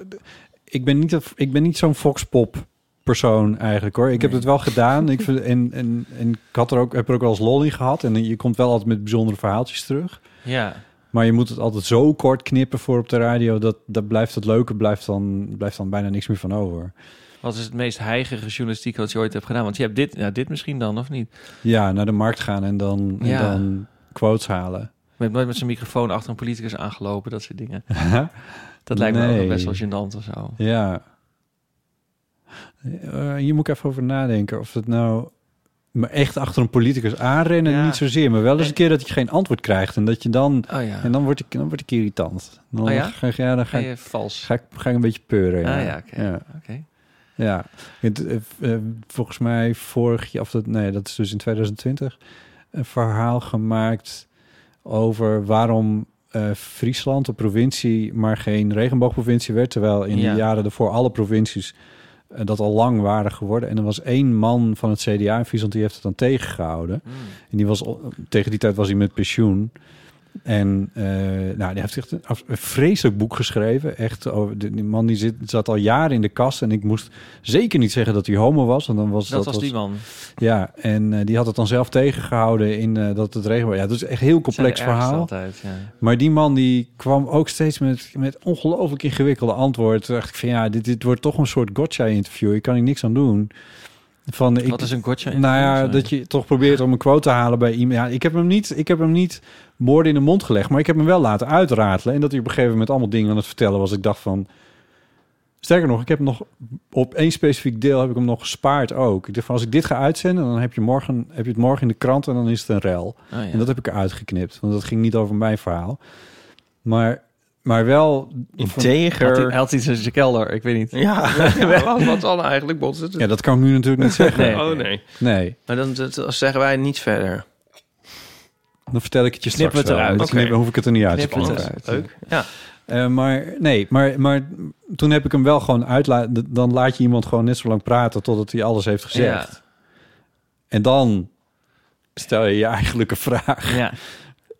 ik ben niet, een- ik ben niet zo'n foxpop persoon eigenlijk hoor. Ik heb het wel gedaan. Ik vind, en, en, en ik had er ook, heb er ook wel eens lol in gehad. En je komt wel altijd met bijzondere verhaaltjes terug.
Ja.
Maar je moet het altijd zo kort knippen voor op de radio. Dat, dat blijft het leuke, blijft dan, blijft dan bijna niks meer van over.
Wat is het meest heigere journalistiek wat je ooit hebt gedaan? Want je hebt dit, ja, dit misschien dan, of niet?
Ja, naar de markt gaan en dan, en
Ja.
dan quotes halen. [laughs]
Met, met zijn microfoon achter een politicus aangelopen, dat soort dingen. Dat lijkt me ook wel
Nee.
best wel gênant of zo.
Ja. Eh, hier moet ik even over nadenken. Of het nou... Maar echt achter een politicus aanrennen,
Ja.
niet zozeer. Maar wel eens een keer dat je geen antwoord krijgt. En dat je dan...
Oh ja,
En dan word ik, dan word ik irritant. Dan,
Oh ja?
ga, ik- ja, dan ga,
ga
ik,
je vals.
ga, ik, ga ik een beetje peuren. Ja,
Ah ja, oké.
ja.
Oké.
Ja, het, eh, v- eh, volgens mij vorig jaar, of dat, nee, dat is dus in 2020, een verhaal gemaakt over waarom eh, Friesland, een provincie, maar geen regenboogprovincie werd. Terwijl in
Ja.
de jaren daarvoor alle provincies eh, dat al lang waren geworden. En er was één man van het CDA in Friesland, die heeft het dan tegengehouden.
Mm.
En die was, al- tegen die tijd was hij met pensioen. En eh, nou, die heeft echt een, af- een vreselijk boek geschreven. Echt, over, die die man die zit, zat al jaren in de kast. En ik moest zeker niet zeggen dat hij homo was. Want dan was
Dat, was die man.
Ja, en eh, die had het dan zelf tegengehouden in eh, dat het regen. Ja, dat is echt een heel
Zijn de
complex
ergste
verhaal.
Altijd, ja.
Maar die man die kwam ook steeds met, met ongelooflijk ingewikkelde antwoorden. Toen dacht ik van ja, dit, dit wordt toch een soort gotcha-interview. Ik kan hier niks aan doen. Van, ik,
Wat is een gotcha?
nou ja,
Sorry.
dat je toch probeert om een quote te halen bij iemand. Ja, ik heb hem niet, ik heb hem niet woorden in de mond gelegd, maar ik heb hem wel laten uitratelen. En dat hij op een gegeven moment allemaal dingen aan het vertellen was. Ik dacht van. Sterker nog, ik heb hem nog op één specifiek deel heb ik hem nog gespaard ook. Ik dacht van als ik dit ga uitzenden, dan heb je, morgen, heb je het morgen in de krant en dan is het een rel.
Oh ja.
En dat heb ik eruit geknipt, want dat ging niet over mijn verhaal. Maar, maar wel.
Had hij- hij
Integer.
had iets in zijn kelder, ik weet niet.
Ja, [laughs] ja, wat, wat dan eigenlijk botsen? het?
Ja, dat kan ik nu
[laughs]
natuurlijk niet zeggen.
Nee.
Oh nee.
Nee,
Maar dan dat- dat zeggen wij niet verder.
dan vertel ik het je
Knippen
straks.
we het
wel.
eruit.
Dan
Oké.
knippen- hoef ik het er niet uit
Knippen
te
we
knippen.
het
Leuk. Leuk. Ja.
Eh, maar nee, maar, maar toen heb ik hem wel gewoon uit. Dan laat je iemand gewoon net zo lang praten totdat hij alles heeft gezegd. En dan stel je je eigenlijke vraag.
Ja. ja.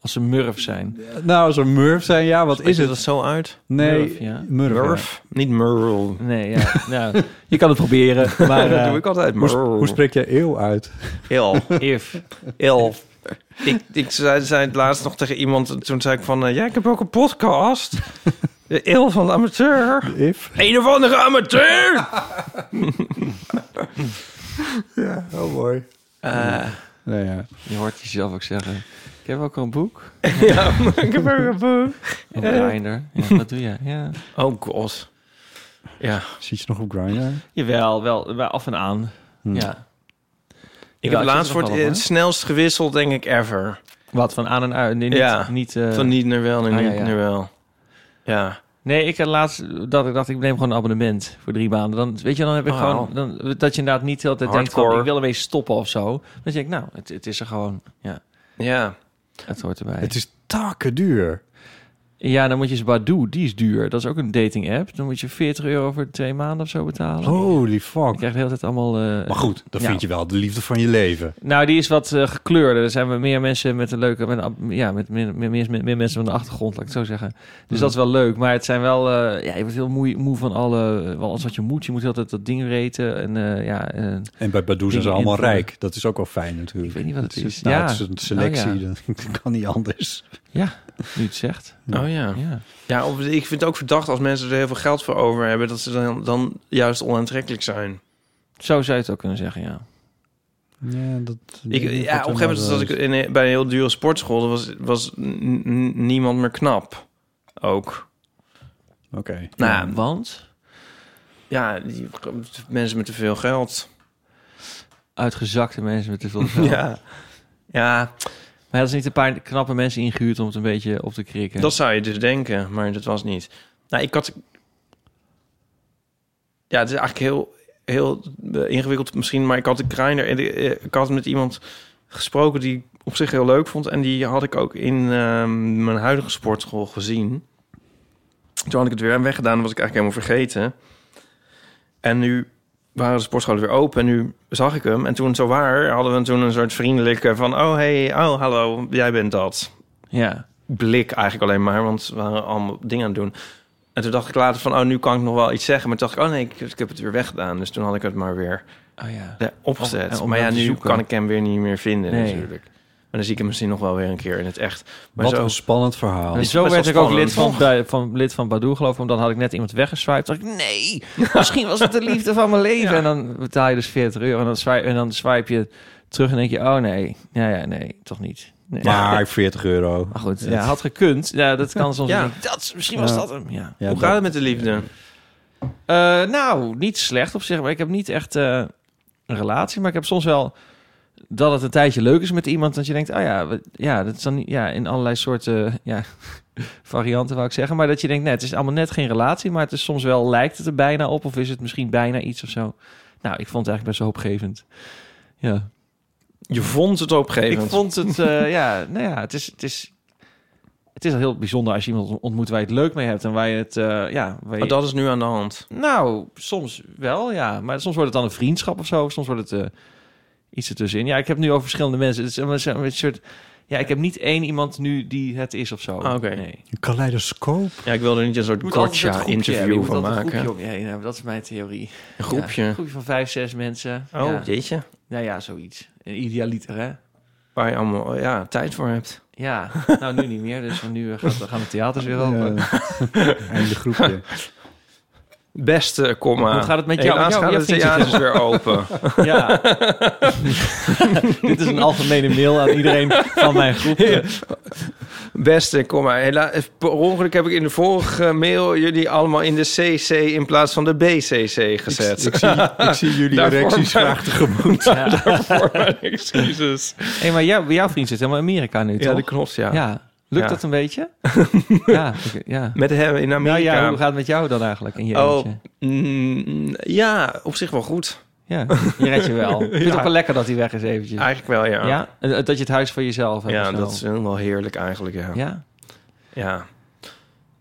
Als ze murf zijn.
[laughs] Nou, als een murf zijn, ja, wat
Is
is
het
het?
dat zo uit?
Nee,
Murf, ja.
murf, ja.
Murf? Niet Murl.
Nee, ja. [laughs] nou, je kan het proberen, maar
[laughs] dat
eh,
doe ik altijd.
Hoe, sp-
Murl.
hoe spreek jij eeuw uit?
Heel.
if.
Heel. Ik, ik zei, zei het laatst nog tegen iemand. Toen zei ik van... eh, ja, ik heb ook een podcast.
[laughs]
De eeuw van de amateur.
If?
Een of andere amateur!
Oh, mooi.
Eh,
Nee, ja.
Je hoort jezelf ook zeggen. Ik heb ook een boek.
[laughs] ja, maar ik heb ook een boek.
Op Grindr.
[laughs]
Ja, dat doe je. Ja.
Oh god. Ja.
Zit je nog op Grindr?
Jawel, wel, wel af en aan. Ja.
Ik
Jawel,
heb
zit
laatst voor
er
het,
nog wel op,
het snelst gewisseld, denk ik, ever.
hè? Wat, van aan en uit? Nee, niet,
Ja,
niet, eh,
Van niet naar wel, naar
ah,
niet
ja, ja.
naar wel. Ja.
Nee, ik had laatst dat ik dacht, ik neem gewoon een abonnement voor drie maanden. Dan, weet je, dan heb ik
Oh.
gewoon... Dan, dat je inderdaad niet de hele tijd denkt van,
Hardcore.
ik wil ermee stoppen of zo. Dan denk ik, nou, het, het is er gewoon. Ja,
Ja.
het hoort erbij.
Het is takken duur.
Ja, dan moet je eens Badoo, die is duur. Dat is ook een dating app. Dan moet je 40 euro voor twee maanden of zo betalen.
Holy fuck.
Je krijgt de hele tijd allemaal... eh,
Oh. Maar goed, dan
ja.
vind je wel de liefde van je leven.
Nou, die is wat eh, gekleurder. Er zijn wel meer mensen met een leuke... Met, een ab- ja, met meer, meer, meer, meer mensen van de achtergrond, laat ik het zo zeggen. Dus
Mm.
dat is wel leuk. Maar het zijn wel... eh, ja, je wordt heel moe, moe van alle... Wel alles wat je moet. Je moet altijd dat ding reten. En eh, ja... en-
En bij Badoe zijn ze
Dingen
allemaal
invullen.
rijk. Dat is ook wel fijn natuurlijk.
Ik weet niet wat het
Dat
is.
nou,
Ja.
het is een selectie.
Oh, ja.
Dat [laughs] kan niet anders.
ja, nu het zegt.
Oh ja.
Ja.
Ja, of, ik vind het ook verdacht als mensen er heel veel geld voor over hebben... dat ze dan, dan juist onaantrekkelijk zijn.
Zo zou je het ook kunnen zeggen, ja.
Ja, dat,
Ik, ja, op een gegeven moment zat
eh,
ik in, een- bij een heel dure sportschool. Er was, was n- n- niemand meer knap. Ook.
Oké.
Nou, ja,
Want
die, mensen met te veel geld.
uitgezakte mensen
[laughs]
met te veel geld.
Ja. ja,
Maar dat is niet een paar knappe mensen ingehuurd om het een beetje op te krikken.
dat zou je dus denken, maar dat was niet. Nou, ik had... Ja, het is eigenlijk heel, heel eh, ingewikkeld misschien, maar ik had de Grindr... en de- eh, Ik had met iemand gesproken die ik op zich heel leuk vond. En die had ik ook in ehm, mijn huidige sportschool gezien. Toen had ik het weer weggedaan, was ik eigenlijk helemaal vergeten. En nu waren de sportscholen weer open en nu zag ik hem. En toen zo waar hadden we toen een soort vriendelijke van... Oh, hey, oh, hallo, jij bent dat.
Ja.
blik eigenlijk alleen maar, want we waren allemaal dingen aan het doen. En toen dacht ik later van, oh, nu kan ik nog wel iets zeggen. Maar toen dacht ik, oh nee, ik, ik heb het weer weggedaan. Dus toen had ik het maar weer
Oh ja.
eh, opgezet.
Om- om
maar ja,
hem te
nu
zoeken.
kan ik hem weer niet meer vinden
Nee.
natuurlijk. Maar dan zie ik hem misschien nog wel weer een keer in het echt. Maar
Wat
zo,
een spannend verhaal.
En
is
zo
best
werd
wel
ik ook
spannend.
lid van, bij- van, lid van Badoe, geloof ik. Omdat had ik net iemand weggeswiped. dacht ik,
[laughs]
nee, misschien was het de liefde van mijn leven. En dan betaal je dus 40 euro. En dan swipe, en dan swipe je terug en denk je, oh nee, ja, ja, nee, toch niet. Nee.
[laughs] Maar 40 euro.
Maar goed, ja, had gekund. Ja, dat kan soms
Ja.
niet. Dat, is- misschien was
Ja.
dat hem, ja.
Ja,
hoe gaat het met de liefde?
Eh, nou, niet slecht op zich. Maar ik heb niet echt eh, een relatie. Maar ik heb soms wel dat het een tijdje leuk is met iemand. Dat je denkt, oh ja, we- ja dat is dan niet- ja, in allerlei soorten [laughs] ja, varianten, wou ik zeggen. Maar dat je denkt, nee, het is allemaal net geen relatie. Maar het is soms wel, lijkt het er bijna op. Of is het misschien bijna iets of zo. Nou, ik vond het eigenlijk best wel hoopgevend. Ja.
Je vond het
Ik
opgeven.
vond het, [laughs] eh, ja, nou ja, het is... Het is het is heel bijzonder als je iemand ontmoet waar je het leuk mee hebt en waar je het, eh, ja, waar je-
Maar Oh, dat is nu aan de hand.
nou, soms wel, ja. Maar soms wordt het dan een vriendschap of zo. Of soms wordt het eh, iets ertussenin. Ja, ik heb nu over verschillende mensen. Het is een, een- een soort... Ja, ik heb niet één iemand nu die het is of zo.
Ah, oké.
Nee.
Een kaleidoscoop.
Ja, ik wilde er niet een soort
Je moet altijd dat groepje hebben. Je
gotcha-interview
moet
van
altijd een
maken.
groepje om je heen hebben. Dat is mijn theorie.
Een groepje.
Ja, een groepje van vijf, zes mensen.
Oh,
Ja.
jeetje.
Nou ja, zoiets. Een idealiter, hè?
Waar je allemaal ja, tijd voor hebt.
Ja. nou, nu niet meer. Dus van nu eh, gaat- gaan de theaters weer open. eh,
[laughs] En de eh,
[laughs]
groepje.
Beste, eh, komma.
Hoe gaat het met jou?
Helaas
Met jou?
gaan
Jij
de
vindt
theaters weer
[laughs]
open.
Ja. Dit is een algemene mail aan iedereen van mijn groep.
Beste, kom maar. Helaas, per ongeluk heb ik in de vorige mail jullie allemaal in de CC in plaats van de BCC gezet.
Ik zie, ik zie jullie
[laughs] Daarvoor
erecties
maar- [laughs]
graag tegemoet.
Voor mijn excuses.
Hé, maar jou, jouw vriend zit helemaal in Amerika nu,
Ja,
toch?
dat klopt, ja.
Ja, lukt
Ja.
dat een
[laughs]
beetje? ja, oké, ja.
Met hem in
Nou
Amerika.
ja, hoe gaat het met jou dan eigenlijk in je
oh,
eentje?
mm, ja, op zich wel goed.
Ja, je redt je
[laughs]
wel. Ik vind het ook wel lekker dat hij weg is eventjes.
Eigenlijk wel, Ah, ja.
ja. En, eh, dat je het huis voor jezelf hebt.
Ja,
of zo.
dat is helemaal heerlijk eigenlijk, ja. Ja,
Ja,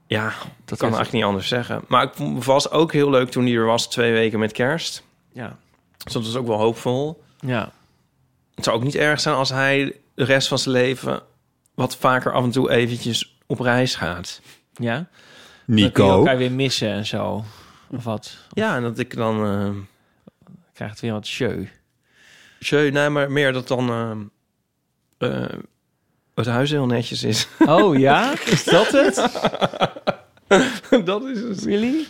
ja.
dat
kan
is-
eigenlijk niet anders zeggen. Maar ik vond- was ook heel leuk toen hij er was, twee weken met kerst.
Ja,
Dus dat was ook wel hoopvol.
ja.
Het zou ook niet erg zijn als hij de rest van zijn leven wat vaker af en toe eventjes op reis gaat.
ja. Dan kun je
Nico.
elkaar weer missen en zo. Of wat.
Ja, en dat ik dan... eh
Dan krijgt het weer wat show.
jeu, nee, maar meer dat dan eh, eh, het huis heel netjes is. [laughs]
Oh ja? [laughs] Is dat het?
dat is het.
Really?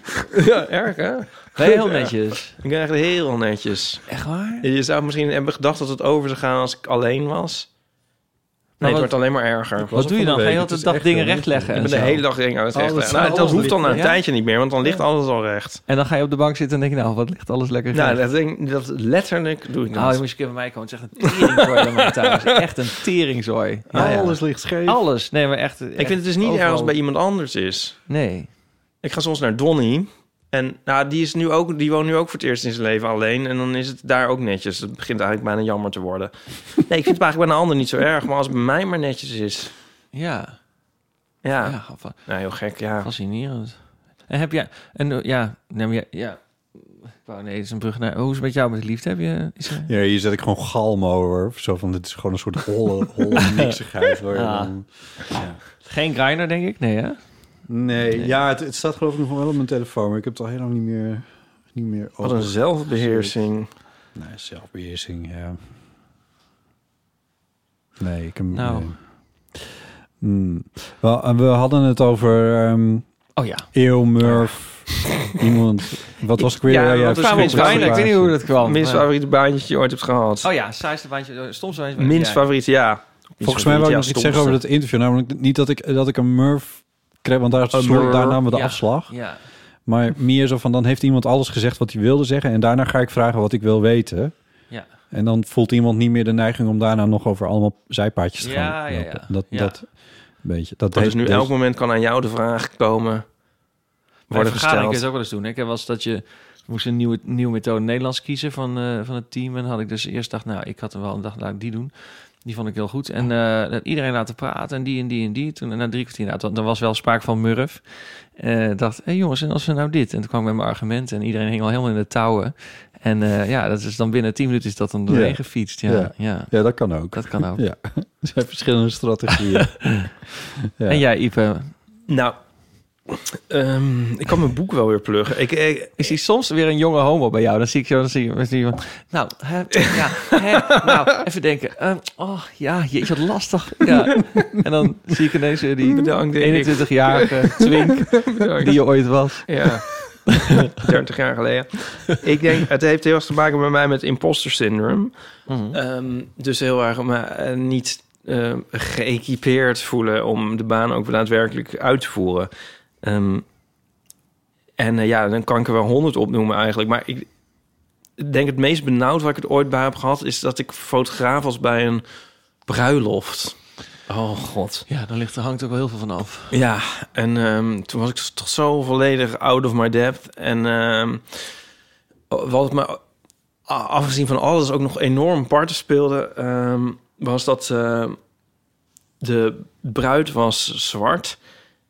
Ja, erg hè?
Nee, heel netjes.
Ik ben echt heel netjes.
Echt waar?
Je zou misschien hebben gedacht dat het over zou gaan als ik alleen was. Nee,
wat-
het wordt alleen maar erger. Ik
Wat doe je dan? Ga je de hele dag dingen rechtleggen?
ben
en
de
zo?
hele dag dingen aan het
Alles-
rechtleggen. Nou, dat
alles
hoeft dan na een
ligt- ja?
tijdje niet meer, want dan ligt alles al recht.
En dan ga je op de bank zitten en denk je, nou, wat ligt alles lekker
Nou,
recht.
dat, denk, dat letterlijk doe ik
Nou,
dat.
je moet eens een keer bij mij komen. Het is echt een teringzooi bij mij thuis. Echt een teringzooi.
Nou
Ja, ja.
Alles ligt scheef.
Alles. Nee, maar echt.
ik vind het dus niet erg als het bij iemand anders is.
Nee.
Ik ga soms naar Donny. En nou, die, is nu ook, die woont nu ook voor het eerst in zijn leven alleen. En dan is het daar ook netjes. Het begint eigenlijk bijna jammer te
[laughs]
worden. Nee, ik vind het eigenlijk bij een ander niet zo erg. Maar als het bij mij maar netjes is.
Ja.
Ja.
ja fa-
Nou, heel gek, ja.
fascinerend. En heb jij... En, eh, ja, nee, maar ja, ja. Ik wou, nee, het is een brug naar... Hoe is het met jou met liefde? Heb je... Is er-
Ja, hier zet ik gewoon galm over. Zo van, dit is gewoon een soort holle,
[laughs]
holle niksigheid. Waar je
Ah.
dan-
Geen grinder, denk ik? Nee, hè?
Nee, ja, het, het staat geloof ik nog wel op mijn telefoon. Maar ik heb het al heel lang niet meer, niet meer
Wat een
over-
zelfbeheersing.
Nee, zelfbeheersing, ja. Nee, ik heb...
Nou.
nee. Hmm. Wel, en we hadden het over ehm
Oh ja.
Eeuw,
[laughs]
Murph, iemand... Wat was ik weer?
Ja, wat
jij
is
hebt
er
het
mis mee?
over-
Ik weet niet hoe dat kwam.
Minst
maar-
favoriete baantje dat je ooit hebt gehad.
Oh ja, saaiste bandje, stomste bandje.
Minst
Ja.
favoriete, ja.
Volgens mij wou ik nog iets zeggen over dat interview. Namelijk niet dat ik, dat ik een Murph kreeg, want daar, stond,
Murph.
daar namen we de
Ja.
afslag.
Ja.
Maar meer zo van, dan heeft iemand alles gezegd wat hij wilde zeggen... en daarna ga ik vragen wat ik wil weten.
Ja.
En dan voelt iemand niet meer de neiging om daarna nog over allemaal zijpaadjes te
Ja,
gaan
ja,
lopen.
ja.
Dat,
Ja.
dat een beetje. Dat
Dus
heeft-
nu
dus-
elk moment kan aan jou de vraag komen
Bij
worden
vergaderingen
gesteld.
kun je het ook wel eens doen. hè. Ik heb wel eens dat je moest een nieuwe, nieuwe methode Nederlands kiezen van, eh, van het team. En had ik dus eerst dacht, nou, ik had er wel een dag, laat ik die doen. Die vond ik heel goed. En eh, dat iedereen laten praten en die en die en die. Toen en na drie kwartier, nou, toen- er was wel sprake van Murf. Eh dacht, hé jongens, en als we nou dit? En toen kwam ik met mijn argument en iedereen hing al helemaal in de touwen. En eh, ja, dat is dan binnen tien minuten is dat dan doorheen
Ja.
gefietst. Ja,
Ja.
ja.
Ja, dat kan ook.
dat kan ook.
Ja. [laughs] Er zijn verschillende strategieën. ja.
En jij, Ipe,
Nou, ehm, ik kan mijn boek wel weer pluggen. Ik, ik,
Ik zie soms weer een jonge homo bij jou. Dan zie ik zo, dan zie ik, dan zie ik van, nou, hè, ja, hè, nou, even denken. ehm, oh, ja, jeetje, wat lastig. Ja. En dan zie ik ineens weer die
Bedankt, Erik. [laughs]
21-jarige twink die je ooit was.
Ja, [laughs] 30 jaar geleden. Ik denk, het heeft heel erg te maken bij mij met imposter syndrome. Ehm, dus heel erg me eh, niet eh, geëquipeerd voelen om de baan ook daadwerkelijk uit te voeren. Ehm, en eh, ja, dan kan ik er wel honderd opnoemen eigenlijk. Maar ik denk het meest benauwd waar ik het ooit bij heb gehad... is dat ik fotograaf was bij een bruiloft. Oh god.
Ja, dan ligt, er hangt ook wel heel veel van af.
Ja, en ehm, toen was ik toch zo volledig out of my depth. En ehm, wat het me, a- afgezien van alles, ook nog enorm parten speelde... ehm, was dat ehm, de bruid was zwart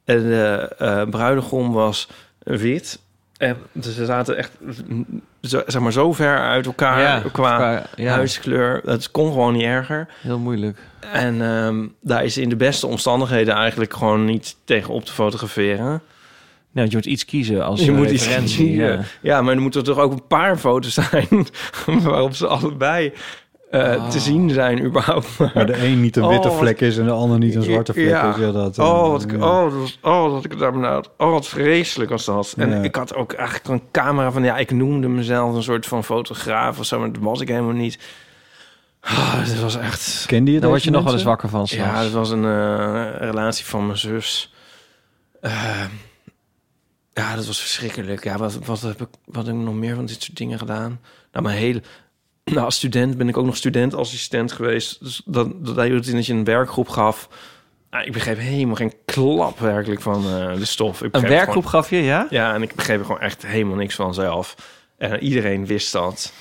en de eh, bruidegom was wit. En dus ze zaten echt mm, zo- zeg maar, zo ver uit elkaar qua
ja,
huidskleur. Dat kon gewoon niet erger.
heel moeilijk.
[laughs]
En ehm, daar is in de beste omstandigheden eigenlijk gewoon niet tegen op te fotograferen.
Nou, je moet iets kiezen als
je
eh,
moet iets
referentie,
kiezen.
ja.
Ja. maar er moeten toch ook een paar foto's zijn [laughs] waarop ze allebei eh,
Ah.
te zien zijn
[laughs]
überhaupt.
Maar de
[laughs]
een niet een
Oh,
witte
wat-
vlek is en de ander niet een zwarte vlek
Ja.
is. Ja, dat, eh,
Oh, wat, ik-
ja.
oh, dat was, oh, dat ik daar benauwd. Oh, wat vreselijk was dat. En
Ja.
ik had ook eigenlijk een camera van... Ja, ik noemde mezelf een soort van fotograaf of zo, maar dat was ik helemaal niet. Ah, dat was echt...
Kende je
Daar
dat?
word je nog wel eens wakker van. s'nachts.
Ja, dat was een eh, relatie van mijn zus. Eh, ja, dat was verschrikkelijk. Ja, wat, wat, heb ik, wat heb ik nog meer van dit soort dingen gedaan? Nou, mijn hele... Nou, als student ben ik ook nog studentassistent geweest. Dus dat, dat hield in dat je een werkgroep gaf. Nou, ik begreep helemaal geen klap werkelijk van eh, de stof. Ik
een
begreep
werkgroep gaf je, ja?
gewoon- ja, en ik begreep er gewoon echt helemaal niks van zelf. En iedereen wist dat.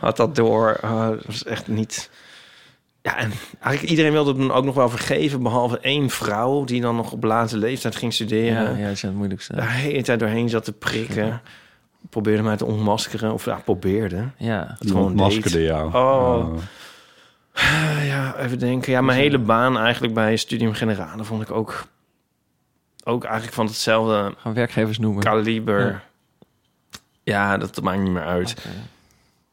Had dat door. Eh, dat was echt niet... Ja, en eigenlijk iedereen wilde het me ook nog wel vergeven... behalve één vrouw die dan nog op late leeftijd ging
Ja,
studeren.
ja, dat is het moeilijkste.
Daar de hele tijd doorheen zat te prikken. Probeerde mij te ontmaskeren. Of ja, probeerde.
Ja.
Het gewoon
maskerde
deed.
jou.
Oh. Eh, ja, even denken. Ja, mijn hele baan eigenlijk bij Studium Generale vond ik ook... ook eigenlijk van hetzelfde
Gaan werkgevers noemen.
kaliber.
Ja.
Ja, dat maakt niet meer uit.
Oké.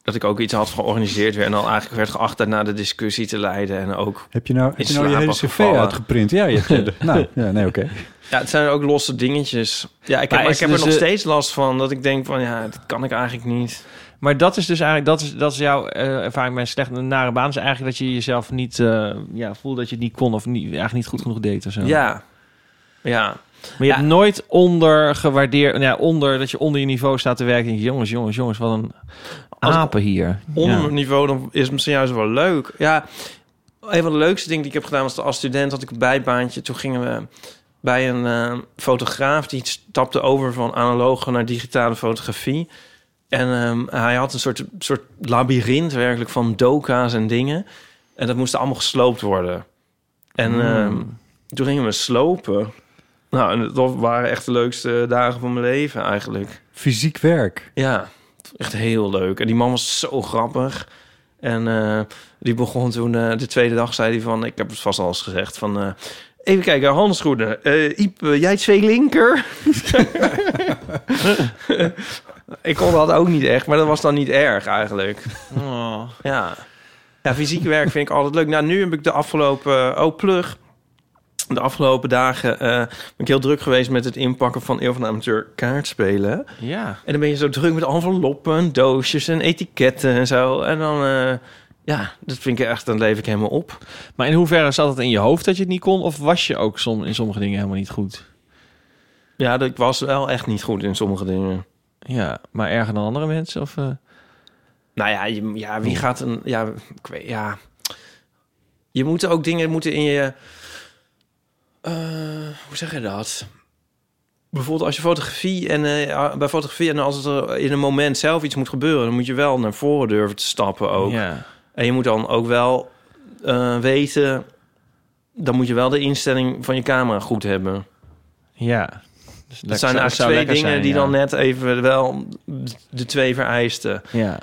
Dat ik ook iets had georganiseerd weer... en dan eigenlijk werd geacht daarna de discussie te leiden. En ook
Heb je nou, heb
In
je, nou je
slaap
hele cv
afgevallen.
uitgeprint? Ja, je hebt
[laughs]
je- nou, ja, nee, oké.
Ja, het zijn ook losse dingetjes. Ja, ik heb,
Maar
maar
is
ik heb
dus
er nog
de-
steeds last van. Dat ik denk van, ja, dat kan ik eigenlijk niet.
Maar dat is dus eigenlijk, dat is, dat is jouw eh, ervaring met slecht een nare baan. Is eigenlijk dat je jezelf niet eh, ja, voelde dat je het niet kon of niet, eigenlijk niet goed genoeg deed of zo.
Ja. Ja.
Maar je hebt nooit onder gewaardeerd, nou ja, onder dat je onder je niveau staat te werken. En je, jongens, jongens, jongens, wat een
Als-
apen hier.
Onder
Ja.
mijn niveau dan is het misschien juist wel leuk. Ja, een van de leukste dingen die ik heb gedaan was... als student had ik een bijbaantje. Toen gingen we bij een eh, fotograaf... die stapte over van analoge naar digitale fotografie. En ehm, hij had een soort, soort labyrinth werkelijk van doka's en dingen. En dat moest allemaal gesloopt worden. En
Hmm.
ehm, toen gingen we slopen. Nou, en dat waren echt de leukste dagen van mijn leven eigenlijk.
Fysiek werk.
Ja, echt heel leuk. En die man was zo grappig. En eh, die begon toen eh, de tweede dag, zei hij van... Ik heb het vast al eens gezegd van... eh, even kijken, handschoenen. Eh Iep, eh, jij twee linker? [laughs] ik kon dat ook niet echt, maar dat was dan niet erg eigenlijk. Ja. ja, fysiek werk vind ik altijd leuk. Nou, nu heb ik de afgelopen... eh, oh, plug. De afgelopen dagen eh, ben ik heel druk geweest met het inpakken van Eeuw van de Amateur kaartspelen.
Ja.
En dan ben je zo druk met enveloppen, doosjes en etiketten en zo. En dan, eh, ja, dat vind ik echt, dan leef ik helemaal op.
Maar in hoeverre zat het in je hoofd dat je het niet kon? Of was je ook som, in sommige dingen helemaal niet goed?
Ja, dat- ik was wel echt niet goed in sommige dingen.
Ja, maar erger dan andere mensen? Of, eh?
Nou ja, je, ja wie gaat een, ja, ik weet, ja. Je moet ook dingen moeten in je, eh, hoe zeg je dat? Bijvoorbeeld als je fotografie en eh, bij fotografie en als het er in een moment zelf iets moet gebeuren, dan moet je wel naar voren durven te stappen ook.
Ja.
En je moet dan ook wel eh, weten... dan moet je wel de instelling van je camera goed hebben.
Ja. Dus
dat zijn eigenlijk twee dingen die dan net even wel de twee vereisten.
Ja.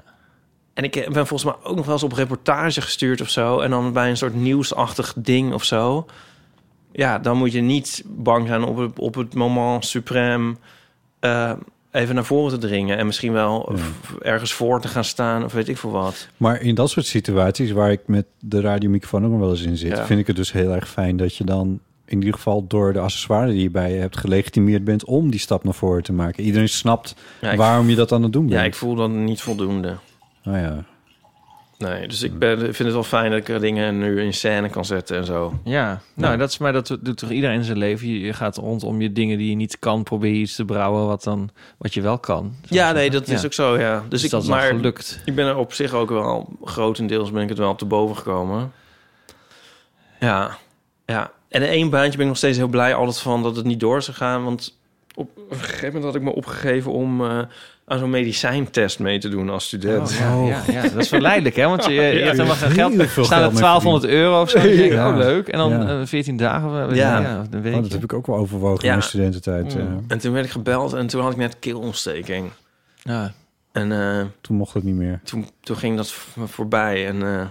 En ik ben volgens mij ook nog wel eens op reportage gestuurd of zo... en dan bij een soort nieuwsachtig ding of zo. Ja, dan moet je niet bang zijn op het, op het moment suprême... eh, even naar voren te dringen en misschien wel f- ergens voor te gaan staan of weet ik veel wat.
Maar in dat soort situaties waar ik met de radiomicrofoon ook nog wel eens in zit,
Ja.
vind ik het dus heel erg fijn dat je dan in ieder geval door de accessoires die je bij je hebt gelegitimeerd bent om die stap naar voren te maken. Iedereen snapt
Ja, ik-
waarom je dat aan het doen
Ja, ik
bent.
voel dan niet voldoende.
Nou ja.
Nee, dus ik ben, vind het wel fijn dat ik er dingen nu in scène kan zetten en zo.
Ja, nou, Dat is, maar dat doet toch iedereen in zijn leven? Je, je gaat rondom je dingen die je niet kan, probeer je iets te brouwen wat, dan, wat je wel kan.
Ja, nee, dat is ook zo, ja. Dus, ik,
dat is dan
maar
gelukt.
ik ben er op zich ook wel, grotendeels ben ik het wel op de boven gekomen. Ja, ja. En in één baantje ben ik nog steeds heel blij altijd van dat het niet door zou gaan. Want op een gegeven moment had ik me opgegeven om eh, aan zo'n medicijntest mee te doen als student.
Oh, ja, ja, ja, dat is verleidelijk, hè? Want [laughs] je, je
Ja,
hebt helemaal geen
heel
geld. Er
veel
staan
geld
er
mee
1200 euro of zo. Dan denk ik,
Ja.
oh, leuk. En dan
Ja.
eh, 14 dagen, eh, weet je, ja.
Ja.
een
Oh,
week.
dat heb ik ook wel overwogen
Ja.
in mijn studententijd.
Mm.
eh.
En toen werd ik gebeld en toen had ik net keelontsteking.
Ja.
En eh,
toen mocht het niet meer.
toen, toen ging dat v- voorbij en... eh,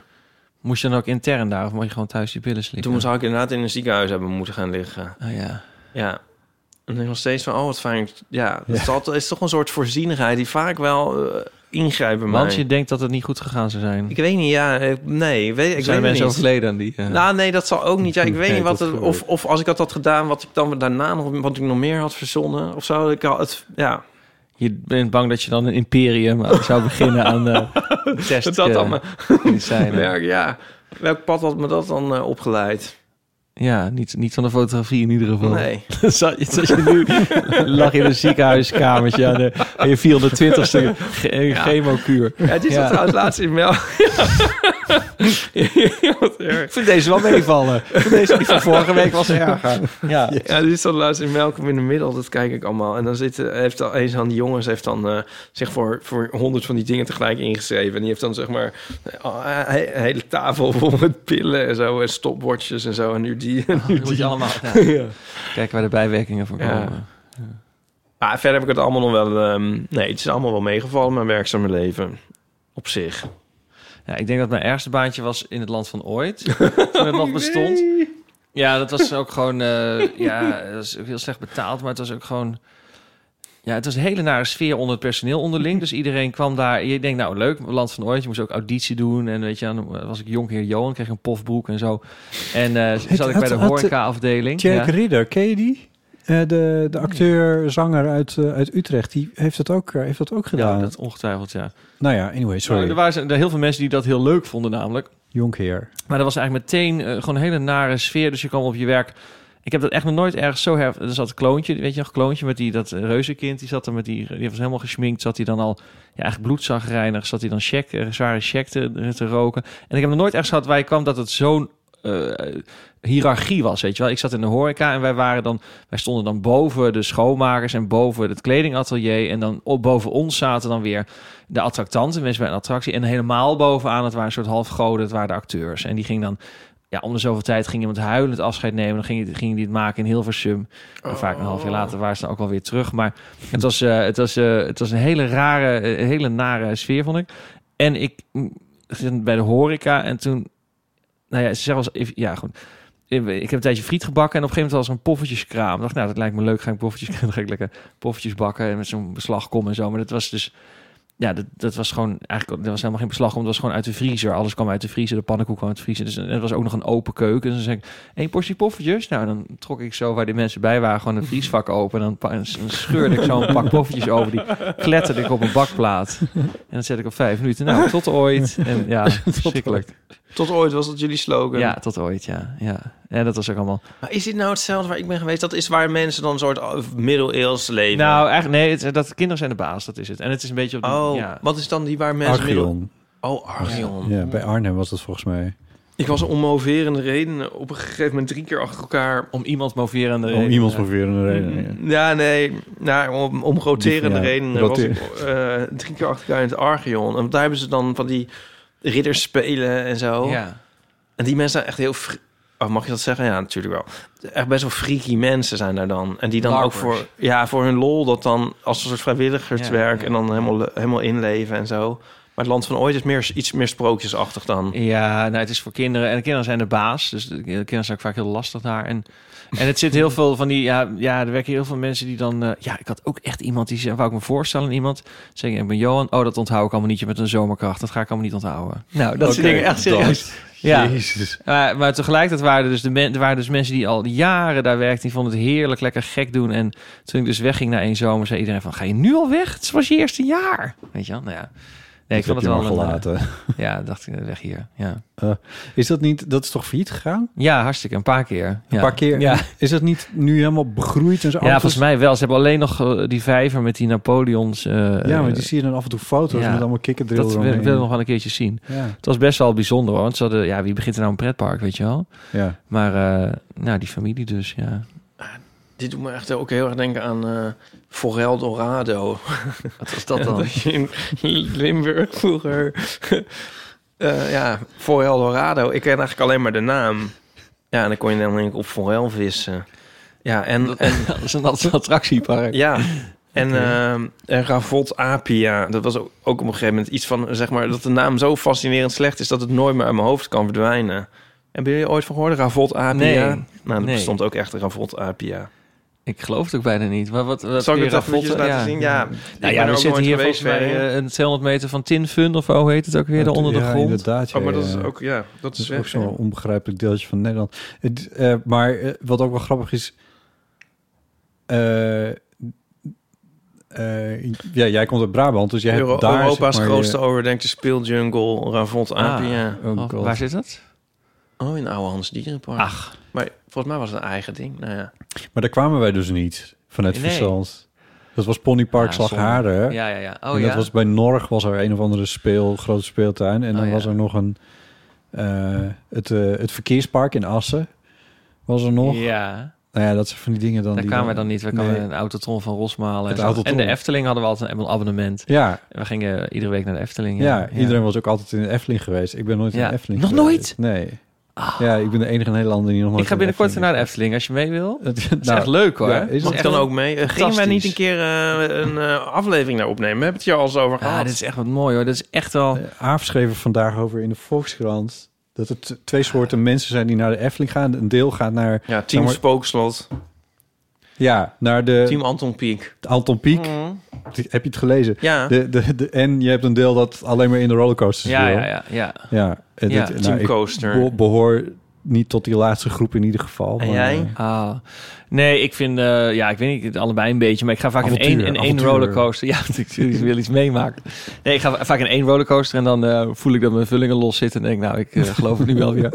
Moest je dan ook intern daar of mocht je gewoon thuis die pillen slikken?
Toen zou ik inderdaad in een ziekenhuis hebben moeten gaan liggen.
Ah, ja.
Ja. En dan denk ik nog steeds van, oh, wat fijn. Ja, dat is, altijd- is toch een soort voorzienigheid die vaak wel eh, ingrijpt bij
Want
mij.
je denkt dat het niet goed gegaan zou zijn.
Ik weet niet, ja, eh, nee, weet, ik
zijn
weet het
mensen
niet.
overleden aan die. eh,
Nou, nee, dat zal ook niet. Ja,
[laughs]
ik weet
Nee,
niet wat
dat
het,
geloof
of, of als ik dat had gedaan, wat ik dan daarna nog, wat ik nog meer had verzonnen of zo. Ik had het, ja,
Je bent bang dat je dan een imperium aan- [laughs] zou beginnen aan eh test.
dat had
eh,
me
[laughs] medicijnen.
werk, ja. Welk pad had me dat dan eh, opgeleid?
Ja, niet, niet van de fotografie in ieder geval. [laughs]
Nee.
Zat je, zat je [laughs] nu lag in een ziekenhuiskamertje aan, de, aan je 420ste ge eh, chemokuur.
Ja, het is
Ja.
dat trouwens laatst in Mel. [laughs]
[laughs]
ja, wat erg.
Ik vind deze wel meevallen. Ik vind deze die van vorige week was erger. Ja.
Ja, dit is dan laatst in Malcolm in de Middel. Dat kijk ik allemaal. En dan zit, eh, heeft al een van die jongens heeft dan eh, zich voor, voor honderd van die dingen tegelijk ingeschreven. En die heeft dan zeg maar eh, he- een hele tafel vol met pillen en zo. En stopwatches en zo. En nu die. en
Dat Ah,
nu
moet
die.
je allemaal kijken waar de bijwerkingen van
Ja.
komen.
Ah, verder heb ik het allemaal nog wel... ehm, nee, het is allemaal wel meegevallen, mijn werkzame leven. Op zich.
Ja, ik denk dat mijn ergste baantje was in het land van ooit.
[laughs]
toen het nog bestond. Ja, dat was ook gewoon... eh, ja, dat was ook heel slecht betaald. Maar het was ook gewoon... Ja, het was een hele nare sfeer onder het personeel onderling. Dus iedereen kwam daar... Je denkt, nou leuk, land van ooit. Je moest ook auditie doen. En weet je, dan was ik jonkheer Johan. Kreeg een pofbroek en zo. En eh, zat ik bij
Oh, had-
de
had-
horeca-afdeling.
Jack
Ja.
Ridder, ken je die? Eh, de, de acteur, zanger uit, eh, uit Utrecht, die heeft dat ook, eh, heeft dat ook gedaan.
ja, dat ongetwijfeld, ja.
Nou ja, anyway,
Maar
sorry.
er waren er heel veel mensen die dat heel leuk vonden namelijk.
Jonkheer.
Maar dat was eigenlijk meteen eh, gewoon een hele nare sfeer. Dus je kwam op je werk. Ik heb dat echt nog nooit ergens zo her... Er zat een kloontje, weet je nog, kloontje met die, dat eh, reuzenkind. Die zat er met die, die was helemaal gesminkt. Zat hij dan al, ja, eigenlijk bloedzagreinig. Zat hij dan check, eh, zware check te, te roken. En ik heb nog nooit ergens gehad waar je kwam dat het zo'n eh, hiërarchie was, weet je wel. Ik zat in de horeca en wij waren dan... Wij stonden dan boven de schoonmakers en boven het kledingatelier. En dan op, boven ons zaten dan weer de attractanten, mensen bij een attractie. En helemaal bovenaan, het waren een soort halfgoden, het waren de acteurs. En die ging dan ja, om de zoveel tijd ging iemand huilend afscheid nemen. Dan ging, ging die het maken in Hilversum. En vaak een half jaar later waren ze dan ook alweer terug. Maar het was, eh, het was, eh, het was een hele rare, eh, hele nare sfeer, vond ik. En ik mm, zat bij de horeca en toen... Nou ja, ze zei wel eens- Ja, goed. Ik ik heb een tijdje friet gebakken en op een gegeven moment was er een poffertjeskraam. Ik dacht, nou, dat lijkt me leuk. Ga ik poffertjes, [laughs] dan ga ik lekker poffertjes bakken en met zo'n beslagkom en zo. Maar dat was dus... Ja, dat, dat was gewoon eigenlijk, er was helemaal geen beslag om. Het was gewoon uit de vriezer. Alles kwam uit de vriezer. De pannenkoek kwam uit de vriezer. Dus er was ook nog een open keuken. Dus dan zeg ik, één portie poffertjes. Nou, dan trok ik zo waar die mensen bij waren gewoon een vriesvak open. En dan, pa- en s- dan scheurde ik zo een pak poffertjes over. Die kletterde ik op een bakplaat. En dan zet ik op vijf minuten. Nou, tot ooit. En
[laughs]
ja, verschrikkelijk.
Tot ooit was dat jullie slogan.
Ja, tot ooit, ja. ja. En dat was ook allemaal...
Maar is dit nou hetzelfde waar ik ben geweest? Dat is waar mensen dan een soort oh, middeleeuws leven.
Nou, eigenlijk, nee, het, dat, kinderen zijn de baas. Dat is het. En het is een beetje op die...
oh,
ja.
wat is dan die waar mensen... middel-
Archeon.
Oh, Archeon.
Ja, bij Arnhem was dat volgens mij.
Ik was om moverende redenen op een gegeven moment drie keer achter elkaar...
Om iemand moverende
Om
reden.
iemand ongeveer een reden. ja.
Ja, nee, nou, om, om roterende
Ja,
redenen
roteer-
was ik eh, drie keer achter elkaar in het Archeon. En want daar hebben ze dan van die ridders spelen en zo.
Ja.
En die mensen zijn echt heel... fr- Oh, mag je dat zeggen? Ja, natuurlijk wel. Echt best wel freaky mensen zijn daar dan. En die dan
Larpers.
ook voor, ja, voor hun lol dat dan als een soort vrijwilligerswerk...
Ja, ja.
en dan helemaal, le- helemaal inleven en zo. Maar het Land van Ooit is meer, iets meer sprookjesachtig dan.
Ja, nou, het is voor kinderen. En de kinderen zijn de baas. Dus de kinderen zijn ook vaak heel lastig daar. En, en het zit heel veel van die... Ja, ja, er werken heel veel mensen die dan... eh, ja, ik had ook echt iemand die zei... Wou ik me voorstellen aan iemand? Zeg ik, ik ben Johan. Oh, dat onthoud ik allemaal niet. Je bent een zomerkracht. Dat ga ik allemaal niet onthouden. Nou, dat soort
Oké,
dingen. Echt
dat.
serieus.
[laughs]
Ja.
Jezus.
Maar, maar tegelijkertijd waren er, dus de men, er waren dus mensen die al jaren daar werkten. Die vonden het heerlijk lekker gek doen. En toen ik dus wegging na één zomer, zei iedereen van... Ga je nu al weg? Het was je eerste jaar. Weet je wel? Nou ja. Nee, ik
Dat
vond het
heb
wel... een,
je maar
eh,
gelaten.
ja, dacht ik, weg hier. Ja,
Is dat niet, dat is toch failliet gegaan?
ja hartstikke. Een paar keer. Ja.
Een paar keer.
Ja.
Is dat niet nu helemaal begroeid en zo?
Ja, volgens mij wel. Ze hebben alleen nog eh, die vijver met die Napoleons. eh,
Ja, maar die zie je dan af en toe foto's
ja.
met allemaal kikkerdrillen
dat wil,
eromheen.
wil ik nog wel een keertje zien.
Ja.
Het was best wel bijzonder hoor. Want ze hadden, ja, wie begint er nou een pretpark, weet je wel?
ja.
Maar eh, nou, die familie dus, ja.
Dit doet me echt ook heel erg denken aan eh Forel Dorado.
Wat was
[laughs]
dat
Dat je in Limburg vroeger... [laughs] eh, ja, Forel Dorado. Ik ken eigenlijk alleen maar de naam. Ja, en dan kon je dan denk ik op Forel vissen. Ja, en... en
dat is een att- attractiepark.
ja. En, ehm en Ravot Apia, dat was ook, ook op een gegeven moment iets van, zeg maar, dat de naam zo fascinerend slecht is dat het nooit meer uit mijn hoofd kan verdwijnen. Hebben jullie ooit van gehoord, Ravot Apia?
Nee.
Nou, er
Nee.
bestond ook echt een Ravot Apia.
Ik geloof het ook bijna niet. Maar wat, wat
Zal ik
die
het even
Ravotte-
eventjes laten zien? Ja, ik ben
Nou
er
ja,
ook
we zitten
nooit
hier
geweest
volgens mij
verder.
eh, een 200 meter van Tinfun of hoe heet het ook weer? daar onder de
Ja,
grond.
Inderdaad, ja,
Oh, maar dat is
ja.
ook, ja, dat
Dat
is
is
weg.
ook zo'n
hè?
onbegrijpelijk deeltje van Nederland. Het, eh, maar eh, wat ook wel grappig is... eh, eh, ja, jij komt uit Brabant, dus jij hebt
Euro-
daar...
Europa's
zeg maar,
grootste
je-
overdenkte speeljungle, Ravot Apia.
Oh
Oh,
God.
waar zit dat?
Oh, in Oude Hans Dierenpark.
Ach,
Maar volgens mij was het een eigen ding. Nou ja.
Maar daar kwamen wij dus niet, vanuit
Nee.
Friesland. Dat was Ponypark
Ah,
Slagharen.
ja, ja, ja. Oh
en dat
ja.
was bij Norg was er een of andere speel, grote speeltuin. En
Oh,
dan
ja.
was er nog een... eh, het, eh, het verkeerspark in Assen was er nog.
Ja.
Nou ja, dat zijn van die dingen dan...
Daar
die
kwamen we dan niet. We kwamen
Nee.
een autotron van Rosmalen. en,
Het
zo. en
Autotron.
de Efteling hadden we altijd een abonnement.
Ja,
En we gingen iedere week naar de Efteling.
ja, iedereen was ook altijd in de Efteling geweest. Ik ben nooit in
Ja.
de Efteling
Nog Ah.
geweest. Nee. Ja, ik ben de enige Nederlander die nog nooit
Ik ga
in de
binnenkort weer
Efteling
naar de Efteling als je mee wil. Dat
is.
is
Nou,
echt leuk hoor.
ja, is
Mag ik
echt
dan
een-
ook mee? Eh, Gingen wij
Fantastisch.
niet een keer eh, een eh, aflevering daar opnemen? We hebben het hier al eens over gehad.
Ah, dit is echt wat mooi hoor. Dit is echt wel...
Eh, Aaf schreef er vandaag over in de Volkskrant... dat er t- twee soorten mensen zijn die naar de Efteling gaan. Een deel gaat naar,
Ja, Team
maar-
Spookslot,
ja, naar de
Team Anton Pieck.
de Anton Pieck. Die- Heb je het gelezen?
Mhm. Ja,
De, de, de, en je hebt een deel dat alleen maar in de rollercoasters
Ja,
wil.
ja, ja, ja.
ja. eh,
Ja,
dit-
Team
nou, ik
Coaster.
be- behoor niet tot die laatste groep in ieder geval.
En
maar,
jij?
eh,
Ah. Nee, ik vind... eh, ja, ik weet niet, het allebei een beetje. Maar ik ga vaak in één,
Avontuur,
in één
avontuur.
rollercoaster... Ja, [laughs] want ik wil iets meemaken. Nee, ik ga va- vaak in één rollercoaster en dan eh, voel ik dat mijn vullingen los zitten. En denk ik, nou,
[laughs]
ik eh, geloof het nu wel weer.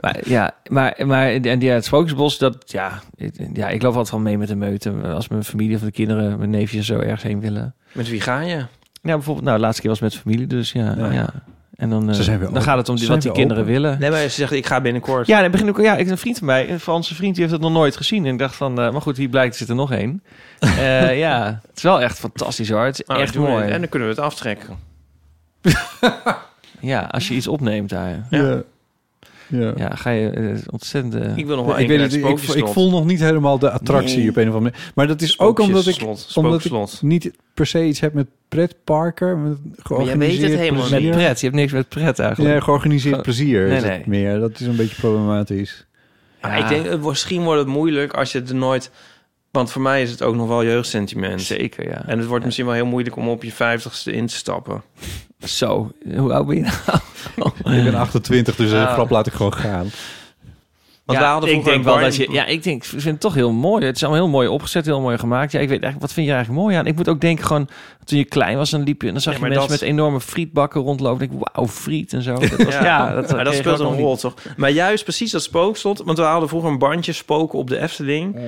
Maar ja, maar, maar en die uit het Sprookjesbos, dat ja, ik- ja, ik loop altijd wel mee met de meute. Als mijn familie of de kinderen, mijn neefjes zo ergens heen willen.
Met wie ga je?
Ja, bijvoorbeeld, nou, de laatste keer was met familie, dus ja. ja.
Ja.
En dan, eh,
Ze zijn weer
dan
open.
gaat het om
Ze
die,
zijn
wat die
weer
kinderen
open.
willen.
Nee, maar ze zegt ik ga binnenkort.
Ja, dan begin ik, ja, ik een vriend van mij, een Franse vriend, die heeft dat nog nooit gezien. En ik dacht van, eh, maar goed, hier blijkt er zit er nog
[laughs]
één. Eh, ja, het is wel echt fantastisch hoor. Het is
Nou,
echt
doen we
mooi.
het. En dan kunnen we het aftrekken.
Ja, als je iets opneemt daar.
ja. Ja.
Ja, ga je eh, ontzettend... eh,
Ik wil nog wel
ik,
één
weet
keer
het, ik,
het
ik, ik voel nog niet helemaal de attractie
Nee.
op een of andere manier. Maar dat is ook omdat ik, omdat ik
Spookslot.
niet per se iets heb met pretparker. Met
weet het
georganiseerd
helemaal
plezier.
niet.
met pret. Je hebt niks met pret eigenlijk.
Ja, georganiseerd
Ge-
plezier
Nee,
is
nee.
het meer. Dat is een beetje problematisch.
Ja,
Ja.
ik denk, het- misschien wordt het moeilijk als je het er nooit... Want voor mij is het ook nog wel jeugdsentiment.
Zeker, ja.
En het wordt misschien wel heel moeilijk om op je vijftigste in te stappen.
Zo, hoe oud ben je nou?
Oh,
Ik ben 28, dus de
Ah.
grap laat ik gewoon gaan.
Want wij hadden
ik
vroeger
denk
een
wel dat je.
barney-
Ja, ik denk, ik vind het toch heel mooi. Het is allemaal heel mooi opgezet, heel mooi gemaakt. Ja, ik weet eigenlijk, wat vind je eigenlijk mooi aan? Ik moet ook denken, gewoon toen je klein was, dan liep je en dan zag
Ja,
je
maar
mensen
dat-
met enorme frietbakken rondlopen. En ik, wauw, friet en zo.
[laughs]
Dat was, [laughs] ja, dat, eh,
maar dat
kreeg
speelt
ik ook
een
nog
rol, toch? Maar juist precies dat spookslot. Want we hadden vroeger een bandje spoken op de Efteling.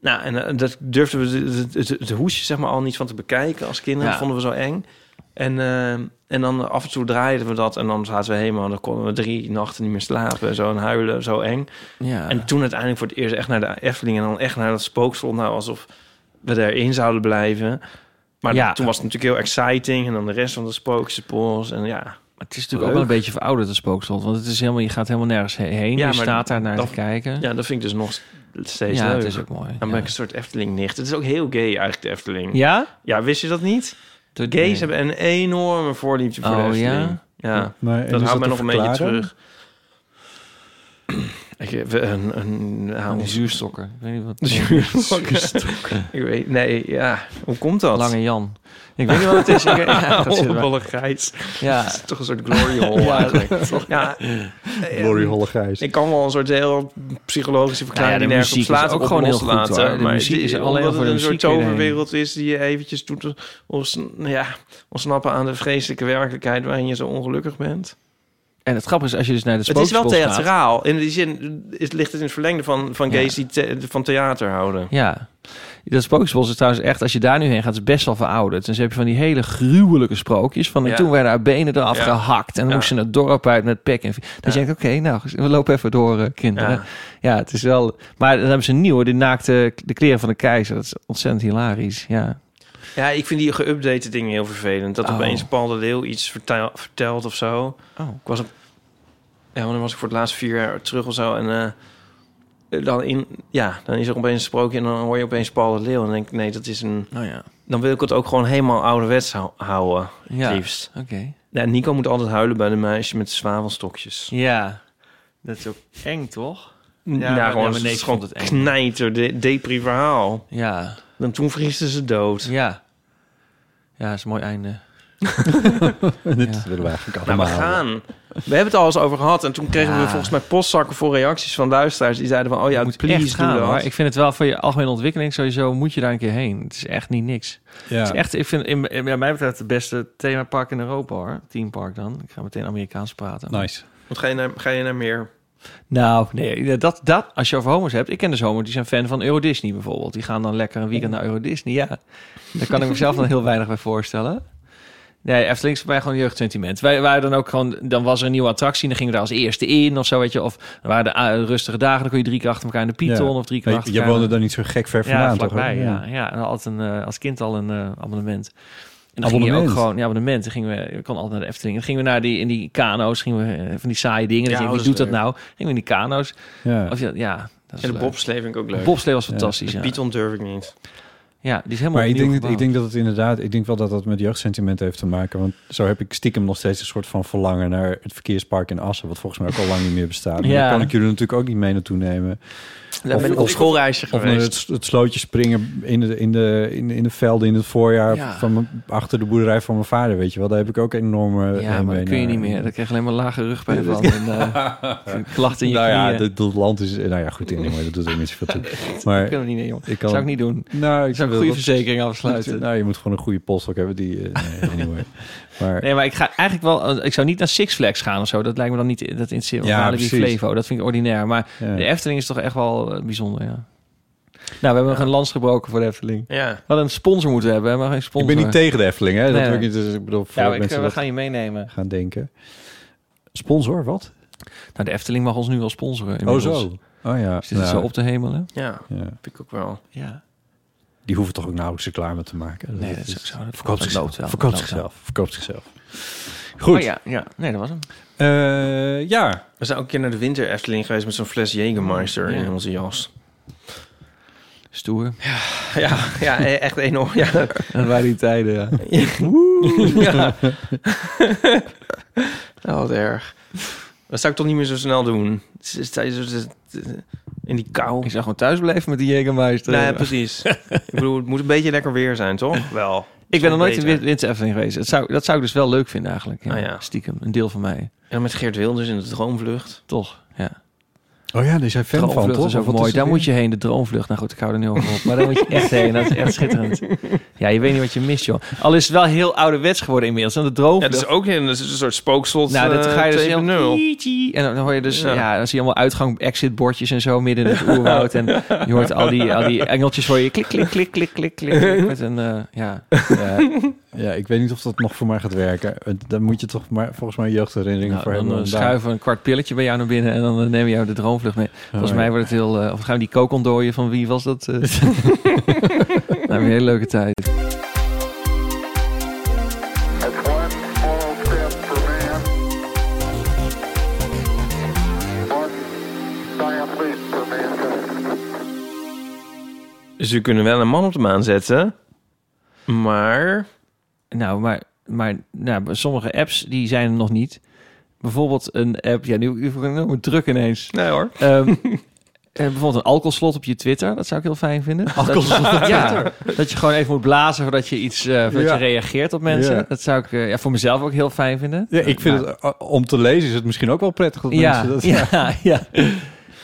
Nou, en eh, dat durfden we de- de- de- het hoesje zeg maar al niet van te bekijken als kinderen.
Ja.
Dat vonden we zo eng. En, eh, en dan af en toe draaiden we dat. En dan zaten we helemaal... Dan konden we drie nachten niet meer slapen. en Zo en huilen, zo eng.
niet. Ja.
En toen uiteindelijk voor het eerst echt naar de Efteling... en dan echt naar dat spookslot. Nou, alsof we daarin zouden blijven. Maar
Ja.
toen was het natuurlijk heel exciting. En dan de rest van de spooksepols. En ja...
Maar het is natuurlijk ook wel een beetje verouderd, de spookslot. Want het is helemaal, je gaat helemaal nergens he- heen.
Ja,
je
maar
staat daar naar
dat-
te kijken. Ja,
Ja, dat vind ik dus nog steeds leuk.
het is ook mooi.
Dan ben ik een soort Efteling-nicht. Het is ook heel gay eigenlijk, de Efteling. Ja,
ja?
wist je dat niet?
De
Gays hebben een enorme voorliefde voor de
Oh, ja?
Efteling. Ja,
Maar, en
dat
is
houdt mij
te
nog een beetje
verklaren?
terug. [clears throat] Ik heb een... een, nou, [laughs]
die Oh, zuurstokken. Ik weet niet wat.
een zuurstok.
[laughs]
Ik weet, nee, ja. Hoe komt dat?
Lange Jan. Ik weet niet wat het is. Ik, [laughs] ja, dat zit er wel.
[laughs] Onballigheid.
ja,
Dat is toch een soort glory hole eigenlijk. Ja,
Glory Holle Gijs.
Ik kan wel een soort heel psychologische verklaring
Nou ja, de
die nergens
muziek
op
is
slaat
ook
op
gewoon
los
heel
te
goed,
laten.
hoor. De
maar
muziek
die-
is alleen
omdat
voor
het
de
een soort
muziek hierheen.
toverwereld is die je eventjes doet ons, ja, ontsnappen aan de vreselijke werkelijkheid waarin je zo ongelukkig bent.
en het grappige is, als je dus naar de
Het is wel
spookslot gaat...
theatraal. In die zin is, ligt het in het verlengde van, van
Ja.
gays die the- van theater houden.
Ja. Dat Spookslot is trouwens echt, als je daar nu heen gaat, is best wel verouderd. Dus heb je van die hele gruwelijke sprookjes. Van en
Ja.
toen werden haar benen eraf
Ja.
gehakt. En dan
Ja.
moesten ze het dorp uit met pek en... vi- Dan
Ja.
denk je, oké, nou, we lopen even door, eh, kinderen. Ja.
Ja.
het is wel... Maar dan hebben ze een nieuwe, die naakte de kleren van de keizer. Dat is ontzettend hilarisch, ja.
Ja, ik vind die geüpdate dingen heel vervelend. Dat
Oh.
opeens Paul de Leeuw iets vertel- vertelt of zo.
Oh.
Ik was op... Ja, want dan was ik voor het laatst vier jaar terug of zo. En eh, dan, in, ja, dan is er opeens een sprookje en dan hoor je opeens Paul de Leeuw. En dan denk ik, nee, dat is een...
Nou ja.
Dan wil ik het ook gewoon helemaal ouderwets hou- houden, het
Ja, oké.
liefst. Ja, Nico moet altijd huilen bij de meisje met de zwavelstokjes.
Ja, dat is ook eng, toch?
Ja, nou,
maar- ja,
gewoon,
maar
het
nee,
is
ik
gewoon
vond het eng.
knijter, de, depri verhaal.
Ja,
Dan toen vriezen ze dood.
ja. Ja, dat is een mooi einde.
Dat willen we
Nou, we
eigenlijk allemaal.
gaan. We hebben het al eens over gehad. En toen kregen
Ja.
we volgens mij postzakken voor reacties van luisteraars. Die zeiden van, oh ja,
moet
please
echt gaan,
doe dat.
hoor. Ik vind het wel voor je algemene ontwikkeling sowieso moet je daar een keer heen. Het is echt niet niks.
Ja.
Het is echt, ik vind in, in- ja, mij betreft het beste themapark in Europa hoor. Teampark dan. Ik ga meteen Amerikaans praten.
Nice.
Want ga je naar, ga je naar meer?
Nou, nee, dat, dat, als je over homo's hebt. Ik ken dus homo's die zijn fan van Euro Disney bijvoorbeeld. Die gaan dan lekker een weekend naar Euro Disney. Ja, daar kan ik mezelf dan heel weinig bij voorstellen. Nee, Efteling is voor mij gewoon jeugdsentiment. Wij waren dan ook gewoon, dan was er een nieuwe attractie en dan gingen we daar als eerste in of zo, weet je. Of er waren de eh, rustige dagen, dan kon je drie keer achter elkaar in de Python
Ja.
of drie keer
Maar
achter
je
elkaar.
woonde daar niet zo gek ver
Ja,
vandaan, toch?
vlakbij. Ja, ja. En altijd een, eh, als kind al een eh, abonnement. En dan gingen we
Abonnement?
ook gewoon, ja, abonnement. Dan gingen we, ik kon altijd naar de Efteling. Dan gingen we naar die, in die kano's, gingen we eh, van die saaie dingen. Dan
Ja,
denk
oh,
je, wie
dat
doet
is
dat
leuk.
nou? Gingen we in die kano's.
Ja.
Of ja, ja dat is
En de
leuk.
bobslee vind ik ook leuk.
Bobslee was fantastisch,
De
ja.
Python durf ik niet.
Ja, die is helemaal
Maar ik
opnieuw
denk, dat, ik
gebouwd.
denk dat het inderdaad, ik denk wel dat dat met jeugdsentiment heeft te maken. Want zo heb ik stiekem nog steeds een soort van verlangen naar het verkeerspark in Assen. Wat volgens mij ook al lang niet meer bestaat. Maar
Ja.
Daar kan ik jullie natuurlijk ook niet mee naartoe nemen.
Daar ben ik op schoolreisje
Of naar het,
geweest.
het slootje springen in de, in, de, in, de, in de velden in het voorjaar.
Ja.
Van mijn- achter de boerderij van mijn vader, weet je wel. Daar heb ik ook enorme... eh,
Ja, maar
mee
dat kun je
naar-
niet meer. Dan krijg je alleen maar lage
[laughs]
rugpijn van. En, eh, [laughs] klachten in je
nou ja,
knieën.
dat, dat land is... Nou ja, goed, anyway, dat doet er niet zoveel toe.
[laughs] Dat
Maar
kunnen we niet, nee, jongen.
ik kan...
zou ik niet doen.
Nou,
Ik zou een
wil
goede
dat- [laughs]
verzekering afsluiten.
Nou, je moet gewoon een goede postzak hebben die... eh,
[laughs]
nee, anyway. Maar,
Nee, maar ik ga eigenlijk wel. eh, Ik zou niet naar Six Flags gaan of zo. Dat lijkt me dan niet. Dat in
Ja,
ja,
precies.
Flevo. Dat vind ik ordinair. Maar
Ja.
de Efteling is toch echt wel eh, bijzonder. Ja. Nou, we hebben nog een lans gebroken voor de Efteling.
Ja.
We hadden een sponsor moeten hebben, maar geen
Ik
sponsor.
ben niet tegen de Efteling, hè? Dat
Nee,
wil ik
nee.
niet. Dus ik bedoel, voor
Ja, maar ik, eh,
mensen
we
dat
gaan je meenemen.
gaan denken. Sponsor, wat?
Nou, de Efteling mag ons nu wel sponsoren.
Oh,
Inmiddels.
zo. Oh ja.
Zit het
Nou,
zo op de hemelen?
ja,
ja.
vind ik ook wel.
Ja.
Die hoeven toch ook nauwelijks reclame te maken.
Nee, dat is ook zo. Dat
Verkoopt
loopt
zichzelf.
wel.
Verkoopt
Dat loopt wel.
zichzelf. Verkoopt zichzelf. Goed.
Oh ja, ja, nee, dat was hem.
Eh, ja,
[laughs]
We zijn ook een keer naar de winter Efteling geweest met zo'n fles Jägermeister
Ja.
in onze jas.
Stoer.
Ja, ja e- echt enorm. Ja.
Dat waren die tijden, ja.
[laughs] ja. nou, wat erg. Dat zou ik toch niet meer zo snel doen. Het is- het is- het is- In die kou.
Ik zou gewoon thuis blijven met die Jägermeister.
Nee, [laughs] precies. ik bedoel, het moet een beetje lekker weer zijn, toch? [laughs] Wel.
ik ben nog nooit in
Beter.
Win- Winter Efteling geweest. Dat zou, dat zou ik dus wel leuk vinden eigenlijk. Ja.
Ah, ja.
Stiekem, een deel van mij.
En met Geert Wilders in de droomvlucht.
Toch, ja.
Oh ja, daar zijn fan van,
Droomvlucht
toch?
is ook
Of wat
mooi.
het
Daar
weer?
moet je heen, de droomvlucht. Nou goed, ik hou er nu al van op. Maar daar moet je
[laughs]
echt heen. Dat is echt schitterend. Ja, je weet niet wat je mist, joh. Al is het wel heel ouderwets geworden inmiddels. En de
Ja,
droomvlucht...
dat is ook een, dat is een soort spookslot.
nou, dat
eh,
ga je dus
2.0.
heel... En dan hoor je dus... Ja,
Ja.
dan zie je allemaal uitgang, exit bordjes en zo midden in het oerwoud. En je hoort al die, al die engeltjes hoor je klik, klik, klik, klik, klik, klik. Met een, eh, ja... [laughs]
[laughs] Ja, ja, ik weet niet of dat nog voor mij gaat werken. Eh, Daar moet je toch maar, volgens mij jeugdherinneringen
Nou,
voor
dan
hebben.
eh,
om daar-
schuiven we een kwart pilletje bij jou naar binnen en dan eh, nemen we jou de droomvlucht mee. Volgens mij wordt het heel... eh, of gaan we die kook ontdooien van wie was dat? eh? [laughs] nou, een hele leuke tijd.
Ze kunnen wel een man op de maan zetten. Maar...
Nou, maar, maar nou, maar sommige apps die zijn er nog niet. Bijvoorbeeld een app... Ja, nu nu word ik enorm druk ineens.
Nee hoor. [laughs]
Ehm, eh, bijvoorbeeld een alcoholslot op je Twitter. Dat zou ik heel fijn vinden. Alcoholslot op ja, Dat je gewoon even moet blazen voordat je iets... eh, voordat
Ja.
je reageert op mensen.
Ja.
Dat zou ik eh, ja, voor mezelf ook heel fijn vinden.
Ja, ik vind het, eh, om te lezen is het misschien ook wel prettig dat
Ja,
mensen dat...
ja, ja.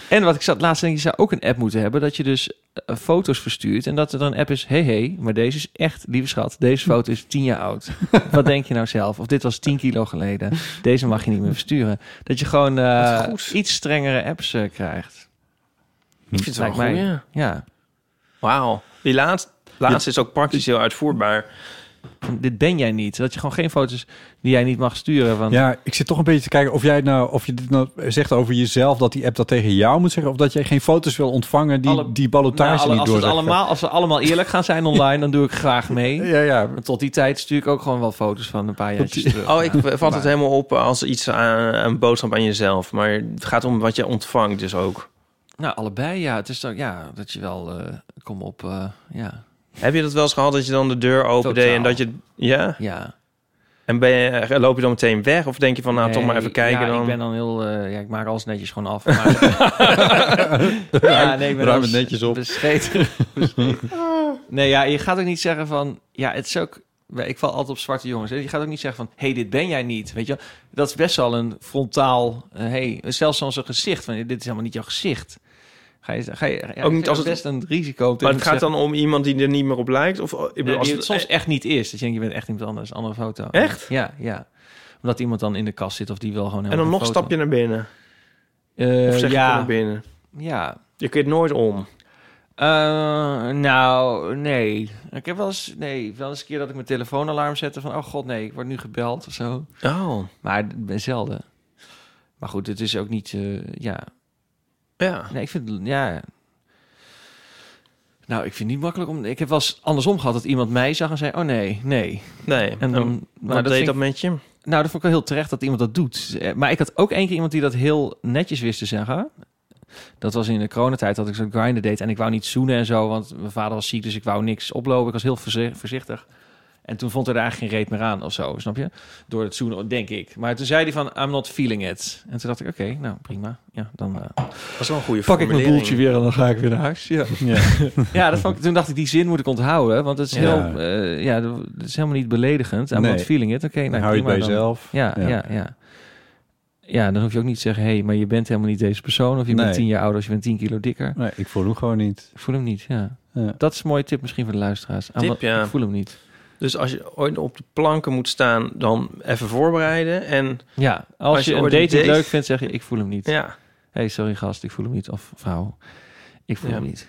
En wat ik zat laatst denk, je zou ook een app moeten hebben dat je dus eh, foto's verstuurt en dat er dan een app is, hey, hey, maar deze is echt, lieve schat, deze foto is tien jaar
[laughs]
oud. Wat denk je nou zelf? Of dit was tien kilo geleden. Deze mag je niet meer versturen. Dat je gewoon eh, iets strengere apps eh, krijgt.
Ik vind het wel
Lijkt mij.
goed, ja.
Ja.
Wauw. Die laatste, laatste is ook praktisch heel uitvoerbaar.
Dit ben jij niet. Dat je gewoon geen foto's die jij niet mag sturen. Van,
[laughs] Ja, ik zit toch een beetje te kijken of jij het nou, of je dit nou zegt over jezelf dat die app dat tegen jou moet zeggen, of dat jij geen foto's wil ontvangen die
Alle-
die
Nou,
ballotage
alle-
niet
als, het
door.
allemaal, als we allemaal eerlijk gaan zijn online, dan doe ik graag
[laughs]
mee.
Ja, ja.
Maar tot die tijd stuur ik ook gewoon wel foto's van een paar jaartjes terug.
Oh, ik
Ja.
vat het helemaal op als iets aan een boodschap aan jezelf. Maar het gaat om wat je ontvangt dus ook.
Nou, allebei, ja. Het is dan, ja, dat je wel, eh, kom op, eh, ja.
Heb je dat wel eens gehad dat je dan de deur opende
Totaal.
en dat je... Ja?
ja.
En ben je, eh, loop je dan meteen weg? Of denk je van, nou, toch maar even
Nee,
kijken
ja,
dan?
ik ben dan heel, eh, ja, ik maak alles netjes gewoon
[laughs]
af. Maar, ja, nee, ik ben
ruim
als
het netjes op.
Bescheten, [laughs] bescheten. Nee, ja, je gaat ook niet zeggen van, ja, het is ook, ik val altijd op zwarte jongens. hè. Je gaat ook niet zeggen van, hey, dit ben jij niet, weet je wel. Dat is best wel een frontaal, eh, hey, zelfs zo'n zo'n gezicht van, dit is helemaal niet jouw gezicht. Ga je, ga je, ja, ik vind
niet
dat
als het-
best een risico. om tegen
maar het
te
gaat
zeggen-
dan om iemand die er niet meer op lijkt? Of, ik bedoel,
Nee,
als
die het soms echt niet is. Dat je denkt, je bent echt iemand anders, andere foto.
Echt?
Ja, ja. Omdat iemand dan in de kast zit of die wil gewoon
en
helemaal
dan nog
geen foto.
stap je naar binnen.
Eh,
Of zeg je
ja,
kom naar binnen.
Ja.
Je keert nooit om.
Eh, nou, nee. Ik heb wel eens, nee, wel eens een keer dat ik mijn telefoonalarm zette van... oh god, nee, ik word nu gebeld of zo.
Oh,
Maar ik ben zelden. Maar goed, het is ook niet, eh, ja...
ja.
Nee, ik vind, ja... Nou, ik vind het niet makkelijk om... Ik heb wel eens andersom gehad dat iemand mij zag en zei... oh nee, nee.
Nee.
En dan, maar
wat
vind
deed
ik-
Oh, dat met je?
Nou, dat vond ik wel heel terecht dat iemand dat doet. Eh, Maar ik had ook één keer iemand die dat heel netjes wist te zeggen. Dat was in de coronatijd dat ik zo'n grinder deed. En ik wou niet zoenen en zo, want mijn vader was ziek, dus ik wou niks oplopen. Ik was heel verzi- voorzichtig. En toen vond hij er eigenlijk geen reet meer aan of zo, snap je? Door het zoenen, denk ik. Maar toen zei hij van, I'm not feeling it. En toen dacht ik, oké, nou prima. Ja, dan eh,
[laughs]
Dat is wel een goede
pak ik mijn
formulering.
boeltje weer en dan ga ik weer naar huis.
[laughs]
Ja, ja dat vond ik, toen dacht ik, die zin moet ik onthouden. Want het is,
Ja.
heel, eh, ja, dat is helemaal niet beledigend. I'm not
Nee.
feeling it. Oké, nou
Dan hou je het
prima
bij
dan.
jezelf.
Ja, ja, ja. ja. dan hoef je ook niet te zeggen... hé, hey, maar je bent helemaal niet deze persoon... of je bent
Nee.
tien jaar ouder of je bent tien kilo dikker.
Nee, ik voel hem gewoon niet.
Ik voel hem niet, ja.
Ja.
Dat is een mooie tip misschien voor de luisteraars. Ah,
Tip,
maar
ja.
Ik voel hem niet.
Dus als je ooit op de planken moet staan, dan even voorbereiden. En
Ja, als,
Als
je,
je
een
ooit
date
een
niet
date-
leuk vindt, zeg je... ik voel hem niet. Hé,
ja,
hey, sorry gast, ik voel hem niet. Of vrouw, ik voel
Ja.
hem niet.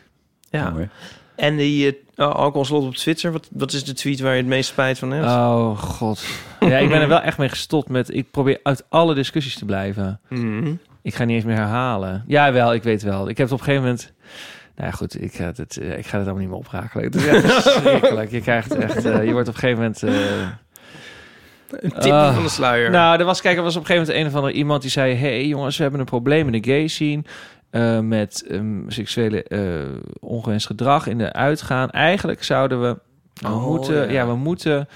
ja.
Mooi.
En die eh, alcoholslot op Twitter, wat, wat is de tweet waar je het meest spijt van hebt?
Oh, god. Ja, ik ben er wel echt mee gestopt met... ik probeer uit alle discussies te blijven.
Mhm.
Ik ga niet eens meer herhalen. Ja, wel, ik weet wel. Ik heb het op een gegeven moment... Nou ja, goed, ik ga het, eh, ik ga het allemaal niet meer
[laughs]
oprakelen. Het is echt verschrikkelijk. Je krijgt echt... eh, je wordt op een gegeven moment... eh,
Een tipje
Ah.
van de sluier.
Nou, er was, kijk, er was op een gegeven moment een of andere iemand die zei... hey, jongens, we hebben een probleem in de gay scene... eh, met ehm, seksuele eh, ongewenst gedrag in de uitgaan. Eigenlijk zouden we, we
Oh,
moeten, ja.
ja.
we moeten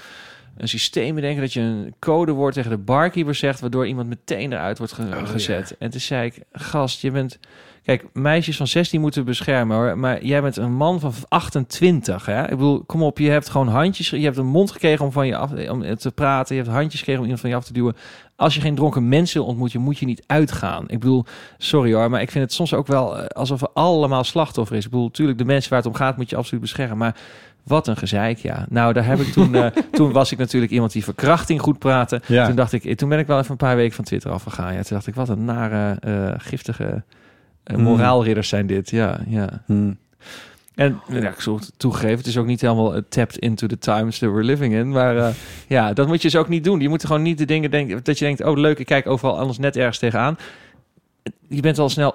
een systeem bedenken... dat je een codewoord tegen de barkeeper zegt... waardoor iemand meteen eruit wordt ge- gezet. En toen zei ik, gast, je bent... Kijk, meisjes van 16 moeten beschermen hoor. Maar jij bent een man van 28. Hè? Ik bedoel, kom op, je hebt gewoon handjes. Je hebt een mond gekregen om van je af om te praten. Je hebt handjes gekregen om iemand van je af te duwen. Als je geen dronken mensen ontmoet, je moet je niet uitgaan. Ik bedoel, sorry hoor, maar ik vind het soms ook wel eh, alsof er allemaal slachtoffer is. Ik bedoel, natuurlijk, de mensen waar het om gaat, moet je absoluut beschermen. Maar wat een gezeik, ja. Nou, daar heb ik toen. eh, toen was ik natuurlijk iemand die verkrachting goed praatte.
Ja.
Toen dacht ik, eh, toen ben ik wel even een paar weken van Twitter afgegaan. Ja, toen dacht ik, wat een nare, eh, giftige. Eh,
Mm.
Moraalridders zijn dit, ja. ja.
Hmm.
En nou ja, ik zal het toegeven, het is ook niet helemaal eh, tapped into the times that we're living in. Maar eh, ja, dat moet je dus ook niet doen. Je moet gewoon niet de dingen denken dat je denkt, oh leuk, ik kijk overal anders net ergens tegenaan. Je bent al snel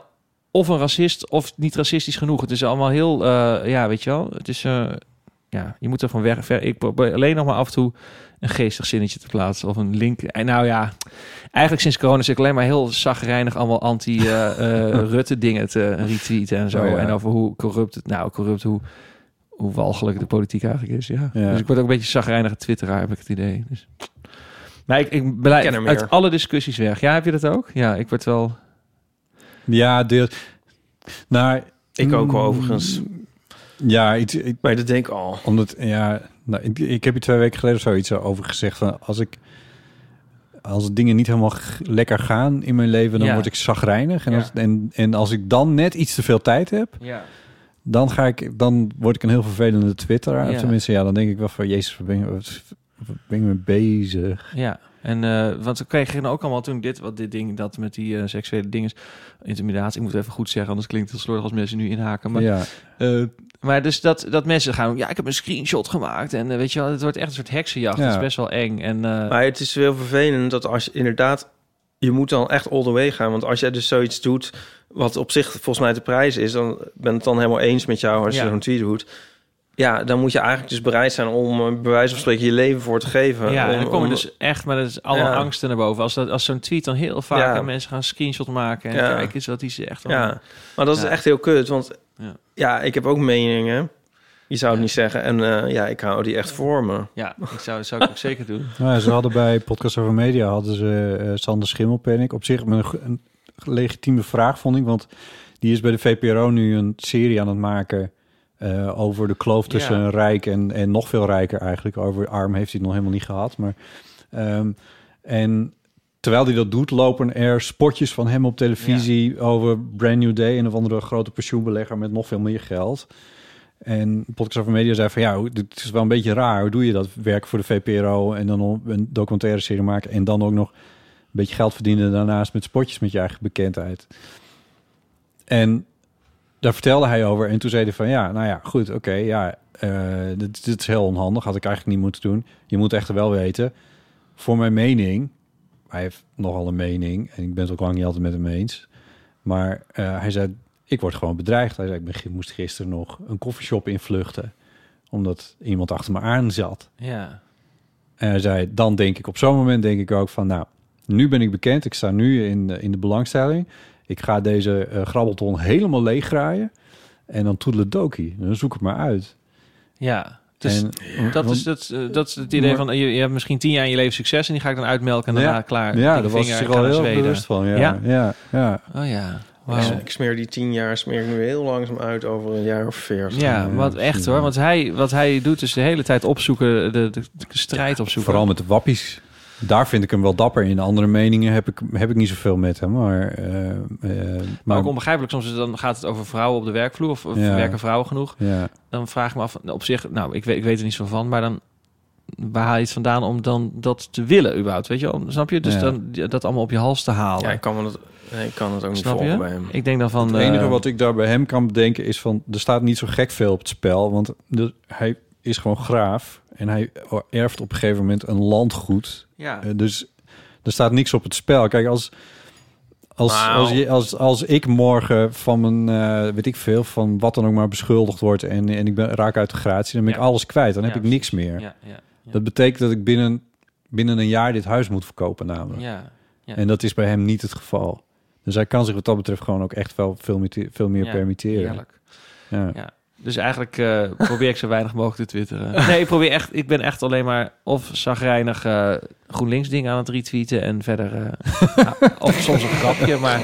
of een racist of niet racistisch genoeg. Het is allemaal heel, eh, ja, weet je wel. Het is, eh, ja, je moet er van weg. Ver, ik probeer alleen nog maar af en toe een geestig zinnetje te plaatsen of een link. En nou ja, eigenlijk sinds corona zit ik alleen maar heel zagrijnig allemaal eh,
[laughs]
anti-Rutte-dingen te retweeten en zo.
Oh ja.
En over hoe corrupt het, nou corrupt, hoe, hoe walgelijk de politiek eigenlijk is. Ja.
Ja.
Dus ik word ook een beetje zagrijnige twitteraar, heb ik het idee. Dus. Maar ik, ik blijf
ken er meer.
uit alle discussies weg. Ja, heb je dat ook? Ja, ik word wel...
Ja, deels. Nou,
Ik ook
mm.
wel overigens.
ja, iets, ik-
Maar dat denk ik al.
Omdat, ja, nou, ik, ik heb hier twee weken geleden of zoiets over gezegd. Van als ik als dingen niet helemaal g- lekker gaan in mijn leven, dan
Ja.
word ik zagrijnig. En,
Ja.
als, en, en als ik dan net iets te veel tijd heb,
Ja.
dan ga ik, dan word ik een heel vervelende twitteraar.
Ja.
Tenminste, ja, dan denk ik wel van Jezus, wat ben je, wat, wat ben je mee bezig?
Ja, en eh want we kregen ook allemaal toen dit, wat dit ding, dat met die eh, seksuele dingen, intimidatie, ik moet het even goed zeggen, anders klinkt het heel slordig als mensen nu inhaken. Maar,
ja.
eh, maar dus dat, dat mensen gaan, ja, ik heb een screenshot gemaakt en eh, weet je wel, het wordt echt een soort heksenjacht,
Ja.
dat is best wel eng. En, eh,
Maar het is heel vervelend dat als je inderdaad... Je moet dan echt all the way gaan. Want als jij dus zoiets doet wat op zich volgens mij de prijs is... dan ben ik het dan helemaal eens met jou als
Ja.
je zo'n tweet doet. Ja, dan moet je eigenlijk dus bereid zijn om eh, bij wijze van spreken je leven voor te geven.
ja,
om,
en dan komen
om-
dus echt, maar dat is alle
Ja.
angsten naar boven. Als, dat, als zo'n tweet dan heel vaak
Ja.
aan mensen gaan een screenshot maken en
Ja.
kijk eens wat die zegt. Dan-
Ja, maar dat is
Ja.
echt heel kut. Want
Ja.
ja, ik heb ook meningen. Je zou het
Ja.
niet zeggen. En eh, ja, ik hou die echt voor me.
ja ik zou, zou ik ook [laughs] zeker doen.
Nou, ja, ze hadden bij Podcast Over Media hadden ze eh, Sander Schimmelpenninck. Op zich met een, ge- een legitieme vraag, vond ik. Want die is bij de VPRO nu een serie aan het maken... eh, over de kloof tussen
Ja.
rijk en, en nog veel rijker eigenlijk. Over arm heeft hij het nog helemaal niet gehad. Maar, ehm, en terwijl hij dat doet, lopen er spotjes van hem op televisie... over Brand New Day en of andere grote pensioenbelegger... met nog veel meer geld. En Podcast Over Media zei van... ja, hoe- dit is wel een beetje raar. Hoe doe je dat? Werken voor de VPRO en dan een documentaire serie maken... en dan ook nog een beetje geld verdienen daarnaast... met spotjes met je eigen bekendheid. En daar vertelde hij over. En toen zei hij van, ja, nou ja, goed, oké, ja... eh, dit, dit is heel onhandig, had ik eigenlijk niet moeten doen. Je moet echter wel weten, voor mijn mening... Hij heeft nogal een mening en ik ben het ook lang niet altijd met hem eens. Maar eh, hij zei, ik word gewoon bedreigd. Hij zei, ik ben, gi- moest gisteren nog een koffieshop invluchten... omdat iemand achter me aan zat.
Ja,
En hij zei, dan denk ik op zo'n moment denk ik ook van, nou, nu ben ik bekend. Ik sta nu in de, in de belangstelling. Ik ga deze eh, grabbelton helemaal leeggraaien. En dan toedeledokie. Dan zoek het maar uit.
ja. Dus,
en,
Dat,
want-
is, dat, eh, dat is het idee
Maar-
van, eh, je, je hebt misschien tien jaar in je leven succes... en die ga ik dan uitmelken en daarna
Ja.
klaar. dikke
ja, daar was hij
vinger,
zich
ik ga
al
naar
heel
Zweden.
bewust van. Ja,
Ja?
ja? ja,
Oh ja,
Ik
wauw.
s- Ik smeer die tien jaar, smeer ik nu heel langzaam uit over een jaar of veertig.
Ja, wat echt hoor. Want hij, wat hij doet is de hele tijd opzoeken, de, de, de strijd opzoeken.
Vooral met de wappies. Daar vind ik hem wel dapper in. Andere meningen heb ik, heb ik niet zoveel met hem. Maar, eh, eh,
maar
maar-
ook onbegrijpelijk. Soms is het dan gaat het over vrouwen op de werkvloer of, of
Ja.
werken vrouwen genoeg.
ja.
Dan vraag ik me af, op zich, nou, ik weet, ik weet er niet zo van, maar dan waar haal je het vandaan om dan dat te willen überhaupt, weet je wel? Snap je? Dus
Ja.
dan dat allemaal op je hals te halen.
Ja, ik kan, me dat, nee, ik kan het ook niet
Snap
volgen
je?
bij hem.
Ik denk dan van...
Het enige
eh,
wat ik daar bij hem kan bedenken is van... er staat niet zo gek veel op het spel. Want de- hij is gewoon graaf. En hij erft op een gegeven moment een landgoed.
ja.
Eh, Dus er staat niks op het spel. Kijk, als, als,
Nou.
als, je, als, als ik morgen van mijn... eh, weet ik veel, van wat dan ook maar beschuldigd word... en, en ik ben, raak uit de gratie, dan ben ik
Ja.
alles kwijt. Dan heb
Ja,
ik niks meer.
Ja, ja.
Dat betekent dat ik binnen binnen een jaar dit huis moet verkopen namelijk.
Ja, ja.
En dat is bij hem niet het geval. Dus hij kan zich wat dat betreft gewoon ook echt wel veel, meer- veel meer
Ja,
permitteren.
heerlijk.
Ja.
Ja. Dus eigenlijk eh, probeer ik zo weinig mogelijk te twitteren. [laughs] Nee, ik, probeer echt, ik ben echt alleen maar of zagrijnig eh GroenLinks dingen aan het retweeten en verder... eh, ja, of soms een grapje, maar...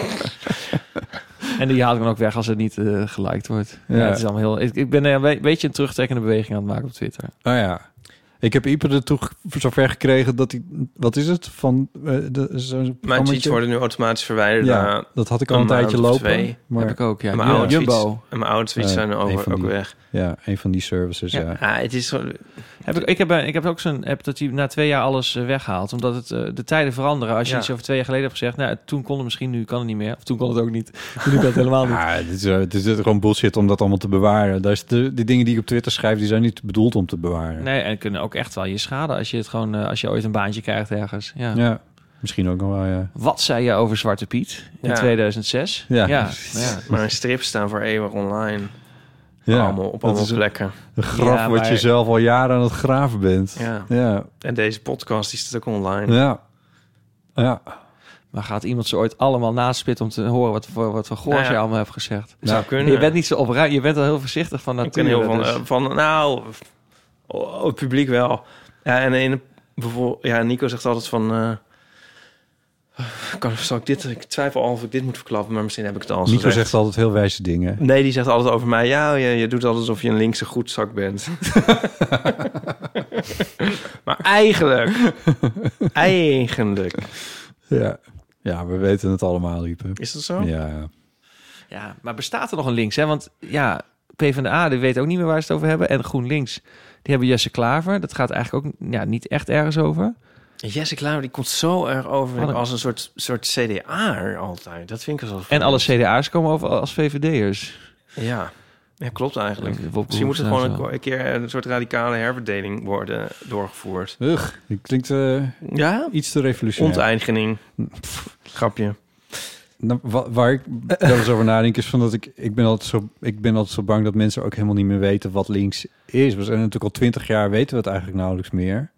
En die haal ik dan ook weg als het niet eh geliked wordt. Ja.
Ja.
het is allemaal heel... Ik, ik ben eh, een be- beetje een terugtrekkende beweging aan het maken op Twitter.
Ah,
Oh ja. Ik heb Ieper ertoe ge- zover gekregen dat hij... Wat is het? Van, eh, de, zo'n
Mijn
programmaatje?
tweets worden nu automatisch verwijderd.
Ja,
na
dat had ik al een
eh, maand
tijdje
of
lopen.
twee.
Maar,
Heb ik ook, ja.
En mijn oude
Jumbo.
tweets, en mijn oude tweets
Eh,
zijn er
een
over,
van
ook
die.
weg.
Ja, een van die services, ja.
Ja, het is zo-
Heb ik, ik, heb, eh, ik heb ook zo'n app dat hij na twee jaar alles eh, weghaalt. Omdat het, eh, de tijden veranderen. Als je
Ja.
iets over twee jaar geleden hebt gezegd... Nou, toen kon het misschien, nu kan het niet meer. Of toen kon het ook niet. Nu kan het helemaal niet.
Ja, dit is, eh, het is gewoon bullshit om dat allemaal te bewaren. Daar is de, die dingen die ik op Twitter schrijf, die zijn niet bedoeld om te bewaren.
Nee, en kunnen ook echt wel je schaden als je het gewoon, eh, als je ooit een baantje krijgt ergens. Ja.
Ja, misschien ook nog wel, ja.
Wat zei je over Zwarte Piet in
Ja.
2006?
Ja.
ja, ja.
Mijn strips staan voor eeuwig online.
ja
allemaal, op
dat
allemaal
is een-
plekken.
Een graf
Ja,
wat
maar-
je zelf al jaren aan het graven bent.
Ja.
Ja,
En deze podcast die staat ook online.
ja. ja.
Maar gaat iemand ze ooit allemaal naspitten om te horen wat voor wat voor goors
Nou ja.
je allemaal hebt gezegd?
Zou kunnen.
Je bent niet zo opruim, je bent al heel voorzichtig van
Ik ken heel
nature.
van,
dus-
eh, van nou, oh, het publiek wel. Ja, en in, bijvoorbeeld, ja, Nico zegt altijd van, eh, kan, zal ik dit, ik twijfel al of ik dit moet verklappen, maar misschien heb ik het al
Nico
gezegd.
zegt altijd heel wijze dingen.
Nee, die zegt altijd over mij, ja, je, je doet altijd alsof je een linkse goedzak
[laughs]
bent. maar eigenlijk, eigenlijk,
Ja, ja we weten het allemaal, Ieper.
is dat zo?
Ja,
Ja, maar bestaat er nog een links? Hè? Want ja, PvdA die weet ook niet meer waar ze het over hebben. En GroenLinks, die hebben Jesse Klaver. Dat gaat eigenlijk ook ja, niet echt ergens over.
Jesse Klaver, die komt zo erg over
Wat een-
als een soort, soort CDA altijd. Dat vind ik als
En alle CDA's komen over als VVD'ers.
Ja. ja, klopt eigenlijk.
Wopke
Misschien moet er
Hoekstra
gewoon een,
en zo.
ko- een keer een soort radicale herverdeling worden doorgevoerd.
Ugh, het klinkt eh,
Ja?
iets te revolutionair.
Onteigening. Pff, Grapje.
Nou, wa- waar ik wel eens over nadenk is van dat ik, ik, ben altijd zo, ik ben altijd zo bang dat mensen ook helemaal niet meer weten wat links is. We zijn natuurlijk al twintig jaar, weten we het eigenlijk nauwelijks meer.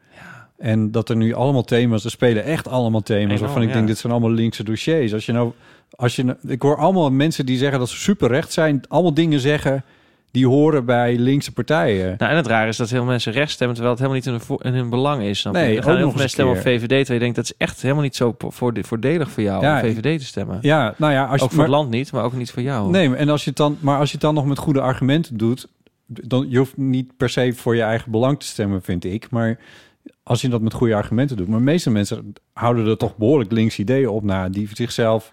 En dat er nu allemaal thema's, er spelen echt allemaal thema's
Enorm,
waarvan ik
ja.
denk, dit zijn allemaal linkse dossiers. Als je nou, als je, nou- ik hoor allemaal mensen die zeggen dat ze superrecht zijn, allemaal dingen zeggen die horen bij linkse partijen.
Nou, en het rare is dat heel veel mensen rechts stemmen... terwijl het helemaal niet in hun, vo- in hun belang is. Snap je?
Nee,
Er gaan
ook
heel veel
nog
mensen
eens
stemmen op
een
VVD... terwijl je denkt, dat is echt helemaal niet zo po- voorde- voordelig voor jou
Ja,
om VVD te stemmen.
Ja, nou ja, als
ook voor
je, maar-
het land niet, maar ook niet voor jou.
Nee, maar en als je het dan, maar als je het dan nog met goede argumenten doet, dan je hoeft niet per se voor je eigen belang te stemmen, vind ik. Maar als je dat met goede argumenten doet, maar de meeste mensen houden er toch behoorlijk links ideeën op na, die zichzelf,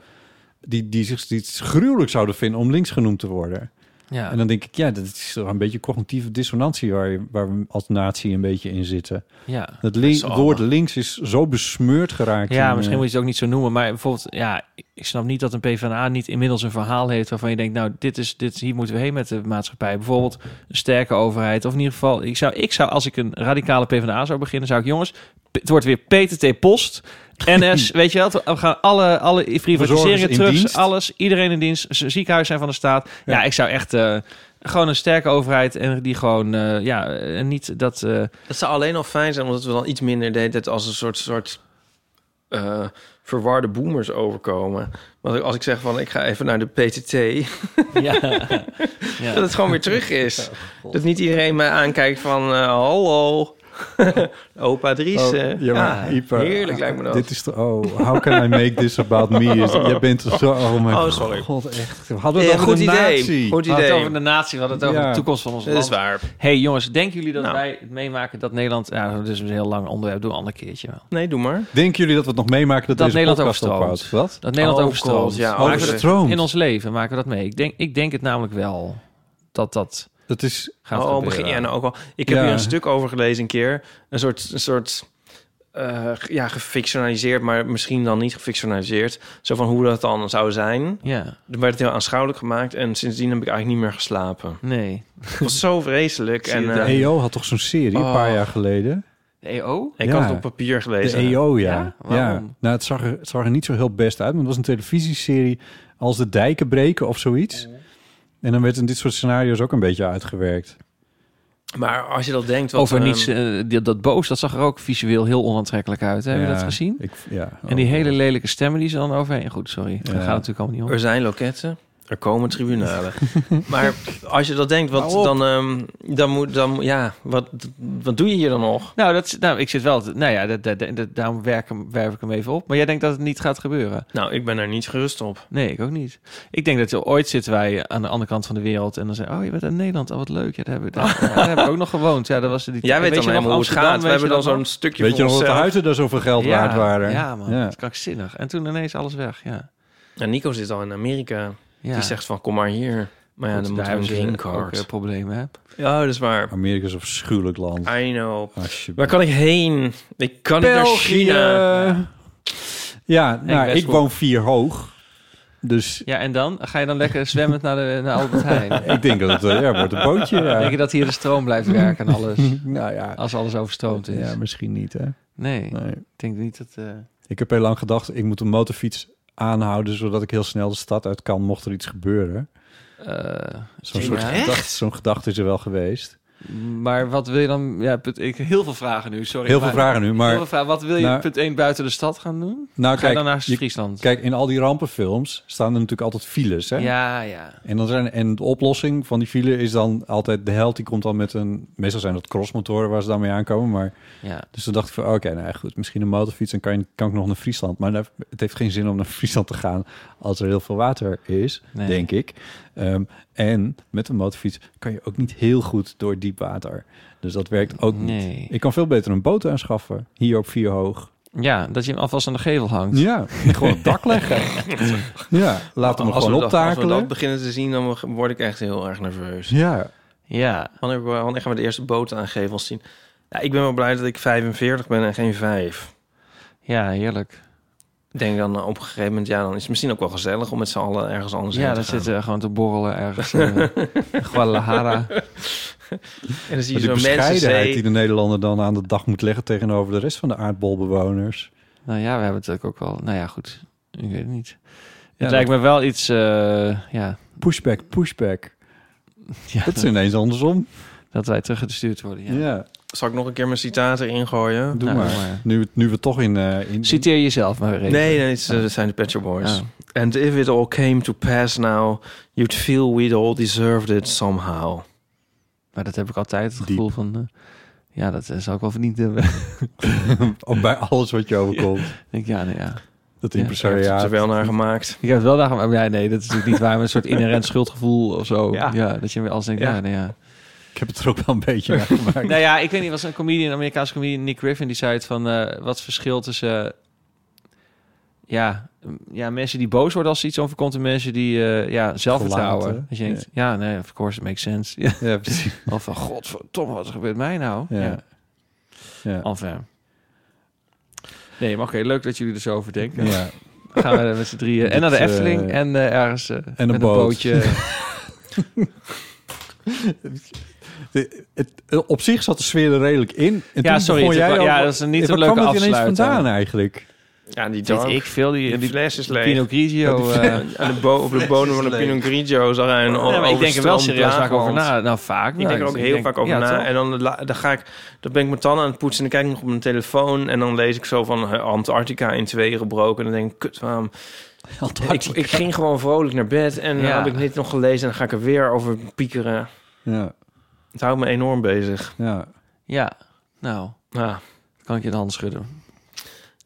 die, die zich iets gruwelijk zouden vinden om links genoemd te worden.
Ja.
En dan denk ik, ja, dat is toch een beetje cognitieve dissonantie waar, je- waar we als natie een beetje in zitten.
ja.
Het link-
Zo.
woord links is zo besmeurd geraakt. in,
Ja,
eh,
misschien moet je het ook niet zo noemen. Maar bijvoorbeeld, ja, ik snap niet dat een PvdA niet inmiddels een verhaal heeft waarvan je denkt, nou, dit is, dit, hier moeten we heen met de maatschappij. Bijvoorbeeld een sterke overheid. Of in ieder geval, ik zou, ik zou als ik een radicale PvdA zou beginnen, zou ik, jongens, p- het wordt weer PTT Post, NS, weet je wel, we gaan alle, alle privatiseringen
Verzorgers in
terug,
dienst.
alles, iedereen in dienst, z- ziekenhuizen zijn van de staat. Ja, ik zou echt... eh, gewoon een sterke overheid en die gewoon, eh, ja, en niet dat... eh, [laughs]
Dat zou alleen al fijn zijn, omdat we dan iets minder deden het als een soort, soort eh, verwarde boomers overkomen. Want als ik zeg van, ik ga even naar de PTT,
ja,
[laughs] dat het gewoon weer terug is. dat niet iedereen mij aankijkt van, eh, hallo, [laughs] opa Dries.
Oh,
eh.
ja, maar Ieper,
heerlijk lijkt me dat.
Dit is de, oh, how can I make this about me? Is, jij bent zo, oh mijn
Oh, sorry.
god, echt. We hadden
Eh,
het over
goed
de
idee.
natie.
Goed
We hadden het
idee.
over de natie, we hadden het over
Ja.
de toekomst van ons
Dat
land.
is waar.
Hey jongens, denken jullie dat
Nou.
wij het meemaken dat Nederland... Ja, dit is een heel lang onderwerp, doen we een ander keerertje wel.
Nee, doe maar.
Denken jullie dat we het nog meemaken dat,
Dat
deze
Nederland
podcast
overstroomt.
ophoudt? Wat?
Dat Nederland
Oh,
overstroomt.
God, ja.
Maken we dat-
Overstroomt.
in ons leven maken we dat mee. Ik denk, ik denk het namelijk wel dat dat
Dat is,
gaat
oh,
gebeuren.
begin, ja, nou ook al. Ik heb
Ja.
hier een stuk over gelezen een keer. Een soort, een soort eh, ja, gefictionaliseerd, maar misschien dan niet gefictionaliseerd. Zo van hoe dat dan zou zijn.
Ja,
Er werd het heel aanschouwelijk gemaakt en sindsdien heb ik eigenlijk niet meer
[laughs]
geslapen.
nee.
Het was zo vreselijk. en,
de
eh,
EO had toch zo'n serie een paar
Oh.
jaar geleden?
De EO?
ik
Ja.
had het op papier
De E
gelezen.
EO, ja.
Ja?
ja,
Waarom?
Nou, het zag, er, het zag er niet zo heel best uit, maar het was een televisieserie als de dijken breken of zoiets. En dan werd in dit soort scenario's ook een beetje uitgewerkt.
Maar als je dat denkt... Wat,
Over niets,
ehm,
eh, die- dat boos, dat zag er ook visueel heel onaantrekkelijk uit. Hè? Heb je
Ja,
dat gezien?
Oh,
Ik, ja, Oh.
En die hele lelijke stemmen die ze dan overheen... Goed, sorry, daar
Ja.
gaat het natuurlijk allemaal niet om.
Er zijn loketten, er komen tribunalen. maar als je dat denkt, wat,
Hou op.
dan, ehm, dan moet... Dan, ja, wat, wat doe je hier dan nog?
Nou, dat, is- nou, ik zit wel... te- Nou ja, dat, dat, dat- daarom werk, hem- werf ik hem even op. Maar jij denkt dat het niet gaat gebeuren?
Nou, ik ben er niet gerust op.
Nee, ik ook niet. Ik denk dat eh, ooit zitten wij aan de andere kant van de wereld... en dan zeggen oh, je bent uit Nederland. Oh, wat leuk. Ja, daar hebben we,
[laughs]
daar, ja, daar hebben we ook nog gewoond. Ja, dat was die
Jij weet,
Weet
dan
je nog
helemaal hoe het
Amsterdam,
gaat. We
weet je
hebben dan
dat nog?
zo'n stukje
Weet je
voor
nog dat de
onszelf.
huizen er zoveel geld waard waren?
Ja, man,
Ja.
dat is krankzinnig. En toen ineens alles weg, ja.
En Nou, Nico zit al in Amerika.
ja.
Die zegt van, kom maar hier. Maar ja,
Goed,
dan
daar
moeten we een
hebben ze
green
ook, eh,
card.
problemen, hè?
Ja, dat is waar.
Amerika is een afschuwelijk land.
I know. Waar
Alsjeblieft.
kan ik heen? Ik kan niet naar China.
Ja, ja nou, ik
Westbroek.
woon vier hoog. Dus
Ja, en dan? Ga je dan lekker zwemmend naar, de, naar Albert
[laughs]
Heijn?
ik denk dat het eh, ja, wordt een
[laughs]
bootje. ja.
Denk je dat hier de stroom blijft werken en
[laughs]
alles?
Nou ja,
Als alles overstroomd is?
ja, misschien niet. Hè?
Nee,
Nee.
ik denk niet dat... eh,
Ik heb heel lang gedacht, ik moet een motorfiets aanhouden... zodat ik heel snel de stad uit kan, mocht er iets gebeuren.
eh,
Zo'n
ja.
soort gedachte, zo'n gedachte is er wel geweest.
Maar wat wil je dan... Ja, punt, ik, heel veel vragen nu, sorry.
Heel veel
maar-
vragen nu,
Heel
maar...
veel vragen. Wat wil je,
Nou-
punt 1, buiten de stad gaan doen?
Nou,
Ga je
kijk,
dan naar
je-
Friesland?
kijk, in al die rampenfilms staan er natuurlijk altijd files, hè?
ja, ja.
En, dan zijn, en de oplossing van die file is dan altijd... de held die komt dan met een... meestal zijn dat crossmotoren waar ze dan mee aankomen, maar...
ja.
Dus toen dacht ik van, oké, nou ja, goed, misschien een motorfiets... en kan, je, kan ik nog naar Friesland. Maar daar- het heeft geen zin om naar [laughs] Friesland te gaan... als er heel veel water is,
Nee.
denk ik. Ehm, en met een motorfiets kan je ook niet heel goed door diep water. Dus dat werkt ook
Nee.
niet. Ik kan veel beter een boot aanschaffen, hier op vier hoog.
Ja, dat je hem alvast aan de gevel hangt.
Ja, en [laughs] gewoon het dak
[laughs]
leggen. ja, laat hem
als, we
gewoon
dat, als we
optakelen.
dat beginnen te zien, dan word ik echt heel erg nerveus.
Ja,
Ja.
Wanneer, wanneer gaan we de eerste boten aan gevels zien? Ja, ik ben wel blij dat ik 45 ben en geen 5.
Ja, heerlijk.
Ik denk dan eh, op een gegeven moment, ja, dan is het misschien ook wel gezellig om met z'n allen ergens anders
Ja,
heen
dan
te gaan.
zitten we gewoon te borrelen ergens in eh,
[laughs]
Guadalajara.
En dan zie je
maar die
zo'n mensenzee.
bescheidenheid die de Nederlander dan aan de dag moet leggen... tegenover de rest van de aardbolbewoners.
Nou ja, we hebben het ook wel... Nou ja, goed. Ik weet het niet.
Ja,
het lijkt me wel iets... eh, ja,
Pushback, pushback.
ja
Dat is ineens andersom.
dat wij teruggestuurd worden. Ja.
ja.
Zal ik nog een keer mijn citaat erin gooien?
Doe
Nou,
maar.
doe maar.
Nu, nu we toch in... eh, in
Citeer jezelf maar weer even.
Nee, nee, het is, eh, het zijn de Pet Shop Boys.
Oh.
And if it all came to pass now, you'd feel we'd all deserved it somehow.
Maar dat heb ik altijd het
Diep.
gevoel van... eh, ja, dat eh, zal ik wel verdiend hebben. [laughs] Ik
Ook bij alles wat je overkomt.
denk, ja, nee, ja. Ja,
Dat
Daar hebben
impresariaat.
ze wel naar gemaakt.
Ik heb het wel daar... Maar ja, nee, dat is natuurlijk niet waar. Maar een soort inherent schuldgevoel of zo. Ja.
Ja.
dat je weer alles denkt,
Ja.
ja, nee, ja.
Ik heb het er ook wel een beetje naar gemaakt.
Nou ja, ik weet niet, was een comedian, een Amerikaanse comedian, Nick Griffin, die zei het van, eh, wat is het verschil tussen, eh, ja, m- ja, mensen die boos worden als ze iets overkomt en mensen die, eh, ja, zelfvertrouwen.
Verlaten.
Dat je denkt, ja. nee, of course, it makes sense. Ja.
Ja, precies.
[laughs] Of van, godverdomme, wat gebeurt mij nou?
Ja. Ja. Ja.
Enfin. Nee, maar oké, leuk dat jullie er zo over denken.
Ja.
Dan gaan we er met z'n drieën en naar de
Dit, eh,
Efteling en eh, ergens eh, met
boot. [laughs]
bootje.
De- het, eh, op zich zat de sfeer er redelijk in. En
Ja,
toen
sorry,
begon
het
jij
wa-
over-
ja, dat is een niet
Waar
zo'n leuke
kwam het ineens
afsluiter.
vandaan eigenlijk?
Ja, die
Weet
dark.
ik veel, die,
die
die
fles is leeg.
Pinot Grigio.
[laughs]
eh,
Aan de bo- op de bodem van de Pinot Grigio zag hij een
Ja, maar ik denk er wel
overstroomd
serieus vaak over
laagland.
na. Nou, vaak.
Ik denk er ook heel vaak over na.
En
En dan, la- dan ga ik, dan ben ik mijn tanden aan het poetsen en dan kijk ik nog op mijn telefoon en dan lees ik zo van eh, Antarctica in tweeën gebroken en dan denk ik, kut, waarom? Ik, ik ging gewoon vrolijk naar bed en dan
Ja.
heb ik dit nog gelezen en dan ga ik er weer over piekeren.
Ja,
Het houdt me enorm bezig.
ja.
Ja, nou,
Ja.
kan ik je de hand schudden.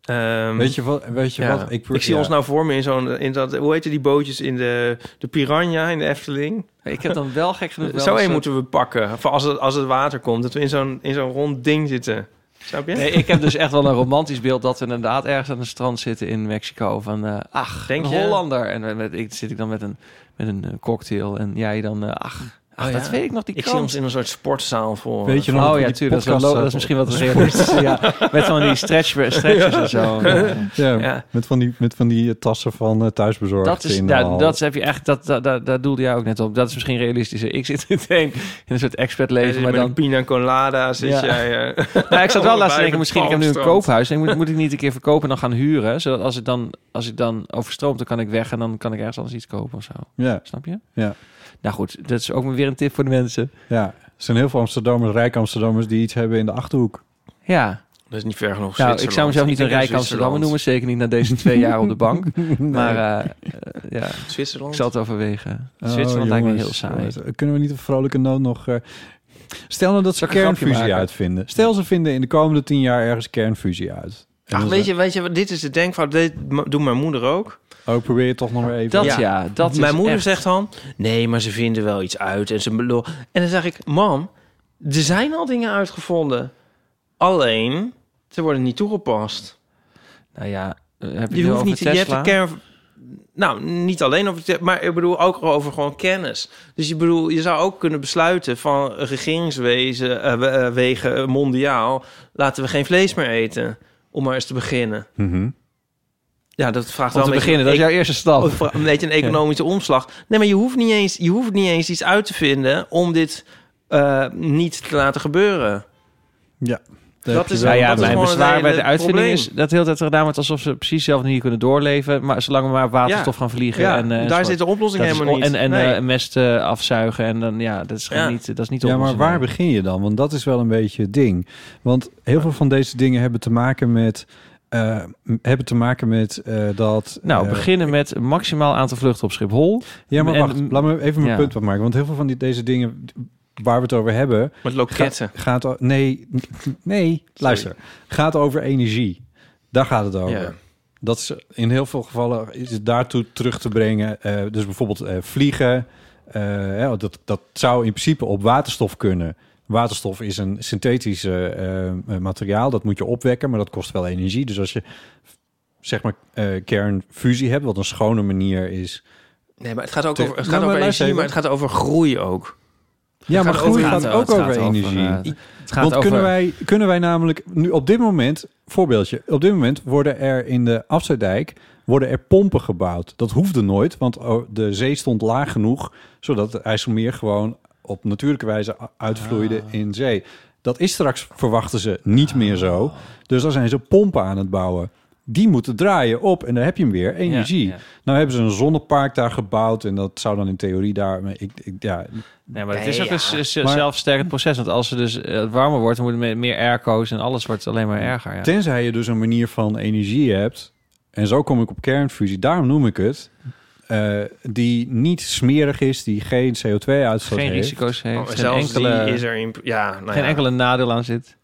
Ehm,
Mm.
Weet je wat? Weet je
ja.
wat?
ik, zie
ja.
ons nou voor me in zo'n, in dat, hoe heette die bootjes in de, de Piranha in de Efteling?
Ik heb dan wel gek
[laughs]
genoeg wel
Zo
een
één
soort-
moeten we pakken. Voor als het, als het water komt, dat we in zo'n, in zo'n rond ding zitten. Snap je?
Nee, ik heb dus echt wel een romantisch beeld dat we inderdaad ergens aan een strand zitten in Mexico. Van, eh, ach,
Denk
een
je?
Hollander. En met, ik, zit ik dan met een, met een eh, cocktail en jij dan, eh, ach, ach
Oh,
dat
ja.
weet ik nog, die
Ik zie
krant.
ons in een soort sportzaal voor.
Weet je nog dat
Oh
we
ja,
die
tuurlijk. Dat is,
podcast
wel- dat is
zaten-
misschien wat realistisch. [laughs] ja, met van die stretch, stretchers en zo. [laughs]
[laughs] Ja,
Ja.
Met van die, met van die eh, tassen van eh, thuisbezorgd.
Dat is,
in de
nou,
hal.
dat heb je echt, dat, dat, dat, daar doelde jij ook net op. Dat is misschien realistischer. Ik zit [laughs] meteen in een soort expert
Jij
leven,
zit
maar
met
dan...
een pina colada zit
Ja.
jij... eh,
Nou, ik zat wel laatst te
bij
denken,
een
misschien ik heb nu een
palmstrand.
koophuis. En moet, moet ik niet een keer verkopen en dan gaan huren? Zodat als het dan, als het dan overstroomt, dan kan ik weg en dan kan ik ergens anders iets kopen of zo.
Ja,
Snap je?
ja.
Nou goed, dat is ook maar weer een tip voor de mensen.
Ja, er zijn heel veel Amsterdammers, rijk Amsterdammers, die iets hebben in de Achterhoek.
Ja.
[laughs] Dat is niet ver genoeg.
Nou, ik zou mezelf niet een rijk Amsterdammer noemen. Zeker niet na deze twee jaar op de
[laughs]
bank. Maar eh, eh, ja,
Zwitserland.
ik zal het overwegen.
Oh,
Zwitserland lijkt me
jongens,
heel saai.
jongens, Kunnen we niet op vrolijke noot nog... eh, stel nou dat ze
Zal ik een grapje
kernfusie
maken?
uitvinden. Stel ze vinden in de komende tien jaar ergens kernfusie uit. En
Ach,
dan
weet je, weet je, wat, dit is de denkfout. Dit doet mijn moeder ook.
ze- Oh, probeer je toch nog maar even.
Dat ja,
Ja.
dat is
mijn moeder
echt-
zegt dan... Nee, maar ze vinden wel iets uit. En, ze belo en dan zeg ik... Mam, er zijn al dingen uitgevonden. Alleen, ze worden niet toegepast.
Nou ja, eh, heb je,
Je,
het
hoeft
over
niet...
Tesla?
Je hebt de kern... Nou, niet alleen over... te- Maar ik bedoel ook over gewoon kennis. Dus je bedoel, je zou ook kunnen besluiten van regeringswezen, eh, we- eh, wegen eh, mondiaal... Laten we geen vlees meer eten. Om maar eens te beginnen.
Mhm.
Ja, dat vraagt
Om
wel
te
een Oh, beetje-
beginnen, dat is
ik-
jouw eerste stap.
Of een beetje een economische omslag. Nee, maar je hoeft, niet eens, je hoeft niet eens iets uit te vinden om dit eh, niet te laten gebeuren.
Ja.
Dat is,
Nou ja,
dat is
mijn
gewoon het
bezwaar
hele
bij de uitvinding
eh, probleem.
is dat de hele tijd er gedaan wordt alsof ze precies zelf niet kunnen doorleven. Maar zolang we maar waterstof
Ja.
gaan vliegen.
Ja,
en, eh, en
daar
soort-
zit de oplossing
dat is
helemaal
on-
niet.
En, en
Nee.
eh, mest eh, afzuigen. En dan ja, dat is gewoon
Ja.
niet, dat is niet
Ja, maar
oplossing.
waar begin je dan? Want dat is wel een beetje het ding. Want heel veel van deze dingen hebben te maken met... eh, m- hebben te maken met eh, dat...
Nou,
eh,
beginnen met een maximaal aantal vluchten op Schiphol.
Ja, maar
en-
wacht. Laat me even mijn
ja.
punt wat maken. Want heel veel van die, deze dingen waar we het over hebben...
Met loketten.
gaat o- nee, nee, luister. Gaat over energie. Daar gaat het over.
Ja.
Dat is in heel veel gevallen is het daartoe terug te brengen. Eh, dus bijvoorbeeld eh, vliegen. Eh, hè, want dat, dat zou in principe op waterstof kunnen. Waterstof is een synthetisch eh, eh, materiaal. Dat moet je opwekken, maar dat kost wel energie. Dus als je zeg maar eh, kernfusie hebt, wat een schone manier is.
Nee, maar het gaat ook
Te-
over, het
Nou,
gaat
maar
over energie,
luister even.
maar het gaat over groei ook.
Ja, maar
gaat
groei
over-
gaat
het
ook
gaat
over energie.
eh, het gaat
Want
over,
kunnen, wij, kunnen wij namelijk nu op dit moment, voorbeeldje, op dit moment worden er in de Afsluitdijk worden er pompen gebouwd. Dat hoefde nooit, want oh, de zee stond laag genoeg, zodat het IJsselmeer gewoon op natuurlijke wijze a- uitvloeide
Ah.
in zee. Dat is straks, verwachten ze, niet meer zo. Dus dan zijn ze pompen aan het bouwen. Die moeten draaien op en daar heb je hem weer, energie.
ja.
Nou hebben ze een zonnepark daar gebouwd en dat zou dan in theorie daar... maar Ik, ik, ja,
Nee, maar het
Nee,
is ook
ja.
een z- z-
Maar-
zelfsterkend proces. Want als het dus eh, warmer wordt, dan worden me- meer airco's en alles wordt alleen maar erger. Ja.
Tenzij je dus een manier van energie hebt, en zo kom ik op kernfusie, daarom noem ik het, eh, die niet smerig is, die geen CO2-uitstoot
Geen
heeft.
risico's heeft.
Oh, en
geen
zelfs
enkele,
die is er in... Ja, nou
geen
ja.
enkele nadeel aan zit.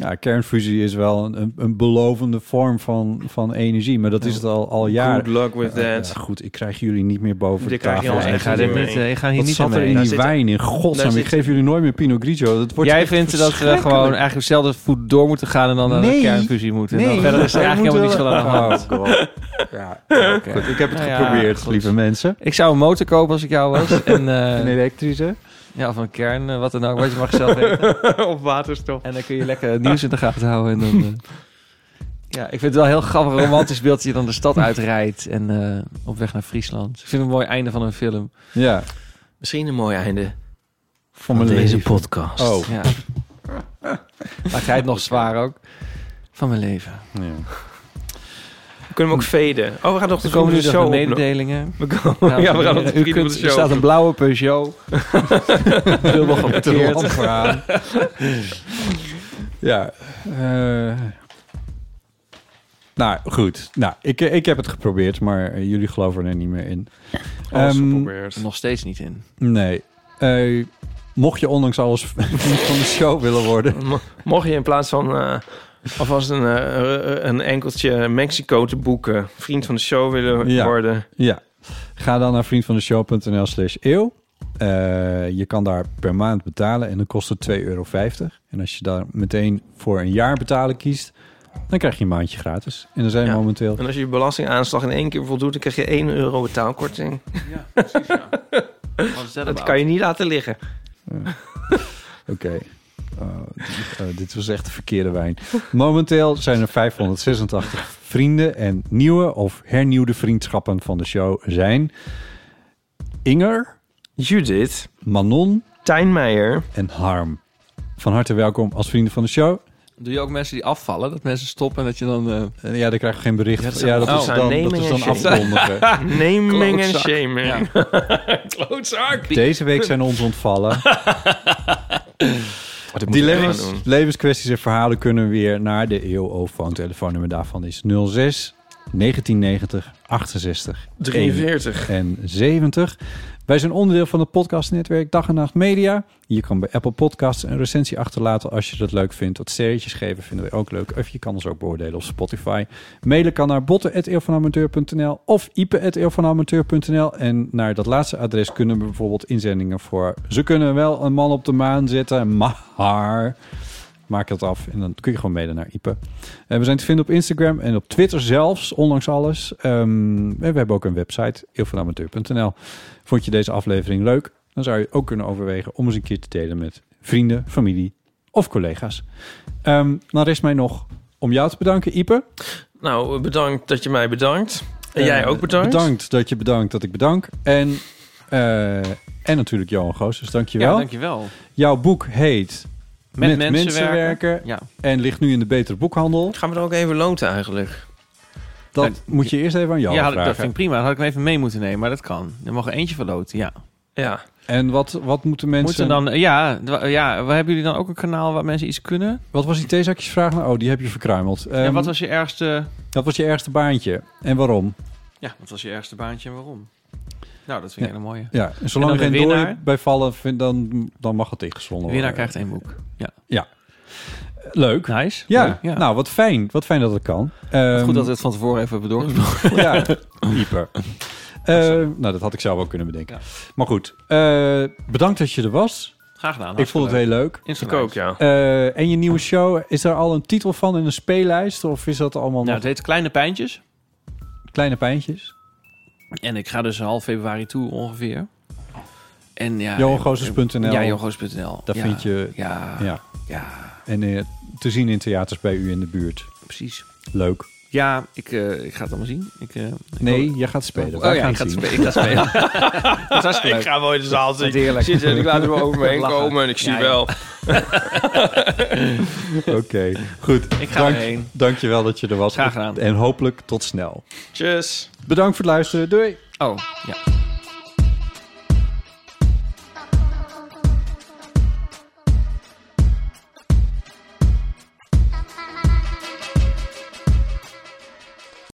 Ja, kernfusie is wel een- een, een belovende vorm van, van energie, maar dat is het al, al jaren.
Good luck with
Eh,
that.
ja, goed, ik krijg jullie niet meer boven
Dit
de
krijg je
tafel.
ons
Nee, ik
echt
ga
niet
dit
mee.
niet, eh, ik ga hier
Wat
niet
zat
aan
er
mee.
in
Daar
die
zit-
wijn? In godsnaam,
daar
ik
zit-
geef jullie nooit meer Pinot Grigio. Dat wordt
Jij
echt
vindt dat we
verschrikkelijk.
gewoon eigenlijk zelf het voet door moeten gaan en dan naar de
Nee.
kernfusie moeten.
Nee,
dan verder
[laughs]
is er
wij
eigenlijk helemaal niks
moeten-
van aan de hand.
Oh, God. ja, goed, [laughs] ik heb het
Nou ja,
geprobeerd,
goed.
lieve mensen.
Ik zou een motor kopen als ik jou
[laughs]
was. En, eh,
Een elektrische.
Ja, van kern, eh, wat dan ook. Wat je mag zelf
[laughs]
weten.
of waterstof.
En dan kun je lekker het nieuws in de gaten houden. En dan,
[laughs]
eh, ja, ik vind het wel een heel grappig romantisch beeld dat je dan de stad uitrijdt en eh, op weg naar Friesland. Ik vind het een mooi einde van een film.
Ja,
Misschien een mooi einde
van
van
mijn
deze
leven.
podcast.
Oh, [laughs]
Ja. Maakt hij het nog zwaar ook. Van mijn leven.
ja.
We kunnen hem ook
Hm.
veden. Oh, we gaan nog
Er
de
komen dus nu nog
komende show
de
opnemen.
mededelingen.
We komen-
Dames
[laughs] ja,
en
we gaan nog
heren,
de
u
vrienden
kunt,
van de
Er
show
staat een blauwe
[laughs]
Peugeot. Dubbel
Met de
geparkeerd.
lamp
[laughs]
aan. ja. eh. nou, goed. Nou, ik, ik heb het geprobeerd, maar eh, jullie geloven er niet meer in.
Alles
Ehm,
geprobeerd.
Nog steeds niet in.
nee. Eh, mocht je ondanks alles [laughs] vriend van de show willen worden...
Mo- Mocht je in plaats van eh, alvast een, eh, een enkeltje Mexico te boeken, vriend van de show willen
Ja.
worden.
Ja. Ga dan naar vriendvandeshow.nl slash eeuw. Eh, je kan daar per maand betalen en dan kost het 2,50 euro. En als je daar meteen voor een jaar betalen kiest, dan krijg je een maandje gratis. En er zijn
Ja.
momenteel...
En als je je belastingaanslag in één keer voldoet, dan krijg je 1 euro betaalkorting. [laughs] Dat kan je niet laten liggen.
Oké. Oh, d- oh, dit was echt de verkeerde wijn. Momenteel zijn er 586 vrienden en nieuwe of hernieuwde vriendschappen van de show zijn... Inger,
Judith,
Manon
Tijn Meijer,
en Harm. Van harte welkom als vrienden van de show.
Doe je ook mensen die afvallen? Dat mensen stoppen en dat je dan... eh,
Ja, daar krijg ik geen bericht.
Ja,
Ja,
dat
dat,
zijn- oh,
is
zijn
dan, dat
naming
is
en
dan
shaming.
[laughs]
afkondigen.
Naming
[laughs]
en
Klootzak.
shaming.
Klootzak!
Deze week zijn ons
[laughs]
ontvallen.
ik moet
Dilemma's,
het echt gaan doen.
levenskwesties en verhalen kunnen weer naar de EO-foon. Telefoonnummer daarvan is 06 1990 68
43.
en 70. Wij zijn onderdeel van het podcastnetwerk Dag en Nacht Media. Je kan bij Apple Podcasts een recensie achterlaten als je dat leuk vindt. Wat sterretjes geven vinden we ook leuk. Of je kan ons ook beoordelen op Spotify. Mailen kan naar botten.eeuwvanamateur.nl of ipe.eeuwvanamateur.nl. En naar dat laatste adres kunnen we bijvoorbeeld inzendingen voor... Ze kunnen wel een man op de maan zetten, maar... Maak dat af en dan kun je gewoon mailen naar Ipe. Eh, we zijn te vinden op Instagram en op Twitter zelfs, ondanks alles. Ehm, en we hebben ook een website, eeuwvanamateur.nl. Vond je deze aflevering leuk? Dan zou je het ook kunnen overwegen om eens een keer te delen met vrienden, familie of collega's. Ehm, dan rest mij nog om jou te bedanken, Ipe.
Nou, bedankt dat je mij bedankt. En jij
Eh,
ook bedankt.
Bedankt dat je bedankt dat ik bedank. En, eh, en natuurlijk Johan dus Goosens, dankjewel.
Ja, dankjewel.
Jouw boek heet
Met mensen werken. Ja.
en ligt nu in de betere boekhandel.
Gaan we er ook even loten eigenlijk?
Dat
Ja,
moet je eerst even aan jou
ja, had ik-
vragen.
dat vind ik prima. Dat had ik hem even mee moeten nemen, maar dat kan. Er mag er eentje verloten, ja.
Ja.
En wat, wat moeten mensen...
Moeten dan, eh, ja, d- ja, waar hebben jullie dan ook een kanaal waar mensen iets kunnen?
Wat was die theezakjesvraag? Nou, oh, die heb je verkruimeld.
en
Ehm,
wat was je ergste,
Dat was je ergste baantje. En waarom?
ja, wat was je ergste baantje en waarom? Nou, dat vind ik
Ja.
een hele mooie.
Ja, en zolang
En
er
dan
geen
de winnaar.
door bij vallen, vind- dan, dan mag het ingezonden
De
worden.
winnaar krijgt één boek. Ja,
Ja. Leuk.
nice.
Ja,
Leuk, ja.
nou, wat fijn. Wat fijn dat het kan. Ehm,
Goed dat we het van tevoren even hebben doorgesproken.
Ja,
[laughs]
hyper. Ehm, nou, dat had ik zelf ook kunnen bedenken.
Ja.
Maar goed, eh, bedankt dat je er was.
Graag gedaan.
ik vond het heel leuk.
Ik ook, ja.
Eh, en je nieuwe show, is daar al een titel van in een speellijst? Of is dat allemaal
Nou,
nog
het heet Kleine Pijntjes.
kleine pijntjes?
En ik ga dus half februari toe ongeveer. En ja,
Johangozes.nl.
Ja, johangoos.nl.
Daar
Ja,
vind je-
Ja, ja,
Ja. En eh, te zien in theaters bij u in de buurt.
precies.
Leuk.
Ja, ik, eh, ik ga het allemaal zien. Ik, eh, ik
Nee, jij gaat spelen.
Oh
Wij
ja,
gaan
ik ga,
het
het
zien.
spe- ik ga spelen. dat is hartstikke
Ik
leuk.
ga wel in de zaal zitten.
Heerlijk.
Zitten, Ik laat
[laughs]
hem over me heen
Lachen.
komen en ik zie
Ja, ja.
wel.
[laughs] Oké, goed.
Ik ga erheen.
Dankjewel dat je er was.
Graag gedaan.
En hopelijk tot snel.
Tjus.
Bedankt voor het luisteren. Doei.
Oh, ja.